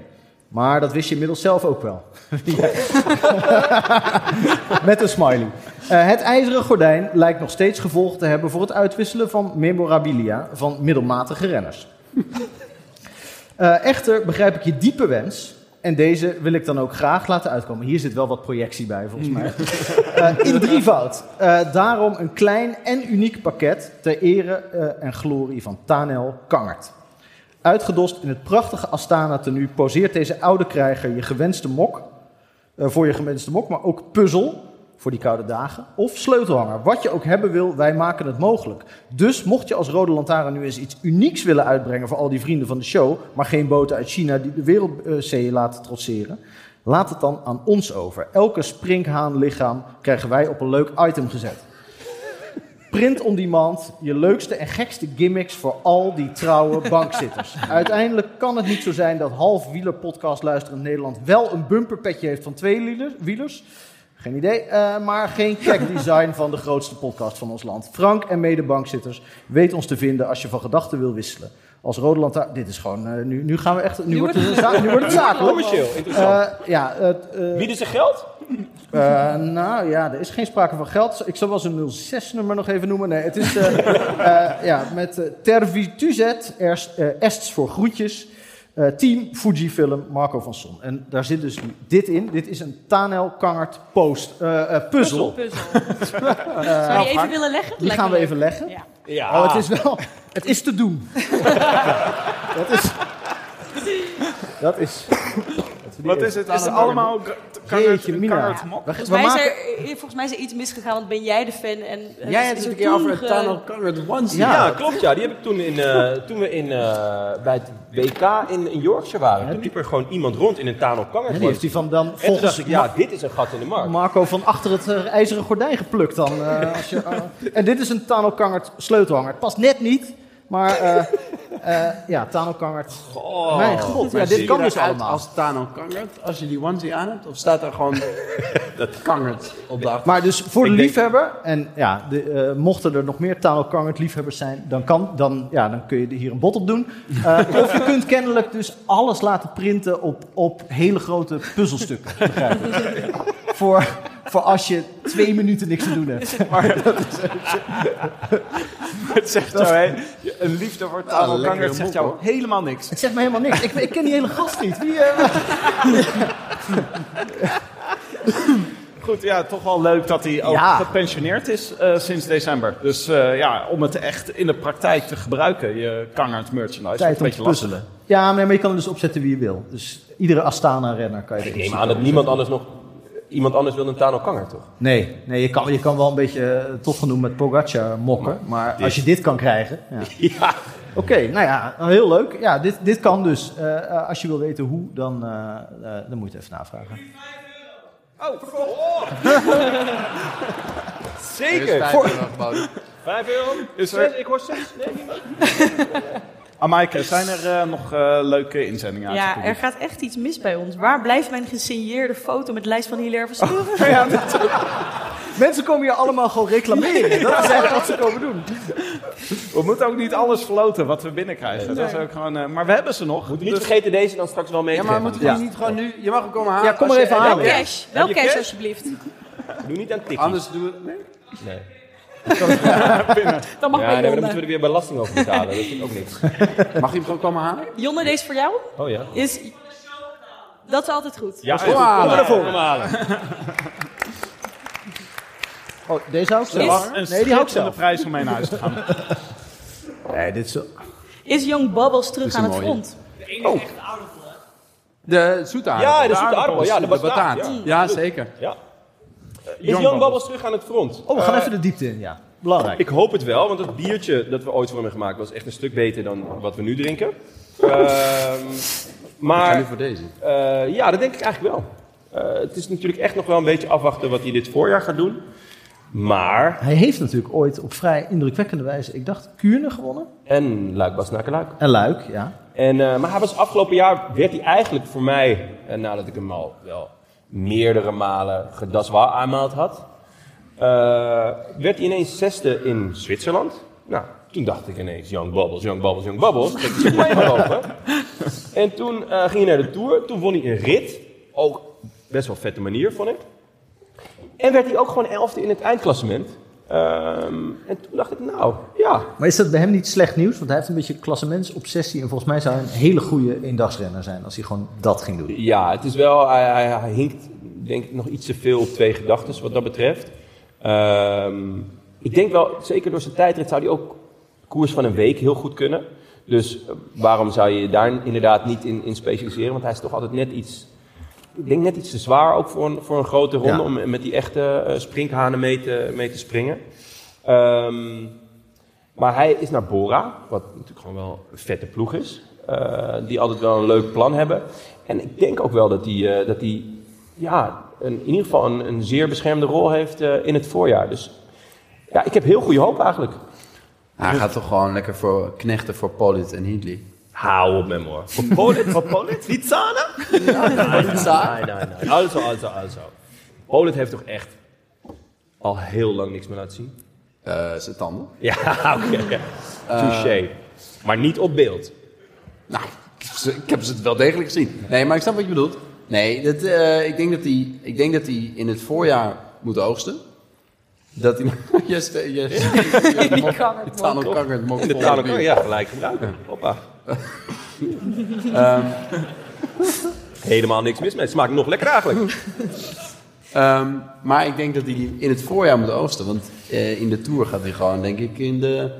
Speaker 2: Maar dat wist je inmiddels zelf ook wel. Ja. Met een smiley. Eh, het ijzeren gordijn lijkt nog steeds gevolg te hebben voor het uitwisselen van memorabilia van middelmatige renners. Eh, echter begrijp ik je diepe wens. En deze wil ik dan ook graag laten uitkomen. Hier zit wel wat projectie bij, volgens mij. Eh, in drievoud. Eh daarom een klein en uniek pakket ter ere eh, en glorie van Tanel Kangert. Uitgedost in het prachtige Astana-tenue poseert deze oude krijger je gewenste mok. eh, voor je gewenste mok, maar ook puzzel voor die koude dagen. Of sleutelhanger. Wat je ook hebben wil, wij maken het mogelijk. Dus mocht je als Rode Lantaarn nu eens iets unieks willen uitbrengen voor al die vrienden van de show, maar geen boten uit China die de wereldzeeën laten trotseren, laat het dan aan ons over. Elke springhaan lichaam krijgen wij op een leuk item gezet. Print on demand, je leukste en gekste gimmicks voor al die trouwe bankzitters. Uiteindelijk kan het niet zo zijn dat half wieler podcast luisterend Nederland wel een bumperpetje heeft van twee wielers, Geen idee, eh, maar geen tech design van de grootste podcast van ons land. Frank en medebankzitters, weet ons te vinden als je van gedachten wil wisselen. Als Rode Lantaarn, dit is gewoon, eh, nu, nu gaan we echt, nu, wordt het, een zaak- nu wordt het zakelijk.
Speaker 8: Commercieel, interessant.
Speaker 2: Eh, ja, het, eh,
Speaker 8: Bieden ze geld?
Speaker 2: eh, nou ja, er is geen sprake van geld. Ik zal wel zijn 06-nummer nog even noemen. Nee, het is eh, eh, ja, met eh, Tervituzet, er- eh, Ests voor groetjes. eh, team Fujifilm, Marco van Son. En daar zit dus dit in. Dit is een Tanel Kangert post, eh, eh,
Speaker 5: Zou
Speaker 2: puzzel.
Speaker 5: je even willen leggen?
Speaker 2: Die
Speaker 5: Lijkt me
Speaker 2: gaan we
Speaker 5: leuk.
Speaker 2: even leggen.
Speaker 5: Ja.
Speaker 8: Ja.
Speaker 2: Oh, het is wel... Het is te doen. dat is... Dat is...
Speaker 3: Wat is het? Is het allemaal gra- kangert-
Speaker 2: Jeetje, Mina.
Speaker 3: kangert mop?
Speaker 5: Volgens mij, is er, eh, volgens mij is er iets misgegaan, want ben jij de fan? En, eh,
Speaker 7: Jij
Speaker 5: is-
Speaker 7: hebt
Speaker 5: is
Speaker 7: het
Speaker 5: er
Speaker 7: een keer over
Speaker 5: toen
Speaker 7: het
Speaker 5: ge-
Speaker 7: Tunnel
Speaker 3: eh,
Speaker 7: Conrad Once.
Speaker 8: Ja, Ah, klopt ja. Die heb ik toen, in, eh, toen we in, eh, bij het WK in, in Yorkshire waren. Toen liep er gewoon iemand rond in een Tano Kanger.
Speaker 2: En die heeft hij van dan
Speaker 8: En toen dacht
Speaker 2: volgens
Speaker 8: ik, ja, dit is een gat in de markt.
Speaker 2: Marco van achter het eh, ijzeren gordijn geplukt dan. eh, als je, eh, en dit is een Tano Kangert sleutelhanger. Het past net niet, maar eh, eh, ja, Tano Kangert. Mijn god, ja, dit kan dus allemaal.
Speaker 7: Als Tano Kangert, als je die onesie aan hebt, of staat daar gewoon dat Kangert op de achtergrond?
Speaker 2: Maar dus voor de
Speaker 7: Ik denk-
Speaker 2: liefhebber, en ja, de, eh, mochten er nog meer Tano Kangert liefhebbers zijn, dan, kan, dan, ja, dan kun je hier een bot op doen. Eh, of je kunt kennelijk dus alles laten printen op, op hele grote puzzelstukken. begrijp ik. voor, voor als je twee minuten niks te doen hebt. Maar dat is,
Speaker 3: Het zegt jou, hè, een liefde voor Tano Kangert zegt jou helemaal niks.
Speaker 2: Het zegt me helemaal niks. Ik, ik ken die hele gast niet. Wie, eh,
Speaker 3: Goed, ja, toch wel leuk dat hij ook
Speaker 2: Ja.
Speaker 3: gepensioneerd is eh, sinds december. Dus eh, ja, om het echt in de praktijk te gebruiken, je kangert merchandise.
Speaker 2: Tijd
Speaker 3: is
Speaker 2: om te puzzelen. Ja, maar maar je kan hem dus opzetten wie je wil. Dus iedere Astana-renner kan je
Speaker 8: Ik
Speaker 2: erin
Speaker 8: neem
Speaker 2: zetten.
Speaker 8: aan dat niemand anders nog... Iemand anders wil een Tano Kanger, toch?
Speaker 2: Nee, nee je, kan, je kan wel een beetje eh, tof genoemd met Pogacar mokken. Maar als je dit kan krijgen... Ja. Oké, nou ja, nou, heel leuk. Ja, dit, dit kan dus. Eh, eh, als je wil weten hoe, dan, eh, eh, dan moet je het even navragen.
Speaker 8: Zeker!
Speaker 7: Voor... geboden.
Speaker 8: Vijf euro?
Speaker 3: Is er-
Speaker 8: Zes? ik hoor zes. Nee, niemand.
Speaker 3: Amaike, zijn er eh, nog eh, leuke inzendingen uit?
Speaker 5: Ja, er gaat echt iets mis bij ons. Waar blijft mijn gesigneerde foto met lijst van Hilaire
Speaker 8: Oh,
Speaker 5: Verstoren?
Speaker 2: Mensen komen hier allemaal gewoon reclameren. Dat is eigenlijk wat ze komen doen.
Speaker 3: We moeten ook niet alles verloten wat we binnenkrijgen. Dat is ook gewoon, eh, maar we hebben ze nog.
Speaker 8: Niet vergeten deze dan straks wel mee
Speaker 7: Ja,
Speaker 8: te
Speaker 7: maar
Speaker 8: geven.
Speaker 7: moeten we die niet gewoon nu... Je mag hem komen halen.
Speaker 2: Ja, kom
Speaker 7: als
Speaker 2: maar
Speaker 7: je-
Speaker 2: even
Speaker 7: en
Speaker 2: aan.
Speaker 7: dan-
Speaker 5: Cash, wel
Speaker 8: Heb je
Speaker 5: cash
Speaker 8: cash?
Speaker 5: alsjeblieft.
Speaker 8: Doe niet aan tikkie.
Speaker 7: Anders doen we het nee?
Speaker 8: Nee.
Speaker 5: Dan mag
Speaker 8: Ja,
Speaker 5: bij
Speaker 8: nee, maar dan
Speaker 5: Jonne.
Speaker 8: moeten we er weer belasting over betalen. Dat vind ik ook niks.
Speaker 7: Mag je hem gewoon komen halen?
Speaker 5: Jonne, deze voor jou?
Speaker 8: Oh ja.
Speaker 5: Is... Dat is altijd goed.
Speaker 8: Ja,
Speaker 7: Kom halen.
Speaker 2: Oh, deze hou ik zelf.
Speaker 3: Een
Speaker 2: Nee, die hou ik
Speaker 3: schitterende
Speaker 2: zelf.
Speaker 3: prijs om mee naar huis te gaan.
Speaker 2: Nee, dit is zo...
Speaker 5: Is Young Bubbles terug
Speaker 7: is
Speaker 5: aan
Speaker 7: een
Speaker 5: het
Speaker 7: mooie.
Speaker 5: front?
Speaker 7: De zoete
Speaker 8: Ja,
Speaker 7: aardappel.
Speaker 8: de zoete aardappel. Ja, de
Speaker 7: de
Speaker 8: bataat.
Speaker 7: bataat. Ja, zeker.
Speaker 8: Ja. Is Jan Babbels terug aan het front?
Speaker 2: Oh, we gaan even de diepte in, ja. Belangrijk.
Speaker 8: Ik hoop het wel, want het biertje dat we ooit voor hem hebben gemaakt was echt een stuk beter dan wat we nu drinken. Ehm,
Speaker 7: Ik ga nu
Speaker 8: maar
Speaker 7: voor deze.
Speaker 8: eh, ja, dat denk ik eigenlijk wel. Eh, het is natuurlijk echt nog wel een beetje afwachten wat hij dit voorjaar gaat doen. Maar,
Speaker 2: Hij heeft natuurlijk ooit op vrij indrukwekkende wijze, ik dacht, Kuurne gewonnen.
Speaker 8: en Luik Bas Nakeluik.
Speaker 2: En Luik, ja.
Speaker 8: En, eh, maar hij was afgelopen jaar, werd hij eigenlijk voor mij, eh, nadat ik hem al wel meerdere malen gedaswaal aanmaald had, eh, werd hij ineens zesde in Zwitserland. Nou, toen dacht ik ineens, Young Bubbles, Young Bubbles, Young Bubbles. Dat is goed meegelopen. En toen eh, ging hij naar de Tour, toen won hij een rit. Ook best wel vette manier, vond ik. En werd hij ook gewoon elfde in het eindklassement. Ehm, en toen dacht ik, nou, ja,
Speaker 2: Maar is dat bij hem niet slecht nieuws? Want hij heeft een beetje klassementsobsessie. En volgens mij zou hij een hele goede eendagsrenner zijn als hij gewoon dat ging doen.
Speaker 8: Ja, het is wel, hij, hij, hij hinkt denk ik nog iets te veel op twee gedachten wat dat betreft. Ehm, ik denk wel, zeker door zijn tijdrit zou hij ook koers van een week heel goed kunnen. Dus eh, waarom zou je je daar inderdaad niet in, in specialiseren? Want hij is toch altijd net iets, ik denk net iets te zwaar ook voor een, voor een grote ronde
Speaker 2: Ja.
Speaker 8: om met die echte eh, sprinkhanen mee te, mee te springen. Ehm, maar hij is naar Bora, wat natuurlijk gewoon wel een vette ploeg is. eh, die altijd wel een leuk plan hebben. En ik denk ook wel dat hij, eh, dat hij ja, een, in ieder geval een, een zeer beschermde rol heeft eh, in het voorjaar. Dus ja, ik heb heel goede hoop eigenlijk.
Speaker 7: Hij gaat toch gewoon lekker voor knechten voor Polit en Hindley.
Speaker 8: Hou op, Memo. Voor Polit, voor Polit? Litsana? Nee, nee, nee. Also, also, also. Polen heeft toch echt al heel lang niks meer laten zien?
Speaker 7: eh, zijn tanden.
Speaker 8: Ja, oké. ja. Touché. maar niet op beeld.
Speaker 7: Nou, ik heb ze- ik heb ze wel degelijk gezien. Nee, maar ik snap wat je bedoelt. Nee, dat, eh, ik, denk dat die, ik denk dat die in het voorjaar moeten oogsten. Dat die... Yes, eh, yes.
Speaker 8: Die
Speaker 7: De tandelkanger.
Speaker 8: In de tandelkanger, ja, gelijk gebruiken. Hoppa. Ehm, helemaal niks mis mee. Het smaakt nog lekker eigenlijk.
Speaker 7: Ehm, maar ik denk dat hij in het voorjaar moet oogsten. Want eh, in de Tour gaat hij gewoon, denk ik, in de...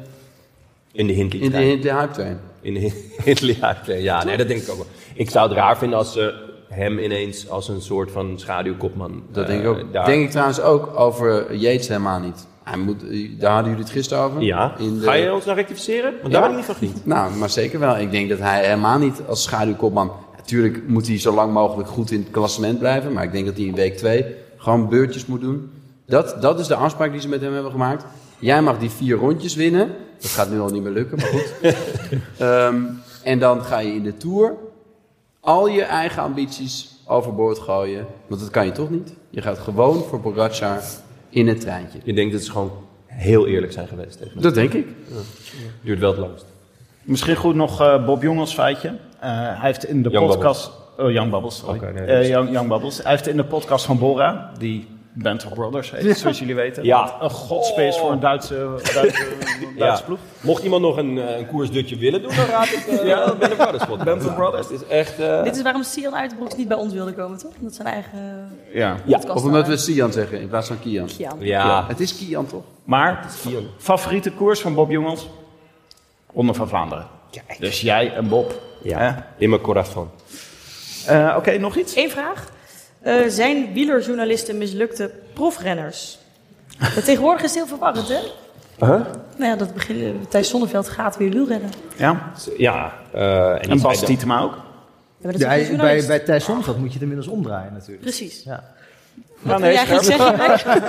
Speaker 8: In de Hindley
Speaker 7: In de
Speaker 8: trein.
Speaker 7: Hindley Hype Train.
Speaker 8: In de Hindley Hype Train, ja, nee, dat denk ik ook wel. Ik zou het raar vinden als ze hem ineens als een soort van schaduwkopman...
Speaker 7: Dat
Speaker 8: eh,
Speaker 7: denk ik ook.
Speaker 8: daar-
Speaker 7: Denk ik trouwens ook over Yates helemaal niet. Hij moet, daar hadden jullie het gisteren over.
Speaker 8: Ja.
Speaker 7: In de-
Speaker 8: Ga je ons nou rectificeren? Want
Speaker 7: Ja.
Speaker 8: daar ben ik niet van geniet.
Speaker 7: Nou, maar zeker wel. Ik denk dat hij helemaal niet als schaduwkopman... Natuurlijk moet hij zo lang mogelijk goed in het klassement blijven. Maar ik denk dat hij in week 2 gewoon beurtjes moet doen. Dat, dat is de afspraak die ze met hem hebben gemaakt. Jij mag die vier rondjes winnen. Dat gaat nu al niet meer lukken, maar goed. Ehm, en dan ga je in de Tour al je eigen ambities overboord gooien. Want dat kan je toch niet? Je gaat gewoon voor Pogacar in het treintje.
Speaker 8: Je denkt dat ze gewoon heel eerlijk zijn geweest tegen hem.
Speaker 7: Dat denk ik.
Speaker 8: Ja. Duurt wel het langst.
Speaker 3: Misschien goed nog eh, Bob Jong als feitje. Eh, hij heeft in de
Speaker 8: Young
Speaker 3: podcast... Oh, Young Bubbles, sorry.
Speaker 8: Oké, nee,
Speaker 3: Eh,
Speaker 8: dat is-
Speaker 3: Young, Young Bubbles. Hij heeft in de podcast van Bora, die Band of Brothers heet,
Speaker 8: Ja.
Speaker 3: zoals jullie weten.
Speaker 8: Ja. Oh.
Speaker 3: Een godspees voor een Duitse, Duitse, Duitse ploeg.
Speaker 8: Mocht iemand nog een, eh, een koersdutje willen doen, dan raad ik eh
Speaker 3: Ja.
Speaker 8: ja. Ben Brothers. wat.
Speaker 3: Band of Brothers.
Speaker 8: Het is echt... eh,
Speaker 5: Dit is waarom Sian Uiterbroeks niet bij ons wilde komen, toch? Omdat zijn eigen...
Speaker 3: Ja.
Speaker 5: Ja.
Speaker 7: Of omdat we Sian zeggen in plaats van Kian.
Speaker 5: Kian.
Speaker 8: Ja.
Speaker 7: Het is Kian toch?
Speaker 3: Maar, favoriete koers van Bob Jongens? Ronde van Vlaanderen. Dus jij en Bob.
Speaker 8: Ja, in mijn corazon.
Speaker 3: Eh, Oké, nog iets?
Speaker 5: Eén vraag. Eh, zijn wielerjournalisten mislukte profrenners? Maar Tegenwoordig is het heel verwarrend, hè? Nou ja, dat begin, Thijs Zonneveld gaat weer wielrennen.
Speaker 3: Ja.
Speaker 8: Ja. eh,
Speaker 3: En
Speaker 8: die
Speaker 3: Bas
Speaker 8: zei dan-
Speaker 3: Tietema ook.
Speaker 5: Ja, maar dat is
Speaker 11: Ja,
Speaker 5: ook een
Speaker 11: bij, bij,
Speaker 5: journalist.
Speaker 11: bij Thijs Zonneveld moet je het inmiddels omdraaien natuurlijk.
Speaker 5: Precies.
Speaker 11: Ja.
Speaker 5: Wat wil jij eigenlijk zeggen?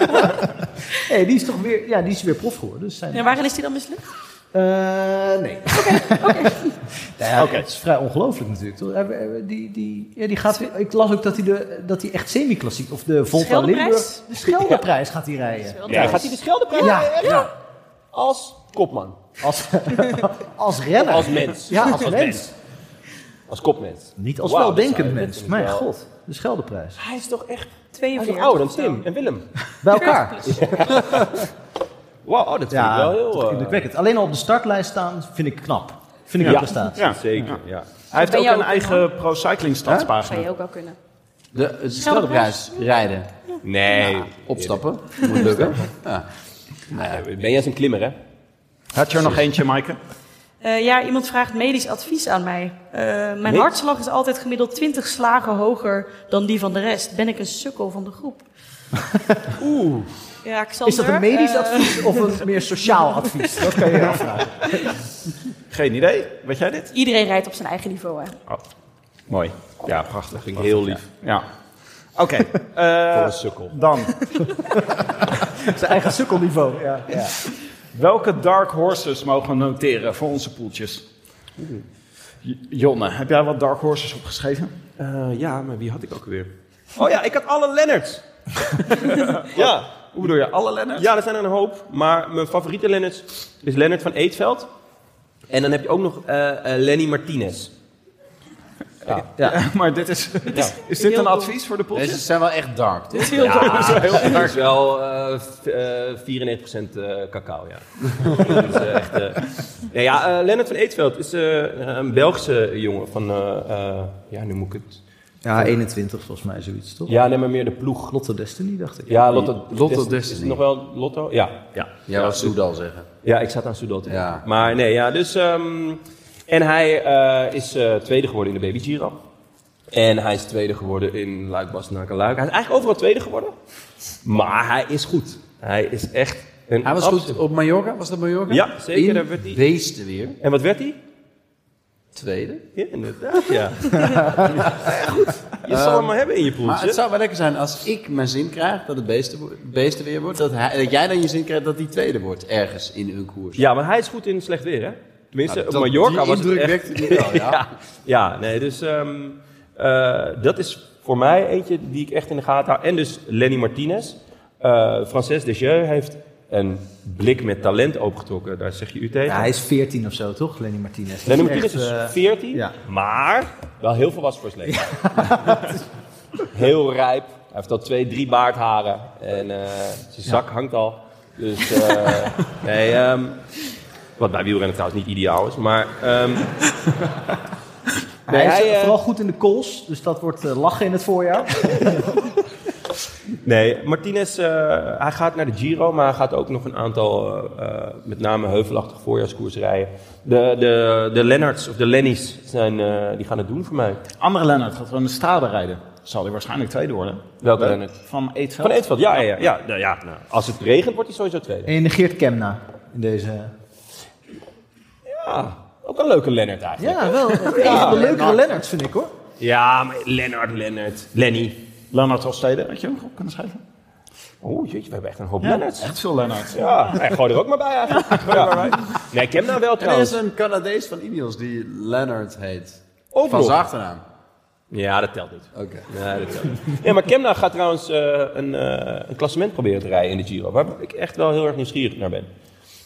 Speaker 11: Hey, die is toch weer, ja, die is weer prof geworden. Dus zijn...
Speaker 5: Ja, waarin is die dan mislukt?
Speaker 11: Eh, nee. Oké.
Speaker 3: Oké.
Speaker 11: Het is vrij ongelooflijk natuurlijk. Toch? Hij- hij- Die, die, ja, die gaat, weer- ik las ook dat hij, de, dat hij echt semi-klassiek, of de Volta
Speaker 5: Scheldeprijs?
Speaker 11: Limburg, de Scheldeprijs gaat hij rijden.
Speaker 8: Ja, gaat hij de Scheldeprijs
Speaker 11: Ja,
Speaker 8: rijden?
Speaker 11: ja.
Speaker 8: Als kopman.
Speaker 11: Als, als renner.
Speaker 8: Als mens.
Speaker 11: Ja, als, mens.
Speaker 8: Als kopmens.
Speaker 11: Niet als
Speaker 8: Wauw, dat
Speaker 11: weldenkend
Speaker 8: zou- dat
Speaker 11: mens.
Speaker 8: vind ik
Speaker 11: Mijn
Speaker 8: wel-
Speaker 11: god, de Scheldeprijs.
Speaker 8: Hij is toch echt... Hij is
Speaker 5: 42.
Speaker 8: nog ouder dan Oh, Tim en Willem.
Speaker 11: Bij elkaar.
Speaker 8: Wauw, dat vind ik wel heel...
Speaker 11: toch
Speaker 8: eh,
Speaker 11: indrukwekkend. Alleen al op de startlijst staan vind ik knap. Vind ik
Speaker 3: Ja.
Speaker 11: een prestatie.
Speaker 3: Ja.
Speaker 8: Zeker, ja.
Speaker 3: Hij heeft
Speaker 5: Ben
Speaker 3: ook
Speaker 5: jij
Speaker 3: een
Speaker 5: ook
Speaker 3: eigen pro-cycling
Speaker 5: Zou
Speaker 3: stadspagina.
Speaker 5: je ook wel kunnen.
Speaker 7: De, de Scheldeprijs rijden.
Speaker 8: Nee.
Speaker 7: Opstappen. Moet lukken.
Speaker 8: Ben jij eens een klimmer, hè?
Speaker 3: Had je er nog eentje, Maaike?
Speaker 5: Eh, ja, iemand vraagt medisch advies aan mij. Eh, mijn hartslag is altijd gemiddeld 20 slagen hoger dan die van de rest. Ben ik een sukkel van de groep? Oeh. Ja, Xander,
Speaker 11: Is dat een medisch
Speaker 5: eh,
Speaker 11: advies of een meer sociaal advies? Dat kan je afvragen.
Speaker 3: Geen idee. Weet jij dit?
Speaker 5: Iedereen rijdt op zijn eigen niveau, hè?
Speaker 3: Mooi.
Speaker 8: Ja, prachtig. Ging heel lief.
Speaker 3: Ja. Oké. eh,
Speaker 8: Voor een sukkel.
Speaker 3: dan,
Speaker 11: Zijn eigen sukkelniveau. Ja. Ja.
Speaker 3: welke dark horses mogen we noteren voor onze poeltjes? J- Jonne, heb jij wat dark horses opgeschreven?
Speaker 8: Eh, ja, maar wie had ik ook weer? Oh ja, ik had alle Lennarts. ja.
Speaker 3: Hoe bedoel je, alle Lennart?
Speaker 8: ja, er zijn er een hoop. Maar mijn favoriete Lennarts is Lennart van Eetveld. En dan heb je ook nog eh, eh, Lenny Martinez.
Speaker 3: maar dit is, is dit
Speaker 5: heel
Speaker 3: een
Speaker 5: dom.
Speaker 3: advies voor de poeltjes?
Speaker 7: Deze zijn wel echt dark. toch?
Speaker 8: Ja, dat is wel eh, v- eh, 94% eh, cacao, ja. dat is eh, echt... eh, nee, ja, eh, Lennart van Eetveld is eh, een Belgische jongen van... eh, eh, ja, nu moet ik het...
Speaker 11: ja, 21 volgens mij zoiets, toch?
Speaker 8: Ja, neem maar meer de ploeg.
Speaker 11: Lotte Destiny, dacht ik.
Speaker 8: Ja, Lotto,
Speaker 7: Lotto
Speaker 8: Destiny. Is
Speaker 7: Destiny.
Speaker 8: het nog wel Lotto? Ja. Ja,
Speaker 7: Ja, wat Soedal zeggen.
Speaker 8: ja ik zat aan Soudal te denken.
Speaker 7: Ja.
Speaker 8: Maar nee, ja, dus... ehm, en hij eh, is eh, tweede geworden in de Baby Giro. En hij is tweede geworden in Luik, Bastenaken, Luik. Hij is eigenlijk overal tweede geworden. Maar hij is goed. Hij is echt een
Speaker 7: Hij was
Speaker 8: absolute-
Speaker 7: goed op Mallorca. Was dat Mallorca?
Speaker 8: Ja, zeker,
Speaker 7: In
Speaker 8: daar werd hij-
Speaker 7: beesten weer.
Speaker 8: En wat werd hij?
Speaker 7: Tweede.
Speaker 8: Ja, inderdaad, ja. ja goed, je zal hem maar hebben in je
Speaker 7: Ehm, Maar het
Speaker 8: poeltje.
Speaker 7: zou wel lekker zijn als ik mijn zin krijg dat het beesten, wo- beesten weer wordt. Dat, hij, dat jij dan je zin krijgt dat die tweede wordt ergens in een koers.
Speaker 8: Ja, want hij is goed in slecht weer, hè? Tenminste,
Speaker 7: Nou,
Speaker 8: op
Speaker 7: dat-
Speaker 8: Mallorca
Speaker 7: die
Speaker 8: was het
Speaker 7: indruk
Speaker 8: echt...
Speaker 7: wekte die wel, ja.
Speaker 8: ja, nee, dus ehm, eh, dat is voor mij eentje die ik echt in de gaten hou. En dus Lenny Martinez. Eh Frances Desjeux heeft een blik met talent opengetrokken. Daar zeg je u tegen.
Speaker 11: Ja, hij is 14 of zo, toch, Lenny Martinez?
Speaker 8: Lenny
Speaker 11: Dat
Speaker 8: Martinez
Speaker 11: echt,
Speaker 8: is
Speaker 11: eh,
Speaker 8: 14,
Speaker 11: ja.
Speaker 8: maar wel heel volwassen voor zijn leven. heel rijp. Hij heeft al twee, drie baardharen. En eh, zijn zak hangt al. Dus eh, nee, ehm, wat bij wielrennen trouwens niet ideaal is. Maar ehm,
Speaker 11: hij is
Speaker 8: hij, eh,
Speaker 11: vooral goed in de calls, dus dat wordt eh, lachen in het voorjaar.
Speaker 8: Nee, Martinez, eh, hij gaat naar de Giro, maar hij gaat ook nog een aantal, eh, eh, met name heuvelachtige voorjaarskoers rijden. De, de, de Lennarts of de Lennies zijn, eh, die gaan het doen voor mij.
Speaker 3: Andere Lennart gaat gewoon de strade rijden. Zal hij waarschijnlijk tweede worden.
Speaker 8: Welke
Speaker 3: Leuk.
Speaker 8: Lennart?
Speaker 3: Van Eetveld.
Speaker 8: Van Eetveld, ja, ja, ja, ja, nou ja nou, als het regent wordt hij sowieso tweede.
Speaker 11: En je negeert Kemna in deze...
Speaker 8: Ja, ook een leuke Lennart eigenlijk.
Speaker 11: Ja, wel. Een van de leukere Lennarts, vind ik, hoor.
Speaker 8: Ja, maar Lennart, Lennart, Lenny.
Speaker 3: Lennart Hofstede, had je hem op kunnen schrijven?
Speaker 8: Oeh, Oh, jeetje, we hebben echt een hoop
Speaker 3: Ja,
Speaker 8: Lennarts.
Speaker 3: echt veel Lennarts.
Speaker 8: Ja, hij gooi er ook maar bij eigenlijk. Gooi er maar bij. Nee, ik heb nou wel
Speaker 7: Er is
Speaker 8: trouwens.
Speaker 7: een Canadees van Ineos die Leonard heet.
Speaker 8: Ook
Speaker 7: van
Speaker 8: nog.
Speaker 7: zijn achternaam.
Speaker 8: Ja, dat telt niet.
Speaker 7: Oké.
Speaker 8: Nee, dat zou niet. Ja, maar Kemna gaat trouwens eh, een, eh, een klassement proberen te rijden in de Giro. Waar ik echt wel heel erg nieuwsgierig naar ben.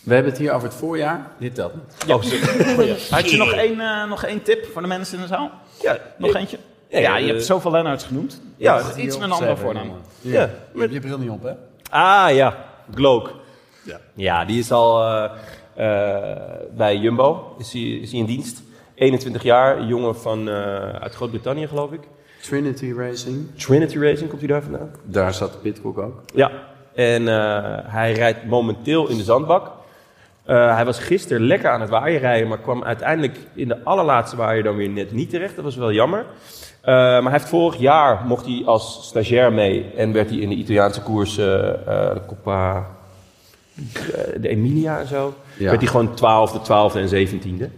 Speaker 7: We hebben het hier over het voorjaar. Dit telt niet.
Speaker 8: Oh, sorry.
Speaker 3: Had je nog één, eh, nog één tip voor de mensen in de zaal?
Speaker 8: Ja,
Speaker 3: Nog
Speaker 8: ik-
Speaker 3: eentje?
Speaker 8: Ja,
Speaker 3: Ja,
Speaker 8: eh,
Speaker 3: je hebt zoveel Lennarts genoemd.
Speaker 8: Ja,
Speaker 3: Ja, iets met een andere voornaam.
Speaker 8: Ja.
Speaker 7: Je hebt je bril niet op, hè?
Speaker 8: Ah ja, Gloak. Ja. die is al eh, eh, bij Jumbo. Is hij is hij in dienst. 21 jaar, jongen van, eh, uit Groot-Brittannië geloof ik.
Speaker 7: Trinity Racing.
Speaker 8: Trinity Racing komt hij daar vandaan.
Speaker 7: Daar zat Pitcock ook.
Speaker 8: Ja, en eh, hij rijdt momenteel in de zandbak. Eh, hij was gisteren lekker aan het waaien rijden, maar kwam uiteindelijk in de allerlaatste waaier dan weer net niet terecht. Dat was wel jammer. Eh, maar hij heeft vorig jaar mocht hij als stagiair mee en werd hij in de Italiaanse koers, eh, eh, de Coppa, de Emilia en zo,
Speaker 7: Ja.
Speaker 8: werd hij gewoon twaalfde, twaalfde en zeventiende.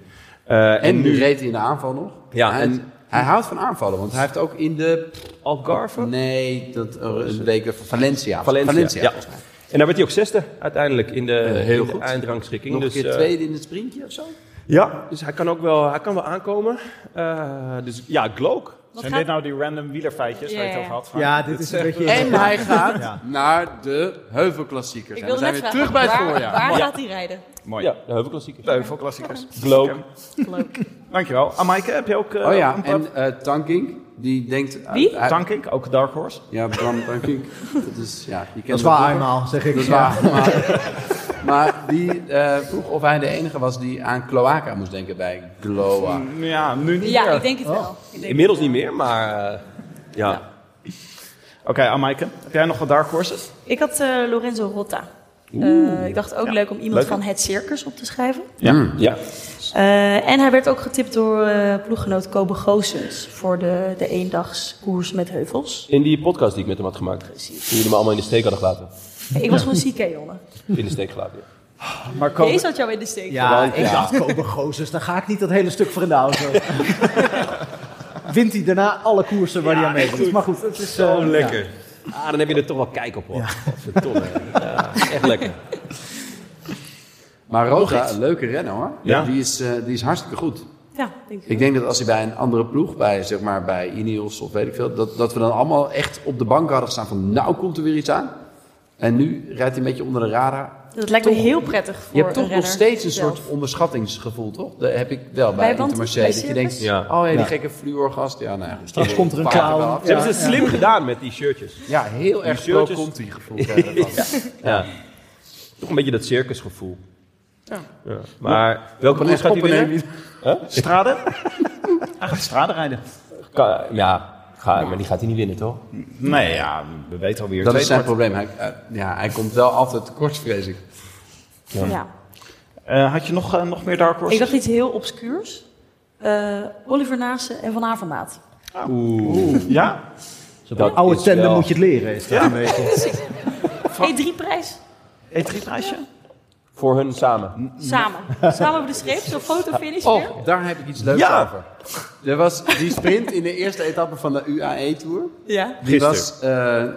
Speaker 8: Eh,
Speaker 7: En nu reed hij in de aanval nog.
Speaker 8: Ja,
Speaker 7: en
Speaker 8: en-
Speaker 7: hij houdt van aanvallen, want hij heeft ook in de...
Speaker 8: Algarve?
Speaker 7: Nee, dat, eh, een week van Valencia.
Speaker 8: Oh. Valencia, ja.
Speaker 7: volgens mij.
Speaker 8: En daar werd hij ook zesde uiteindelijk in de,
Speaker 7: heel
Speaker 8: in de
Speaker 7: goed.
Speaker 8: eindrangschikking.
Speaker 7: Nog
Speaker 8: dus,
Speaker 7: een keer
Speaker 8: eh,
Speaker 7: tweede in het sprintje of zo?
Speaker 8: Ja, dus hij kan ook wel, hij kan wel aankomen. Eh, dus ja, Glock.
Speaker 5: Wat
Speaker 3: Zijn
Speaker 5: gaat-
Speaker 3: dit nou die random wielerfeitjes waar je het
Speaker 5: Ja,
Speaker 3: over had?
Speaker 11: Ja, dit is een beetje...
Speaker 7: En hij gaat
Speaker 11: Ja.
Speaker 7: naar de heuvelklassiekers.
Speaker 5: Ik
Speaker 7: En we
Speaker 5: wilde
Speaker 7: zijn
Speaker 5: net
Speaker 7: weer
Speaker 5: vragen,
Speaker 7: terug bij het
Speaker 5: waar,
Speaker 7: voorjaar.
Speaker 5: waar gaat hij rijden?
Speaker 3: Mooi.
Speaker 8: Ja, de heuvelklassieker.
Speaker 3: Leuk, veel klassiekers.
Speaker 8: Glock.
Speaker 5: Leuk.
Speaker 3: Dankjewel. Amaike, heb je ook... eh,
Speaker 7: Oh ja,
Speaker 3: een-
Speaker 7: en eh, Tankink, die denkt...
Speaker 5: Wie?
Speaker 7: hij-
Speaker 3: Tankink, ook Dark Horse.
Speaker 7: Ja, Bram Tankink. Dat is, ja, je kent
Speaker 11: Dat is
Speaker 7: hem
Speaker 11: waar,
Speaker 7: vroeger.
Speaker 11: eenmaal, zeg ik.
Speaker 7: Dat is
Speaker 11: Ja.
Speaker 7: waar. Maar, maar die eh, vroeg of hij de enige was die aan Cloaca moest denken bij Gloa.
Speaker 3: Ja, nu niet
Speaker 5: Ja,
Speaker 3: meer.
Speaker 5: ik denk het wel. Ik denk
Speaker 8: Inmiddels
Speaker 5: het
Speaker 8: niet
Speaker 5: wel.
Speaker 8: meer, maar eh, ja.
Speaker 3: Oké, Amaike, heb jij nog wat Dark Horses?
Speaker 5: Ik had eh, Lorenzo Rotta. Eh, ik dacht ook leuk om iemand
Speaker 8: Leuk, hè?
Speaker 5: van het circus op te schrijven.
Speaker 7: Hmm.
Speaker 8: Ja. ja.
Speaker 5: Eh, en hij werd ook getipt door eh, ploeggenoot Kobe Goossens voor de, de eendagskoers met heuvels.
Speaker 8: In die podcast die ik met hem had gemaakt.
Speaker 5: Precies.
Speaker 8: Toen jullie me allemaal in de steek hadden gelaten.
Speaker 5: Ik was gewoon ziek, hè, jongen.
Speaker 8: In de steek gelaten, ja.
Speaker 3: Maar Kobe-
Speaker 5: Deze had jou in de steek.
Speaker 11: Ja, ik dacht, Kobe Gozes, dan ga ik niet dat hele stuk voor in de auto. Wint hij daarna alle koersen waar hij aan meedoet. Maar goed, het is... eh,
Speaker 8: Oh,
Speaker 11: ja.
Speaker 8: lekker. Ah, dan heb je er toch wel kijk op, hoor. Godverdomme. Ja, echt lekker.
Speaker 7: Maar Roga, een leuke renner hoor.
Speaker 8: Ja.
Speaker 7: Die, is, eh, die is hartstikke goed.
Speaker 5: Ja, denk ik.
Speaker 7: Ik denk dat als hij bij een andere ploeg, bij, zeg maar, bij Ineos of weet ik veel, dat, dat we dan allemaal echt op de bank hadden gestaan van nou komt er weer iets aan. En nu rijdt hij een beetje onder de radar.
Speaker 5: Dat lijkt me heel prettig voor
Speaker 7: Je hebt toch
Speaker 5: een
Speaker 7: nog
Speaker 5: renner
Speaker 7: steeds een
Speaker 5: zelf.
Speaker 7: soort onderschattingsgevoel, toch? Dat heb ik wel
Speaker 5: Bij
Speaker 7: bij,
Speaker 5: want-
Speaker 7: Intermarché.
Speaker 5: bij
Speaker 7: Dat je
Speaker 5: circus?
Speaker 7: denkt,
Speaker 8: Ja.
Speaker 7: oh ja, die
Speaker 11: Ja.
Speaker 7: gekke fluorgast. Ja, nou ja, goed.
Speaker 11: Straks komt er een
Speaker 7: Vaak wel
Speaker 11: clown.
Speaker 7: af.
Speaker 8: Ze hebben het slim gedaan met die shirtjes.
Speaker 7: Ja, heel
Speaker 8: Die
Speaker 7: erg pro
Speaker 8: shirtjes.
Speaker 7: Conti gevoel. krijg je ervan.
Speaker 8: Ja. Toch een beetje dat circusgevoel. Ja. Maar welke koers gaat hij
Speaker 7: Oppenheim.
Speaker 8: winnen?
Speaker 3: Strade? Hij gaat strade rijden.
Speaker 8: Ka- Ja, ga, maar die gaat hij niet winnen, toch?
Speaker 3: Nee, ja, we weten alweer.
Speaker 7: Dat is zijn probleem. Hij, eh, ja, hij komt wel altijd tekort, vrees ik.
Speaker 5: Ja.
Speaker 3: Eh, had je nog, eh, nog meer Dark Horses?
Speaker 5: Ik dacht iets heel obscuurs. Eh, Oliver Naassen en Van Avermaat.
Speaker 3: Ja?
Speaker 8: Dat
Speaker 11: Oude
Speaker 8: is
Speaker 11: tenden
Speaker 8: wel-
Speaker 11: moet je het leren, is dat een beetje.
Speaker 5: E3-prijs.
Speaker 3: E E3-prijsje?
Speaker 8: Voor hun samen.
Speaker 5: Samen. Samen op de streep. Zo'n fotofinish weer.
Speaker 7: Oh, daar heb ik iets leuks
Speaker 8: Ja.
Speaker 7: over. Er was die sprint in de eerste etappe van de E UAE-tour.
Speaker 5: Ja.
Speaker 7: Die was, eh,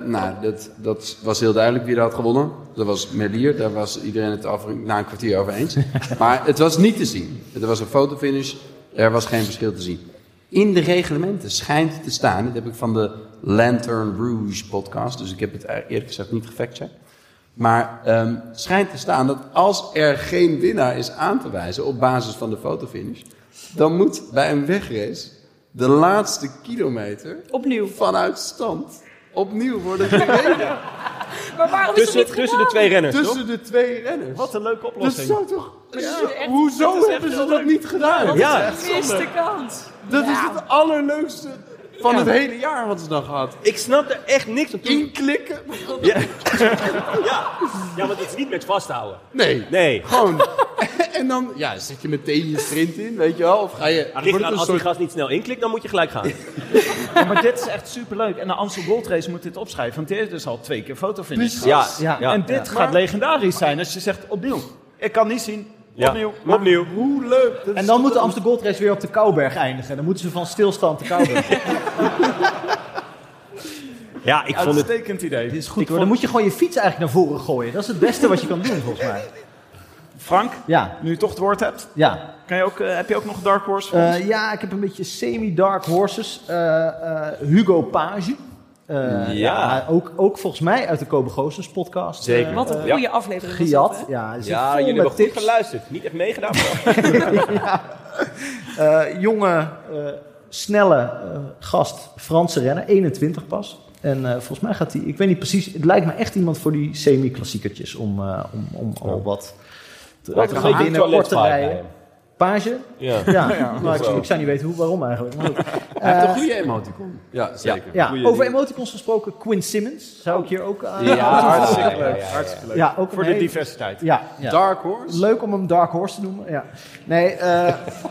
Speaker 7: nou, dat, dat was heel duidelijk wie er had gewonnen. Dat was Merlier, daar was iedereen het af, na een kwartier over eens. Maar het was niet te zien. Er was een fotofinish, er was geen verschil te zien. In de reglementen schijnt te staan, dit heb ik van de Lantern Rouge podcast, dus ik heb het eigenlijk eerlijk gezegd niet gefactcheckt. Maar ehm, schijnt te staan dat als er geen winnaar is aan te wijzen op basis van de fotofinish, dan moet bij een wegrace de laatste kilometer
Speaker 5: opnieuw
Speaker 7: vanuit stand opnieuw worden gereden.
Speaker 5: Maar waarom
Speaker 8: is Tussen- het niet tussen de gedaan? twee renners,
Speaker 7: Tussen
Speaker 8: toch?
Speaker 7: de twee renners.
Speaker 8: Wat een leuke
Speaker 7: Dat
Speaker 8: oplossing.
Speaker 7: zou toch...
Speaker 8: Dat
Speaker 7: Ja,
Speaker 8: is echt-
Speaker 7: hoezo
Speaker 8: dat is echt
Speaker 7: hebben ze
Speaker 8: heel
Speaker 7: dat
Speaker 8: leuk.
Speaker 7: niet gedaan?
Speaker 8: Wat Ja. een
Speaker 5: Eerste kans.
Speaker 7: Dat is het allerleukste van
Speaker 8: Ja.
Speaker 7: het hele jaar wat ze dan gehad.
Speaker 8: Ik snap er echt niks van.
Speaker 7: Inklikken.
Speaker 8: Ja. ja. ja, want het is niet met vasthouden.
Speaker 7: Nee.
Speaker 8: Nee.
Speaker 7: Gewoon. en dan ja, zet je meteen je sprint in, weet je wel? Of ga je...
Speaker 8: Het
Speaker 7: wordt
Speaker 8: ligt
Speaker 7: het
Speaker 8: eraan,
Speaker 7: een
Speaker 8: als die
Speaker 7: soort-
Speaker 8: gast niet snel inklikt, dan moet je gelijk gaan.
Speaker 3: Ja, maar dit is echt superleuk. En de Amstel Gold Race moet dit opschrijven. Want dit is dus al twee keer fotofinish.
Speaker 8: Precies. Ja, ja, ja.
Speaker 3: En dit
Speaker 8: Ja.
Speaker 3: gaat
Speaker 8: Maar-
Speaker 3: legendarisch zijn als je zegt opnieuw. Ik kan niet zien.
Speaker 8: Ja,
Speaker 3: Opnieuw.
Speaker 8: maar opnieuw.
Speaker 7: Hoe leuk.
Speaker 2: En dan moet de Amsterdam Gold Race weer op de Kouberg eindigen. Dan moeten ze van stilstand de Kouberg.
Speaker 8: Ja, ik vond het...
Speaker 3: Uitstekend idee. Dit is
Speaker 2: Goed hoor, dan moet je gewoon je fiets eigenlijk naar voren gooien. Dat is het beste wat je kan doen volgens mij.
Speaker 3: Frank,
Speaker 2: Ja.
Speaker 3: nu je toch het woord hebt.
Speaker 2: Ja.
Speaker 3: Kan je ook, eh, heb je ook nog een Dark Horse? voor ons?
Speaker 2: Eh, ja, ik heb een beetje semi-dark horses. Eh, eh, Hugo Page. Eh,
Speaker 8: Ja.
Speaker 2: ook, ook volgens mij uit de Kobe Goossens podcast.
Speaker 8: Zeker.
Speaker 2: Eh,
Speaker 5: Wat een
Speaker 2: eh,
Speaker 5: goede aflevering. was dat,
Speaker 2: Giat.
Speaker 5: hè?
Speaker 2: Ja, zit
Speaker 8: Ja,
Speaker 2: vol
Speaker 8: jullie
Speaker 2: met
Speaker 8: hebben goed
Speaker 2: tips.
Speaker 8: geluisterd. Niet echt meegedaan.
Speaker 2: Eh, jonge, eh, snelle eh, gast, Franse renner, 21 pas. En eh, volgens mij gaat hij, ik weet niet precies, het lijkt me echt iemand voor die semi-klassiekertjes om, eh, om, om al wat te
Speaker 8: Lijkt
Speaker 2: te
Speaker 8: een beetje een
Speaker 2: korte
Speaker 8: toiletvibe bij
Speaker 2: rijen.
Speaker 8: hem.
Speaker 2: Page?
Speaker 8: Ja.
Speaker 2: ja,
Speaker 8: Ja,
Speaker 2: maar ik,
Speaker 8: wel.
Speaker 2: ik zou niet weten hoe, waarom eigenlijk. Maar goed.
Speaker 7: Hij heeft
Speaker 2: Eh,
Speaker 7: een goede emoticon. Ja, zeker.
Speaker 2: ja,
Speaker 7: Goeie
Speaker 2: over
Speaker 7: die-
Speaker 2: emoticons gesproken, Quinn Simmons zou ik hier ook aan
Speaker 7: Ja, hartstikke
Speaker 3: Hartstikke leuk. Hartstikke leuk.
Speaker 2: Ja, ook een
Speaker 3: Voor de
Speaker 2: hele-
Speaker 3: diversiteit.
Speaker 2: Ja, ja.
Speaker 7: Dark Horse.
Speaker 2: Leuk om hem Dark Horse te noemen. Ja. Nee, eh,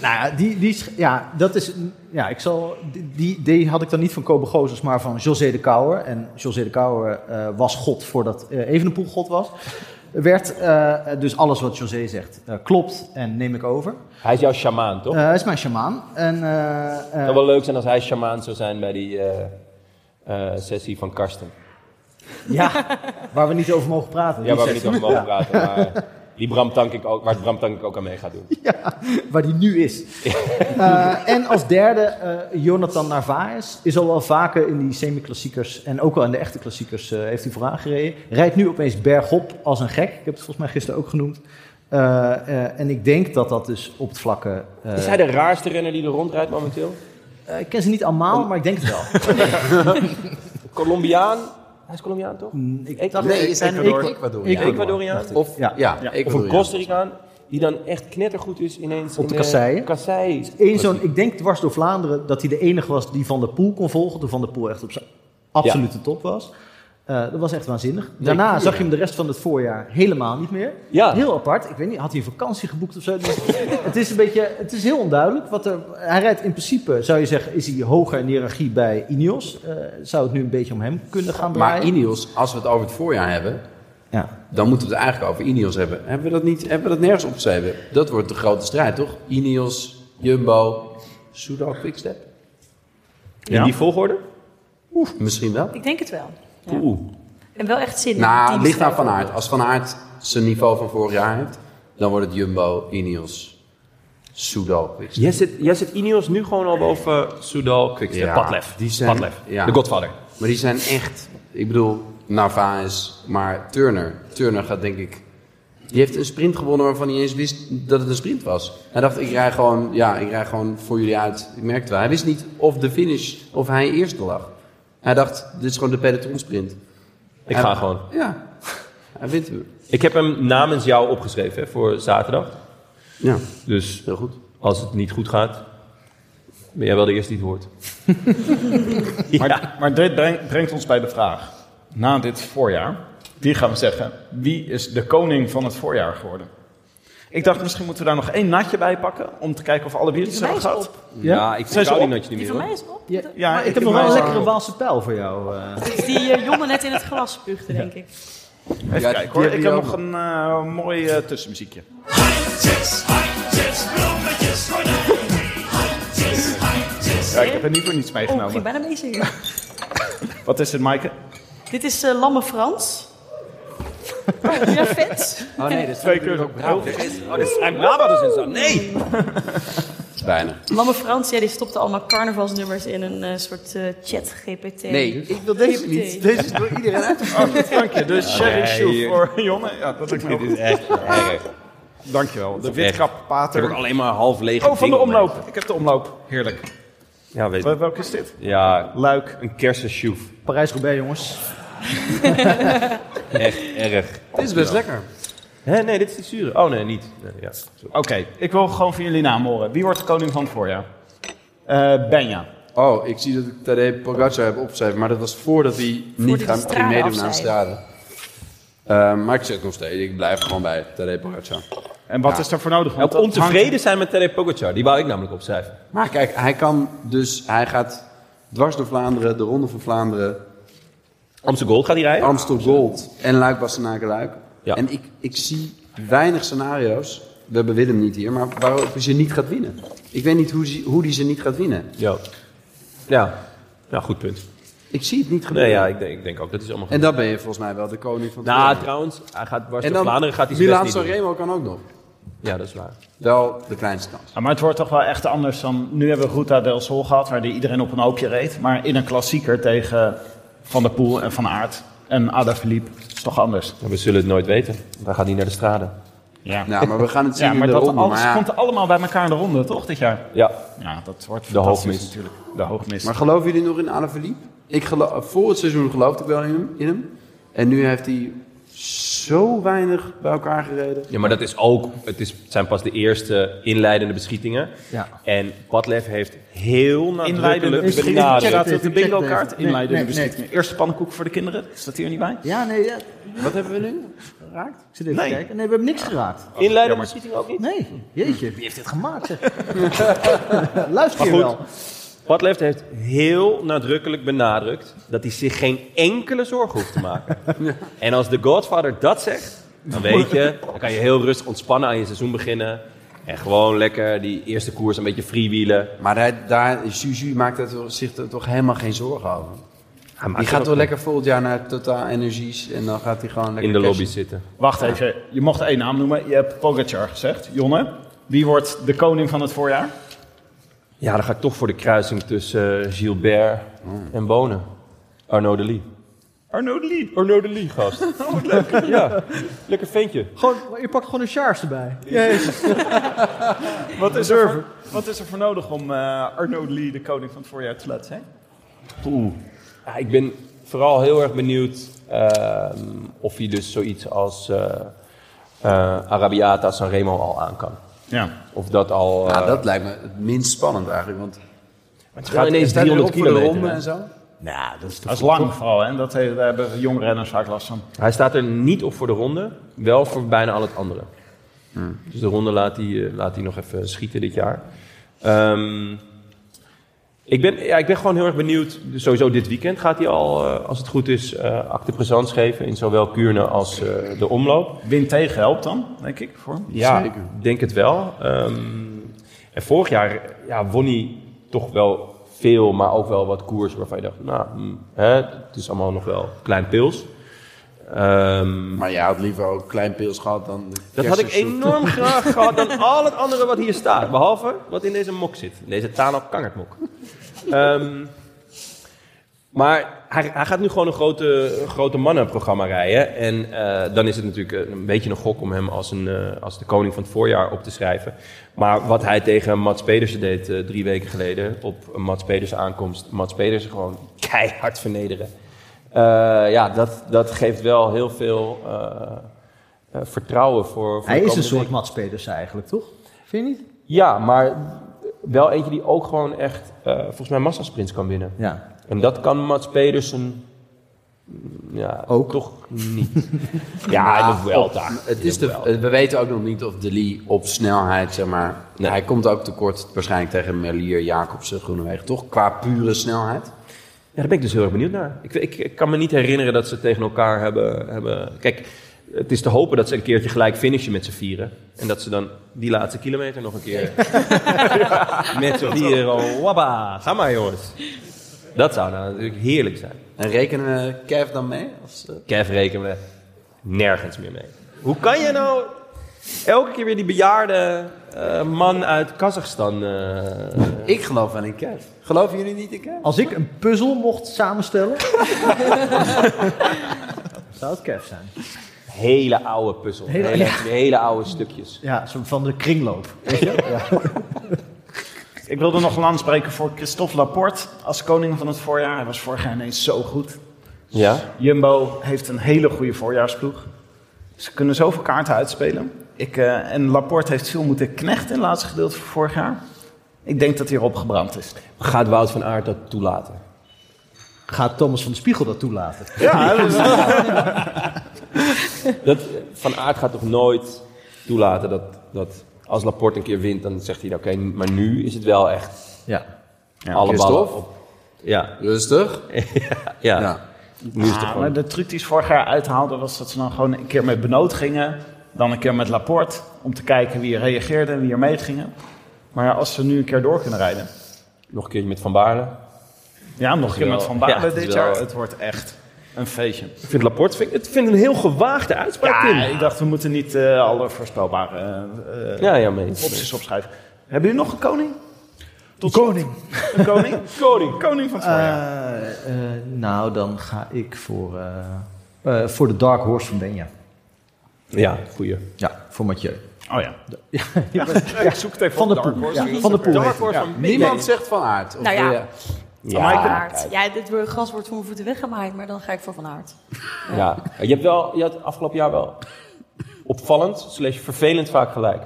Speaker 2: nou ja, die, die, is- ja, dat is. een- Ja, ik zal, die- die, die had ik dan niet van Kobe Gozers, maar van José de Kouwer. En José de Kouwer eh, was God voordat eh, Evenepoel God was. Werd, eh, dus alles wat José zegt eh, klopt en neem ik over.
Speaker 8: Hij is jouw shamaan, toch?
Speaker 2: Eh, hij is mijn shamaan. En, eh, eh,
Speaker 8: Het zou wel leuk zijn als hij shamaan zou zijn bij die eh, eh, sessie van Karsten.
Speaker 2: ja, waar we niet over mogen praten.
Speaker 8: Ja,
Speaker 2: die
Speaker 8: waar we niet
Speaker 2: sessie.
Speaker 8: over mogen
Speaker 2: Ja.
Speaker 8: praten. Maar die Bram Tank ik ook, waar Bram Tank ik ook aan mee gaat doen.
Speaker 2: Ja, waar die nu is. Eh, en als derde, eh, Jonathan Narvaez is al wel vaker in die semi-klassiekers en ook wel in de echte klassiekers eh, heeft hij vooraan gereden. Rijdt nu opeens bergop als een gek. Ik heb het volgens mij gisteren ook genoemd. Eh, eh, en ik denk dat dat dus op het vlakke... eh,
Speaker 8: Is hij de raarste renner die er rondrijdt momenteel?
Speaker 2: eh, ik ken ze niet allemaal, maar ik denk het wel.
Speaker 8: Colombiaan? Hij is Colombiaan, toch?
Speaker 2: ik dacht,
Speaker 7: Nee, is hij een
Speaker 2: Ecuador.
Speaker 7: Ecuador.
Speaker 2: Ik-
Speaker 8: Ecuadoriaan?
Speaker 7: Of, ja,
Speaker 2: Ja.
Speaker 8: Of een Costa Ricaan? Die dan echt knettergoed is ineens.
Speaker 2: Op de
Speaker 8: in, eh,
Speaker 2: kasseien?
Speaker 8: kasseien.
Speaker 2: Eén zo'n, ik denk dwars door Vlaanderen, dat hij de enige was die Van der Poel kon volgen. Toen Van der Poel echt op zijn absolute top was. Eh, dat was echt waanzinnig. Daarna
Speaker 7: cool,
Speaker 2: zag
Speaker 7: ja.
Speaker 2: je hem de rest van het voorjaar helemaal niet meer.
Speaker 8: Ja.
Speaker 2: Heel apart. Ik weet niet, had hij een vakantie geboekt of zo? Dus het is een beetje, het is heel onduidelijk. Wat er, hij rijdt in principe, zou je zeggen, is hij hoger in hiërarchie bij Ineos. Eh, zou het nu een beetje om hem kunnen gaan draaien?
Speaker 7: Maar Ineos, als we het over het voorjaar hebben,
Speaker 2: Ja.
Speaker 7: dan moeten we het eigenlijk over Ineos hebben. Hebben we dat, niet, hebben we dat nergens opgeschreven? Dat wordt de grote strijd, toch? Ineos, Jumbo, Soudal, Quickstep?
Speaker 8: In die volgorde?
Speaker 7: Oef, misschien wel.
Speaker 5: Ik denk het wel. Ja.
Speaker 8: Oeh.
Speaker 5: En wel echt zin in.
Speaker 7: Nou, het
Speaker 5: die
Speaker 7: ligt aan Van
Speaker 5: teamstrijd.
Speaker 7: Aert. Als Van Aert zijn niveau van vorig jaar heeft, dan wordt het Jumbo, Ineos, Soudal, Quickstep.
Speaker 8: Jij zit, jij zit Ineos nu gewoon al boven Soudal, Quickstep,
Speaker 7: Ja,
Speaker 8: Padlef.
Speaker 7: die zijn-
Speaker 8: Padlef,
Speaker 7: ja.
Speaker 8: de Godfather.
Speaker 7: Maar die zijn echt, ik bedoel, Narvaez, maar Turner. Turner gaat denk ik, die heeft een sprint gewonnen waarvan hij niet eens wist dat het een sprint was. Hij dacht, ik rij gewoon, ja, ik rij gewoon voor jullie uit. Ik merkte wel, hij wist niet of de finish, of hij eerste lag. Hij dacht, dit is gewoon de pelotonsprint.
Speaker 8: Ik
Speaker 7: Hij-
Speaker 8: ga gewoon.
Speaker 7: Ja, hij wint hem.
Speaker 8: Ik heb hem namens jou opgeschreven hè, voor zaterdag.
Speaker 7: Ja,
Speaker 8: Dus
Speaker 7: heel goed.
Speaker 8: als het niet goed gaat, ben jij wel de eerste die het hoort.
Speaker 3: Maar, maar dit breng- brengt ons bij de vraag. Na dit voorjaar, die gaan we zeggen, wie is de koning van het voorjaar geworden? Ik dacht, misschien moeten we daar nog één natje bij pakken, om te kijken of alle bieren
Speaker 5: Die
Speaker 3: het
Speaker 5: van mij
Speaker 3: hebben
Speaker 5: is
Speaker 3: gehad.
Speaker 5: op.
Speaker 8: Ja,
Speaker 2: Ja?
Speaker 8: ik
Speaker 3: Zijn ze
Speaker 8: vertrouw die
Speaker 3: op?
Speaker 8: notje
Speaker 5: Die
Speaker 8: niet meer.
Speaker 5: van
Speaker 8: hoor.
Speaker 5: mij is op.
Speaker 2: Ja,
Speaker 5: Dat
Speaker 3: Ja,
Speaker 2: maar ik heb nog
Speaker 3: mij
Speaker 2: wel een
Speaker 3: is
Speaker 2: lekkere
Speaker 3: op.
Speaker 2: Waalse pijl voor jou. eh.
Speaker 5: is die eh, jongen net in het gras spuugde, denk ik.
Speaker 3: Even
Speaker 7: Ja, die
Speaker 3: kijken hoor,
Speaker 7: hebben
Speaker 3: ik heb
Speaker 7: die
Speaker 3: nog
Speaker 7: ook.
Speaker 3: een eh, mooi eh, tussenmuziekje. Ja, ik heb er niet voor niets
Speaker 5: Oh, ik ging
Speaker 3: meegenomen.
Speaker 5: bijna meezingen.
Speaker 3: Wat is het, Maaike?
Speaker 5: Dit is eh, Lamme Frans. Oh, heb je daar fans?
Speaker 7: Oh nee, dat is
Speaker 3: Twee keer.
Speaker 8: Oh, dit is zijn Brabant dus in zo. Nee!
Speaker 7: te weinig.
Speaker 5: Lamme Frans, ja, die stopte allemaal carnavalsnummers in een eh, soort eh, chat GPT.
Speaker 7: Nee, ik wil deze niet. Deze is door iedereen uitgevonden.
Speaker 3: Dank je. De sherry shoe voor Jonne. Ja, dat lukt me
Speaker 8: Dit is echt erg.
Speaker 3: Dankjewel. De
Speaker 8: Echt.
Speaker 3: witgrappater.
Speaker 8: Ik heb ook alleen maar half lege
Speaker 3: Oh, van de
Speaker 8: dingen
Speaker 3: omloop. Ik heb de omloop. Heerlijk.
Speaker 8: Ja, weet
Speaker 3: Wel- Welke is dit?
Speaker 8: Ja, Luik. Een kersensjoef.
Speaker 2: Parijs-Roubaix, jongens.
Speaker 8: Echt erg.
Speaker 7: Dit is best lekker.
Speaker 8: Hè, nee, dit is die zure. Oh nee, niet. Nee, ja.
Speaker 3: Oké, ik wil gewoon van jullie naam horen. Wie wordt de koning van het voorjaar? Eh, Benja.
Speaker 7: Oh, ik zie dat ik Tadej Pogacar heb opgeschreven, maar dat was voordat hij
Speaker 3: hij
Speaker 7: niet
Speaker 3: de
Speaker 7: gaan,
Speaker 3: stralen
Speaker 7: ging meedoen aan
Speaker 3: afzei.
Speaker 7: straden. Ehm, maar ik zit nog steeds, ik blijf gewoon bij Tadej Pogacar.
Speaker 3: En wat is daar voor nodig?
Speaker 8: Ja,
Speaker 7: Want
Speaker 8: op
Speaker 7: dat
Speaker 8: ontevreden
Speaker 7: hangt-
Speaker 8: zijn met Tadej Pogacar. Die wou ik namelijk opschrijven.
Speaker 7: Maar kijk, hij kan dus, hij gaat dwars door Vlaanderen, de Ronde van Vlaanderen.
Speaker 8: Amstel Gold gaat hij rijden?
Speaker 7: Amstel Gold en Luik Bastenaken Luik. En ik, ik zie weinig scenario's, we hebben Willem niet hier, maar waarop hij ze niet gaat winnen. Ik weet niet hoe, ze- hoe die ze niet gaat winnen.
Speaker 8: Ja. Ja. Ja, goed punt.
Speaker 7: Ik zie het niet gebeuren.
Speaker 8: Nee, ja, ik denk, ik denk ook. Dat is allemaal goed.
Speaker 7: En dat ben je volgens mij wel de koning van het
Speaker 8: Nou,
Speaker 7: voorjaar.
Speaker 8: trouwens, hij gaat dwars
Speaker 7: En
Speaker 8: door
Speaker 7: dan
Speaker 8: Vlaanderen gaat hij zijn
Speaker 7: Milaan
Speaker 8: best niet doen.
Speaker 7: Sanremo kan ook nog.
Speaker 8: Ja, dat is waar.
Speaker 7: Wel de kleinste kans.
Speaker 3: Ja, maar het wordt toch wel echt anders dan... Nu hebben we Ruta del Sol gehad, waar die iedereen op een hoopje reed. Maar in een klassieker tegen Van der Poel en Van Aert en Ada Philippe. is toch anders.
Speaker 8: we zullen het nooit weten. Want hij gaat niet naar de straden.
Speaker 3: Ja,
Speaker 7: Ja, maar we gaan het zien
Speaker 3: Ja,
Speaker 7: in
Speaker 3: maar
Speaker 7: de
Speaker 3: dat
Speaker 7: ronde,
Speaker 3: alles
Speaker 7: maar ja.
Speaker 3: komt allemaal bij elkaar in de ronde, toch, dit jaar?
Speaker 8: Ja.
Speaker 3: Ja, dat wordt
Speaker 8: De
Speaker 3: fantastisch
Speaker 8: hoogmis.
Speaker 3: natuurlijk. De hoogmis.
Speaker 7: Maar geloven jullie nog in Alaphilippe? Ik gelo- voor het seizoen geloofde ik wel in hem, in hem. En nu heeft hij zo weinig bij elkaar gereden.
Speaker 8: Ja, maar dat is ook... Het, is, het zijn pas de eerste inleidende beschietingen.
Speaker 7: Ja.
Speaker 8: En Padlef heeft heel
Speaker 3: Inleidende
Speaker 8: nadrukkelijk
Speaker 3: beschietingen. Staat
Speaker 8: benadrukt.
Speaker 3: dat op de bingo kaart?
Speaker 2: Nee,
Speaker 3: Inleidende
Speaker 2: nee,
Speaker 3: beschietingen. Eerste pannenkoek voor de kinderen. Staat hier niet bij?
Speaker 2: Ja, nee, ja.
Speaker 7: Wat hebben we nu?
Speaker 2: Geraakt? Ik zit even
Speaker 3: Nee.
Speaker 2: te kijken. Nee, we hebben niks geraakt.
Speaker 8: Inleidende beschieting ook niet?
Speaker 2: Nee, jeetje. Wie heeft dit gemaakt, zeg? Luister hier
Speaker 8: Maar
Speaker 2: wel.
Speaker 8: goed, Padlef heeft heel nadrukkelijk benadrukt dat hij zich geen enkele zorgen hoeft te maken. En als de Godfather dat zegt, dan weet je, dan kan je heel rustig ontspannen aan je seizoen beginnen. En gewoon lekker die eerste koers een beetje freewheelen.
Speaker 7: Maar daar, daar Juju maakt er toch- zich er toch helemaal geen zorgen over.
Speaker 8: maakt
Speaker 7: Die
Speaker 8: er ook
Speaker 7: gaat toch
Speaker 8: niet.
Speaker 7: lekker volgend jaar naar Totaal Energies en dan gaat hij gewoon lekker
Speaker 8: In de lobby
Speaker 7: cashen.
Speaker 8: zitten.
Speaker 3: Wacht
Speaker 7: Ja.
Speaker 3: even, je mocht één naam noemen. Je hebt Pogacar gezegd. Jonne, wie wordt de koning van het voorjaar?
Speaker 8: Ja, dan ga ik toch voor de kruising tussen eh, Gilbert en Bonen. Arnaud de Lee.
Speaker 3: Arnaud de Lee.
Speaker 8: Arnaud de Lee, gast.
Speaker 7: Oh,
Speaker 8: leuk. Ja, lekker ventje.
Speaker 2: Gewoon, je pakt gewoon een Charles erbij.
Speaker 3: Wat is, er voor, wat is er voor nodig om eh Arnaud de Lee de koning van het voorjaar te laten zijn?
Speaker 8: Oeh. Ja, ik ben vooral heel erg benieuwd ehm, of hij dus zoiets als eh eh Arabiata Sanremo al aan kan.
Speaker 3: Ja.
Speaker 8: Of dat al...
Speaker 7: Ja,
Speaker 8: eh,
Speaker 7: dat lijkt me het minst spannend eigenlijk. Want
Speaker 8: het gaat ineens
Speaker 7: staat hij
Speaker 8: 300
Speaker 7: erop voor de
Speaker 8: kilometer.
Speaker 7: ronde
Speaker 8: hè?
Speaker 7: en zo.
Speaker 8: Nou, dat is toch
Speaker 3: Dat is lang vooral, hè? Dat he- daar hebben jonge renners vaak last van.
Speaker 8: Hij staat er niet op voor de ronde, wel voor bijna al het andere.
Speaker 3: Hmm.
Speaker 8: Dus de ronde laat hij, eh, laat hij nog even schieten dit jaar. Ehm, ik, ben, ja, ik ben gewoon heel erg benieuwd. Dus Sowieso dit weekend gaat hij al, eh, als het goed is, eh acte présence geven in zowel Kuurne als eh, de omloop.
Speaker 3: Win tegen helpt dan, denk ik, voor hem.
Speaker 8: Ja, ik
Speaker 3: Zeker.
Speaker 8: denk het wel. Ehm, en vorig jaar ja, won hij toch wel veel, maar ook wel wat koers waarvan je dacht, nou, hm, hè, het is allemaal nog wel klein pils. Ehm,
Speaker 7: Maar jij had liever ook klein pils gehad dan... de
Speaker 8: dat had ik
Speaker 7: kersensoep.
Speaker 8: enorm graag gehad dan al het andere wat hier staat. Behalve wat in deze mok zit. In Deze Tanap Kangertmok. Ehm, maar hij, hij gaat nu gewoon een grote, een grote mannenprogramma rijden. En eh, dan is het natuurlijk een beetje een gok om hem als, een, eh, als de koning van het voorjaar op te schrijven. Maar wat hij tegen Mats Pedersen deed eh, drie weken geleden op een Mats Pedersen aankomst. Mats Pedersen gewoon keihard vernederen. Eh, ja, dat, dat geeft wel heel veel eh, eh, vertrouwen voor, voor
Speaker 2: Hij
Speaker 8: de
Speaker 2: is een
Speaker 8: komende
Speaker 2: soort Mats Pedersen eigenlijk, toch? Vind je niet?
Speaker 8: ja, maar wel eentje die ook gewoon echt, eh, volgens mij, massasprints kan winnen.
Speaker 2: Ja.
Speaker 8: En dat kan Mats Pedersen mm, ja, ook toch niet. ja, in de Vuelta.
Speaker 7: op- Het is de, we weten ook nog niet of De Lee op snelheid, zeg maar... Hij komt ook tekort waarschijnlijk tegen Merlier, Jacobsen, Groenewegen. Toch qua pure snelheid?
Speaker 8: Ja, daar ben ik dus heel erg benieuwd naar. Ik, ik, ik kan me niet herinneren dat ze tegen elkaar hebben, hebben... Kijk, het is te hopen dat ze een keertje gelijk finishen met z'n vieren. En dat ze dan die laatste kilometer nog een keer... met z'n vieren, wabba, ga maar jongens. Dat zou nou natuurlijk heerlijk zijn.
Speaker 7: En rekenen we Kev dan mee? Als, eh,
Speaker 8: Kev rekenen we nergens meer mee. Hoe kan je nou Elke keer weer die bejaarde eh, man uit Kazachstan. eh,
Speaker 7: Ik geloof wel in Kev. Geloven jullie niet in Kev?
Speaker 2: Als ik een puzzel mocht samenstellen, zou het Kev zijn.
Speaker 8: Hele oude puzzel.
Speaker 2: Hele-
Speaker 8: Hele,
Speaker 2: ja.
Speaker 8: hele oude stukjes.
Speaker 2: Ja, zo van de kringloop. Weet je? Ja.
Speaker 3: Ik wilde nog een aanspreken voor Christophe Laporte als koning van het voorjaar. Hij was vorig jaar ineens zo goed.
Speaker 8: Ja?
Speaker 3: Jumbo heeft een hele goede voorjaarsploeg. Ze kunnen zoveel kaarten uitspelen. Ik, eh, en Laporte heeft veel moeten knechten in het laatste gedeelte van vorig jaar. Ik denk dat hij erop gebrand is.
Speaker 8: Gaat Wout van Aert dat toelaten?
Speaker 2: Gaat Thomas van de Spiegel dat toelaten?
Speaker 3: Ja, dat is-
Speaker 8: Dat, van Aert gaat toch nooit toelaten dat, dat als Laporte een keer wint, dan zegt hij, nou, oké, maar nu is het wel echt
Speaker 2: ja.
Speaker 8: alle ballen
Speaker 7: Christophe?
Speaker 8: op. Ja.
Speaker 7: Rustig.
Speaker 8: ja, ja. Nu is het
Speaker 3: Ah,
Speaker 8: gewoon...
Speaker 3: maar de truc die ze vorig jaar uithaalden was dat ze dan gewoon een keer met Benoot gingen. Dan een keer met Laporte. Om te kijken wie er reageerde en wie er meegingen. Maar als ze nu een keer door kunnen rijden.
Speaker 8: Nog een keertje met Van Baarle.
Speaker 3: Ja, nog een keer
Speaker 8: Wel-
Speaker 3: met Van Baarle
Speaker 8: ja, het is
Speaker 3: dit
Speaker 8: wel-
Speaker 3: jaar. Het wordt echt een feestje.
Speaker 8: Ik vind Laporte vind, ik- het vind een heel gewaagde uitspraak,
Speaker 3: Ja,
Speaker 8: Tim.
Speaker 3: ik dacht we moeten niet eh, alle voorspelbare eh, eh,
Speaker 8: Ja, ja, mee.
Speaker 3: opties opschrijven. Hebben jullie nog een koning? Tot
Speaker 2: koning.
Speaker 3: Een koning? koning. Koning van het
Speaker 2: Oh,
Speaker 3: voorjaar.
Speaker 2: Eh, eh, nou, dan ga ik voor, eh, eh, voor de Dark Horse van Benja.
Speaker 8: Ja, goeie.
Speaker 2: Ja, voor Mathieu.
Speaker 3: Oh ja.
Speaker 2: Ja,
Speaker 3: ik zoek het even
Speaker 2: Van de
Speaker 3: op, Dark
Speaker 2: Poel.
Speaker 3: Horse.
Speaker 2: Ja, van de Poel.
Speaker 3: Dark
Speaker 2: heet hij.
Speaker 3: Horse
Speaker 2: Ja.
Speaker 3: van
Speaker 7: Niemand
Speaker 3: Nee.
Speaker 7: zegt van aard. Of
Speaker 5: Nou
Speaker 7: wil
Speaker 5: ja.
Speaker 7: je-
Speaker 8: Ja,
Speaker 5: Van
Speaker 8: ja,
Speaker 5: Aert. Ja, dit wordt- gras wordt voor mijn voeten weggemaaid, maar dan ga ik voor Van Aert.
Speaker 8: Je, hebt wel, je had afgelopen jaar wel opvallend, slash vervelend vaak gelijk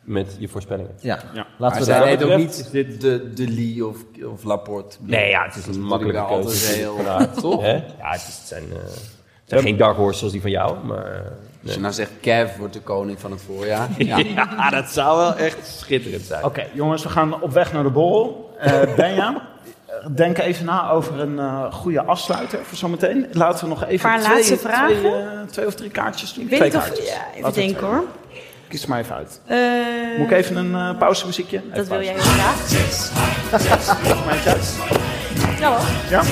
Speaker 8: met je voorspellingen.
Speaker 2: Ja.
Speaker 3: Ja.
Speaker 2: Laten we
Speaker 7: Maar zij
Speaker 2: daar...
Speaker 7: heet ook
Speaker 8: betreft
Speaker 7: niet de, de Lee of, of Laporte.
Speaker 8: Nee, ja, het is een
Speaker 7: Natuurlijk
Speaker 8: makkelijke
Speaker 7: wel
Speaker 8: keuze.
Speaker 7: altijd heel-
Speaker 8: Van Aert,
Speaker 7: Toch?
Speaker 8: Hè? Ja, het, is, het zijn, eh, het zijn geen dark horses zoals die van jou, maar... eh,
Speaker 7: Als
Speaker 8: nee.
Speaker 7: je nou zegt Kev wordt de koning van het voorjaar. Ja.
Speaker 8: Ja, dat zou wel echt schitterend zijn.
Speaker 3: Oké, jongens, we gaan op weg naar de borrel. Eh Benja, eh, denk even na over een eh, goede afsluiter voor zometeen. Laten we nog even
Speaker 5: Paar
Speaker 3: twee,
Speaker 5: laatste
Speaker 3: twee,
Speaker 5: vragen?
Speaker 3: eh, twee of drie kaartjes doen.
Speaker 5: Ik weet
Speaker 3: twee
Speaker 5: niet of...
Speaker 3: kaartjes.
Speaker 5: Ja, even
Speaker 3: Laten we
Speaker 5: denken
Speaker 3: twee
Speaker 5: hoor.
Speaker 3: doen. Kies er maar even uit.
Speaker 5: Eh,
Speaker 3: Moet ik even een eh, pauzemuziekje?
Speaker 5: Dat wil jij heel graag. Ja hoor.
Speaker 3: Ja.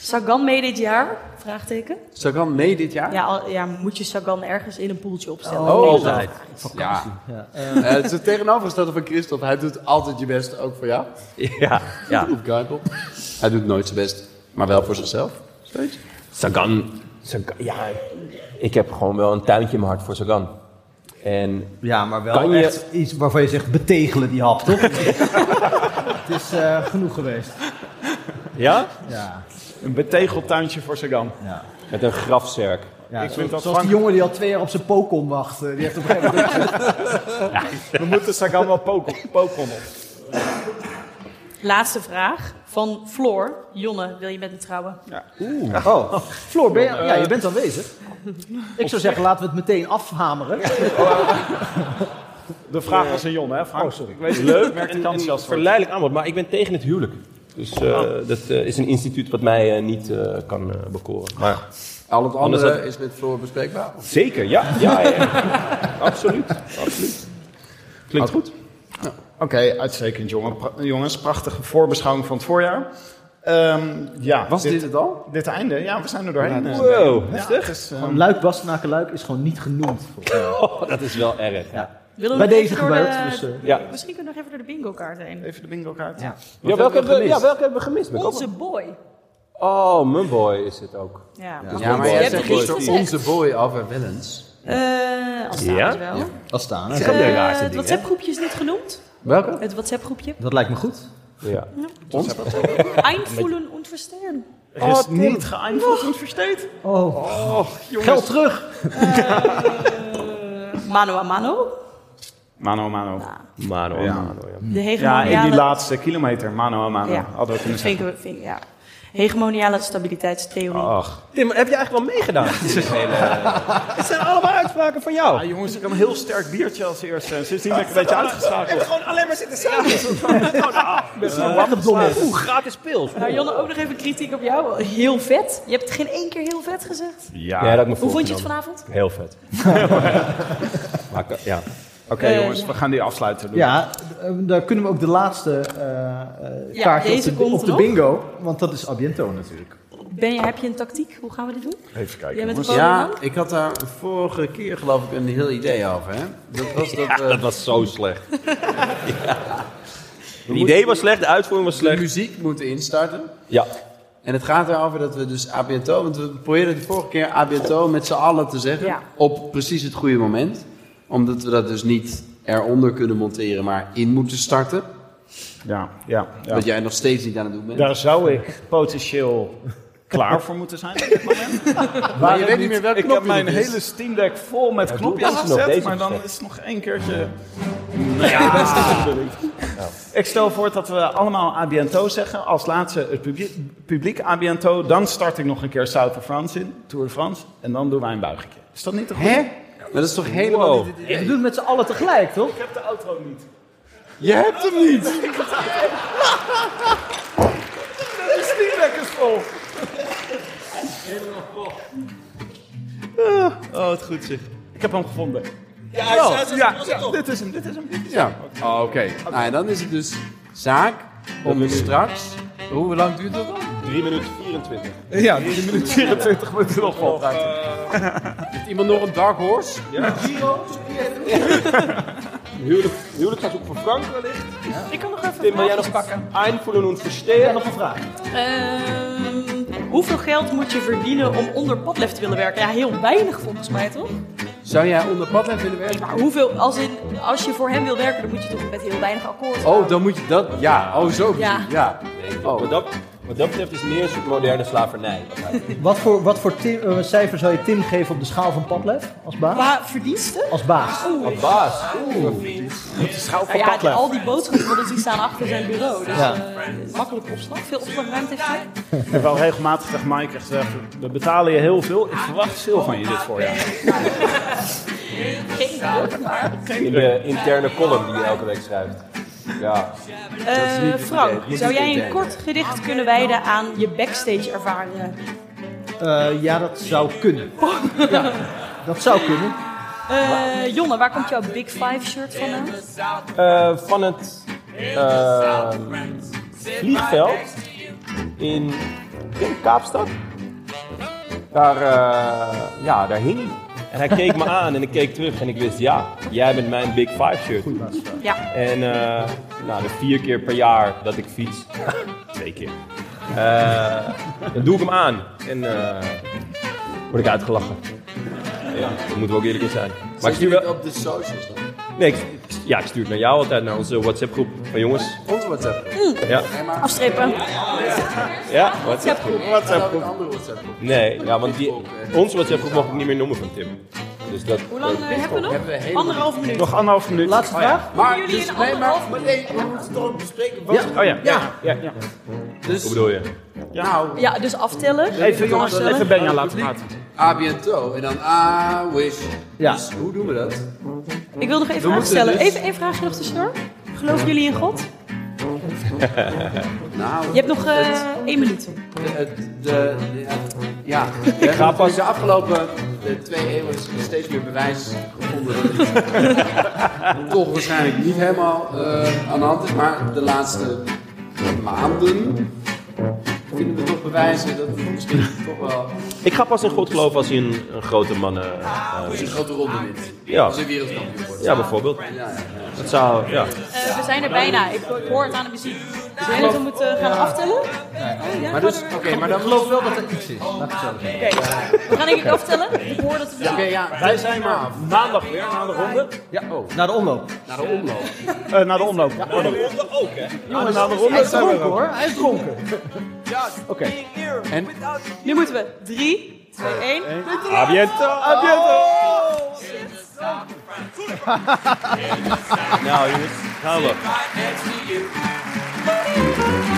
Speaker 5: Sagan mee dit jaar? Vraagteken.
Speaker 7: Sagan mee dit jaar?
Speaker 5: Ja, al- ja, moet je Sagan ergens in een poeltje opstellen?
Speaker 7: Oh,
Speaker 5: Nee,
Speaker 7: altijd.
Speaker 5: dat-
Speaker 7: Ja. Eh, het is het tegenovergestelde van Christophe. Hij doet altijd je best, ook voor jou.
Speaker 8: Ja, ja.
Speaker 7: Op Kuipel. Hij doet nooit zijn best, maar wel voor zichzelf. Steeds.
Speaker 8: Sagan, Sagan- Ja, ik heb gewoon wel een tuintje in mijn hart voor Sagan. En
Speaker 2: Ja, maar wel
Speaker 8: Kan je-
Speaker 2: echt iets waarvan je zegt betegelen die hap, toch? het is eh, genoeg geweest.
Speaker 8: ja?
Speaker 2: Ja,
Speaker 3: Een betegeld tuintje voor Sagan.
Speaker 2: ja.
Speaker 8: met een grafzerk.
Speaker 2: ja
Speaker 3: Ik
Speaker 2: zo-
Speaker 3: vind dat
Speaker 2: zoals die
Speaker 3: Frank-
Speaker 2: jongen die al twee jaar op zijn pokom wacht. eh, Die heeft op een gegeven moment...
Speaker 3: We moeten Sagan wel poken, poken op.
Speaker 5: Laatste vraag van Floor. Jonne, wil je met me trouwen?
Speaker 2: Oh, Floor, ben je, ja,
Speaker 3: eh,
Speaker 2: je bent aanwezig. Ik zou zeggen, laten we het meteen afhameren.
Speaker 3: De vraag was een Jon, hè Frank?
Speaker 2: Oh, sorry.
Speaker 3: Ik weet het,
Speaker 8: Leuk,
Speaker 3: ik merk
Speaker 8: en,
Speaker 3: het
Speaker 8: en
Speaker 3: enthousiast voor.
Speaker 8: verleidelijk aanbod, maar ik ben tegen het huwelijk. Dus eh, dat eh, is een instituut wat mij eh, niet eh, kan eh, bekoren. Maar
Speaker 7: Al het
Speaker 8: Anders
Speaker 7: andere
Speaker 8: had-
Speaker 7: is met Floor bespreekbaar.
Speaker 8: zeker, ja, ja, ja. absoluut, absoluut. Klinkt goed.
Speaker 3: Oh. Oké, uitstekend jongen. Pra- jongens. Prachtige voorbeschouwing van het voorjaar. Ehm, ja,
Speaker 7: Was dit het al?
Speaker 3: Dit einde? Ja, we zijn er doorheen. eh,
Speaker 8: Wow,
Speaker 3: Ja,
Speaker 8: heftig.
Speaker 3: het is, eh,
Speaker 2: Gewoon Luik Bastenaken Luik is gewoon niet genoemd. volgens mij.
Speaker 8: Oh, dat is wel erg. Ja,
Speaker 5: Willen we
Speaker 2: Bij
Speaker 5: nog
Speaker 2: deze
Speaker 5: even door de-
Speaker 2: gebeurd. Dus, eh,
Speaker 8: ja.
Speaker 5: Misschien kunnen we nog even door de bingo kaart heen.
Speaker 3: Even de bingo kaart.
Speaker 2: Ja.
Speaker 8: welke, hebben we, ja welke hebben we gemist? Ben ik ook
Speaker 5: Onze boy.
Speaker 8: wel- Oh, mijn boy is het ook.
Speaker 5: Ja.
Speaker 7: Ja, maar
Speaker 5: Je
Speaker 7: jij
Speaker 5: hebt het
Speaker 7: zegt
Speaker 5: niet
Speaker 7: gisteren
Speaker 5: gezegd.
Speaker 7: onze boy Alvar Willens.
Speaker 5: Eh, als
Speaker 8: Ja?
Speaker 5: ja? wel.
Speaker 2: Dat staan.
Speaker 8: Dat
Speaker 2: hè?
Speaker 8: is ook de
Speaker 5: Eh,
Speaker 8: raarste
Speaker 5: het
Speaker 8: ding, hè?
Speaker 5: WhatsApp-groepje is niet genoemd.
Speaker 7: Welke?
Speaker 5: Het WhatsApp-groepje.
Speaker 2: Dat lijkt me goed.
Speaker 8: Ja.
Speaker 5: Einvoelen und verstehen.
Speaker 3: Er is niet Oh, geëindigd en versteed.
Speaker 2: Oh, geld terug.
Speaker 5: Mano a mano.
Speaker 3: Mano, mano.
Speaker 8: Mano,
Speaker 3: Ja.
Speaker 8: mano, ja.
Speaker 5: De
Speaker 3: Ja, in die
Speaker 5: hegemoniale...
Speaker 3: laatste kilometer. Mano, a mano.
Speaker 5: Ja.
Speaker 3: Hadden we kunnen
Speaker 5: vind ik,
Speaker 3: zeggen.
Speaker 5: vind, ik- ja. Hegemoniale stabiliteitstheorie.
Speaker 3: Ach.
Speaker 8: Tim, heb je eigenlijk wel meegedaan? Het zijn allemaal uitspraken van jou.
Speaker 3: Ah, jongens, ik heb een heel sterk biertje als eerste. en Sindsdien ben ik een beetje uitgeschakeld.
Speaker 8: gewoon alleen maar zitten samen. Nou, gratis pils.
Speaker 5: Nou, Jonne, ook nog even kritiek op jou. Heel vet. Je hebt het geen één keer heel vet gezegd.
Speaker 8: Ja, dat had ik me
Speaker 5: Hoe vond je het
Speaker 8: voorgenomen.
Speaker 5: vanavond?
Speaker 8: Heel vet. maar, ik- ja.
Speaker 3: Oké,
Speaker 5: Eh,
Speaker 3: jongens, we gaan die afsluiten. Doen.
Speaker 2: Ja, eh, daar kunnen we ook de laatste eh, eh,
Speaker 5: Ja,
Speaker 2: kaartje
Speaker 5: deze
Speaker 2: op de,
Speaker 5: komt
Speaker 2: op de
Speaker 5: nog.
Speaker 2: bingo. Want dat is Abiento natuurlijk.
Speaker 5: Ben je, heb je een tactiek? Hoe gaan we dit doen?
Speaker 3: Even kijken,
Speaker 5: Jij bent
Speaker 3: jongens.
Speaker 5: een
Speaker 7: Ja,
Speaker 5: ja.
Speaker 7: ik had daar vorige keer geloof ik een heel idee over. Hè? Dat was dat, eh,
Speaker 8: dat was zo slecht. Het idee was slecht, de uitvoering was slecht.
Speaker 7: De muziek moeten instarten.
Speaker 8: Ja.
Speaker 7: En het gaat erover dat we dus abiato, want we probeerden de vorige keer abiato met z'n allen te zeggen.
Speaker 5: Ja.
Speaker 7: Op precies het goede moment. Omdat we dat dus niet eronder kunnen monteren, maar in moeten starten.
Speaker 3: Ja, ja. ja.
Speaker 7: Wat jij nog steeds niet aan het doen bent.
Speaker 3: Daar zou ik potentieel klaar voor moeten zijn op dit moment.
Speaker 7: Maar je weet niet meer welk
Speaker 3: Ik heb
Speaker 7: knopje
Speaker 3: mijn
Speaker 7: het is.
Speaker 3: hele Steam Deck vol met
Speaker 7: Ja, doe
Speaker 3: knopjes
Speaker 7: deze nog,
Speaker 3: gezet,
Speaker 7: deze
Speaker 3: maar dan
Speaker 7: nog.
Speaker 3: is het nog één keertje... Nou ja, ik stel voor dat we allemaal abiento zeggen. Als laatste het publiek, publiek abiento. Dan start ik nog een keer South of France in, Tour de France. En dan doen wij een buigetje. Is dat niet een goede?
Speaker 7: Hè? Maar dat is toch helemaal
Speaker 3: Wow.
Speaker 7: niet het
Speaker 2: Je doet het met z'n allen tegelijk, toch?
Speaker 3: Ik heb de outro niet.
Speaker 7: Je hebt hem niet!
Speaker 3: De Steam Deck is vol. Oh, het goed zeg. Ik heb hem gevonden. Ja,
Speaker 7: hij is- hij is- hij is- hij is-
Speaker 3: dit is hem, dit is hem.
Speaker 7: Ja, Oh, oké. Nou, en dan is het dus zaak om straks... Hoe lang duurt dat dan?
Speaker 8: 3 minuten 24.
Speaker 7: Ja, 3 minuten 24
Speaker 3: moeten we nog wel
Speaker 7: Heeft iemand nog een dark horse?
Speaker 8: Ja.
Speaker 7: Giro?
Speaker 8: Huwelijk, huwelijksverzoek voor Frank wellicht.
Speaker 5: Ik kan nog even
Speaker 8: Tim, wil jij nog pakken? Aanvoelen en verstehen. nog een vraag.
Speaker 5: Ehm, hoeveel geld moet je verdienen om onder padlef te willen werken? Ja, heel weinig volgens mij, toch?
Speaker 7: Zou jij onder padlef willen werken?
Speaker 5: Maar hoeveel, als, in, als je voor hem wil werken, dan moet je toch met heel weinig akkoord gaan.
Speaker 7: Oh, dan moet je dat... Ja, oh zo.
Speaker 5: Ja.
Speaker 7: precies. ja.
Speaker 8: Oh. Wat, dat, wat dat betreft is meer een soort moderne slavernij. wat hij-
Speaker 2: Wat voor, wat voor Tim- eh, cijfer zou je Tim geven op de schaal van Padlef als baas?
Speaker 5: Qua verdiensten?
Speaker 2: Als baas.
Speaker 8: Wat baas. Oeh.
Speaker 5: Nou ja, die- al die boodschappen die staan achter zijn bureau. Dus
Speaker 3: Ja.
Speaker 5: eh, makkelijk opslag. Veel opslagruimte heeft hij.
Speaker 3: Ik heb wel regelmatig tegen Mike gezegd, we betalen je heel veel. Ik verwacht veel van je dit voorjaar.
Speaker 5: Geen idee.
Speaker 8: In de interne column die je elke week schrijft. Ja.
Speaker 5: Eh,
Speaker 8: niet het idee.
Speaker 5: Frank,
Speaker 8: Dit is
Speaker 5: zou
Speaker 8: het
Speaker 5: jij
Speaker 8: idee.
Speaker 5: een kort gedicht kunnen wijden aan je backstage ervaringen?
Speaker 2: Eh, ja, dat zou kunnen. ja, dat zou kunnen.
Speaker 5: Eh, Jonne, waar komt jouw Big Five shirt vandaan?
Speaker 8: Eh, van het eh, vliegveld in ik denk Kaapstad. Daar, eh, ja, daar hing hij. En hij keek me aan en ik keek terug en ik wist, ja, jij bent mijn Big Five shirt.
Speaker 5: Ja.
Speaker 8: En eh, nou, de vier keer per jaar dat ik fiets, twee keer, Eh, dan doe ik hem aan en eh, word ik uitgelachen. Ja, daar moeten we ook eerlijk in zijn. Maar ik stuur wel,
Speaker 7: op de socials dan?
Speaker 8: Nee, ik, ik- ja, ik stuur het naar jou altijd, naar onze WhatsApp-groep van jongens.
Speaker 7: Onze WhatsApp.
Speaker 8: Ja,
Speaker 5: Afstrepen.
Speaker 8: ja WhatsApp-groep.
Speaker 7: Een andere WhatsApp.
Speaker 8: Nee, ja, want die, onze WhatsApp-groep mag ik niet meer noemen van Tim. Dus dat,
Speaker 5: Hoe lang eh, hebben we nog? Anderhalf minuut.
Speaker 3: Nog anderhalf minuut.
Speaker 2: Laatste vraag?
Speaker 7: Maar,
Speaker 5: jullie
Speaker 7: dus,
Speaker 5: een
Speaker 7: nee, maar,
Speaker 5: anderhalf
Speaker 7: maar nee, we moeten toch ook bespreken. wat-
Speaker 3: Oh ja.
Speaker 7: Ja.
Speaker 3: ja, ja.
Speaker 7: Dus,
Speaker 8: Hoe bedoel je?
Speaker 7: nou,
Speaker 5: Ja, dus aftellen.
Speaker 3: Even jongens, even Benja laten praten.
Speaker 7: A, bientôt. En dan I wish.
Speaker 2: Ja.
Speaker 7: Dus hoe doen we dat?
Speaker 5: Ik wil nog even vraag
Speaker 7: moeten
Speaker 5: stellen.
Speaker 7: dus-
Speaker 5: Even één vraagje nog tussendoor. Geloven jullie in God?
Speaker 7: Nou,
Speaker 5: Je hebt nog eh, één minuut.
Speaker 7: het, de, de- ja, ik ga pas de afgelopen eh, twee eeuwen is er steeds meer bewijs gevonden dat het toch waarschijnlijk niet helemaal eh, aan de hand is. Maar de laatste maanden vinden we toch bewijzen dat het misschien toch wel
Speaker 8: Ik ga pas in God geloven als hij een, een grote man... eh, eh,
Speaker 7: een grote ronde wint.
Speaker 8: ja.
Speaker 7: Als hij wereldkampioen wordt.
Speaker 8: ja, bijvoorbeeld. Dat zou, ja.
Speaker 5: Eh, we zijn er bijna. Ik hoor het aan de muziek. Zijn jullie moeten gaan aftellen? Oh, ja,
Speaker 7: Maar dus, oké, maar dan geloof wel dat er iets is.
Speaker 5: We gaan denk ik aftellen. Ik hoor dat
Speaker 7: Oké,
Speaker 5: we...
Speaker 7: ja.
Speaker 3: Wij zijn maar maandag weer, na de ronde.
Speaker 7: Ja, oh,
Speaker 2: Naar de omloop.
Speaker 7: naar de omloop.
Speaker 3: Eh naar de omloop. Ja, naar de ronde ook, hè? Jongens, naar de ronde zijn we er ook.
Speaker 2: hoor, hij is dronken.
Speaker 3: Oké.
Speaker 5: Nu moeten we. 3, 2, 1.
Speaker 3: Abiento, abiento.
Speaker 8: Nou jongens, gaan we.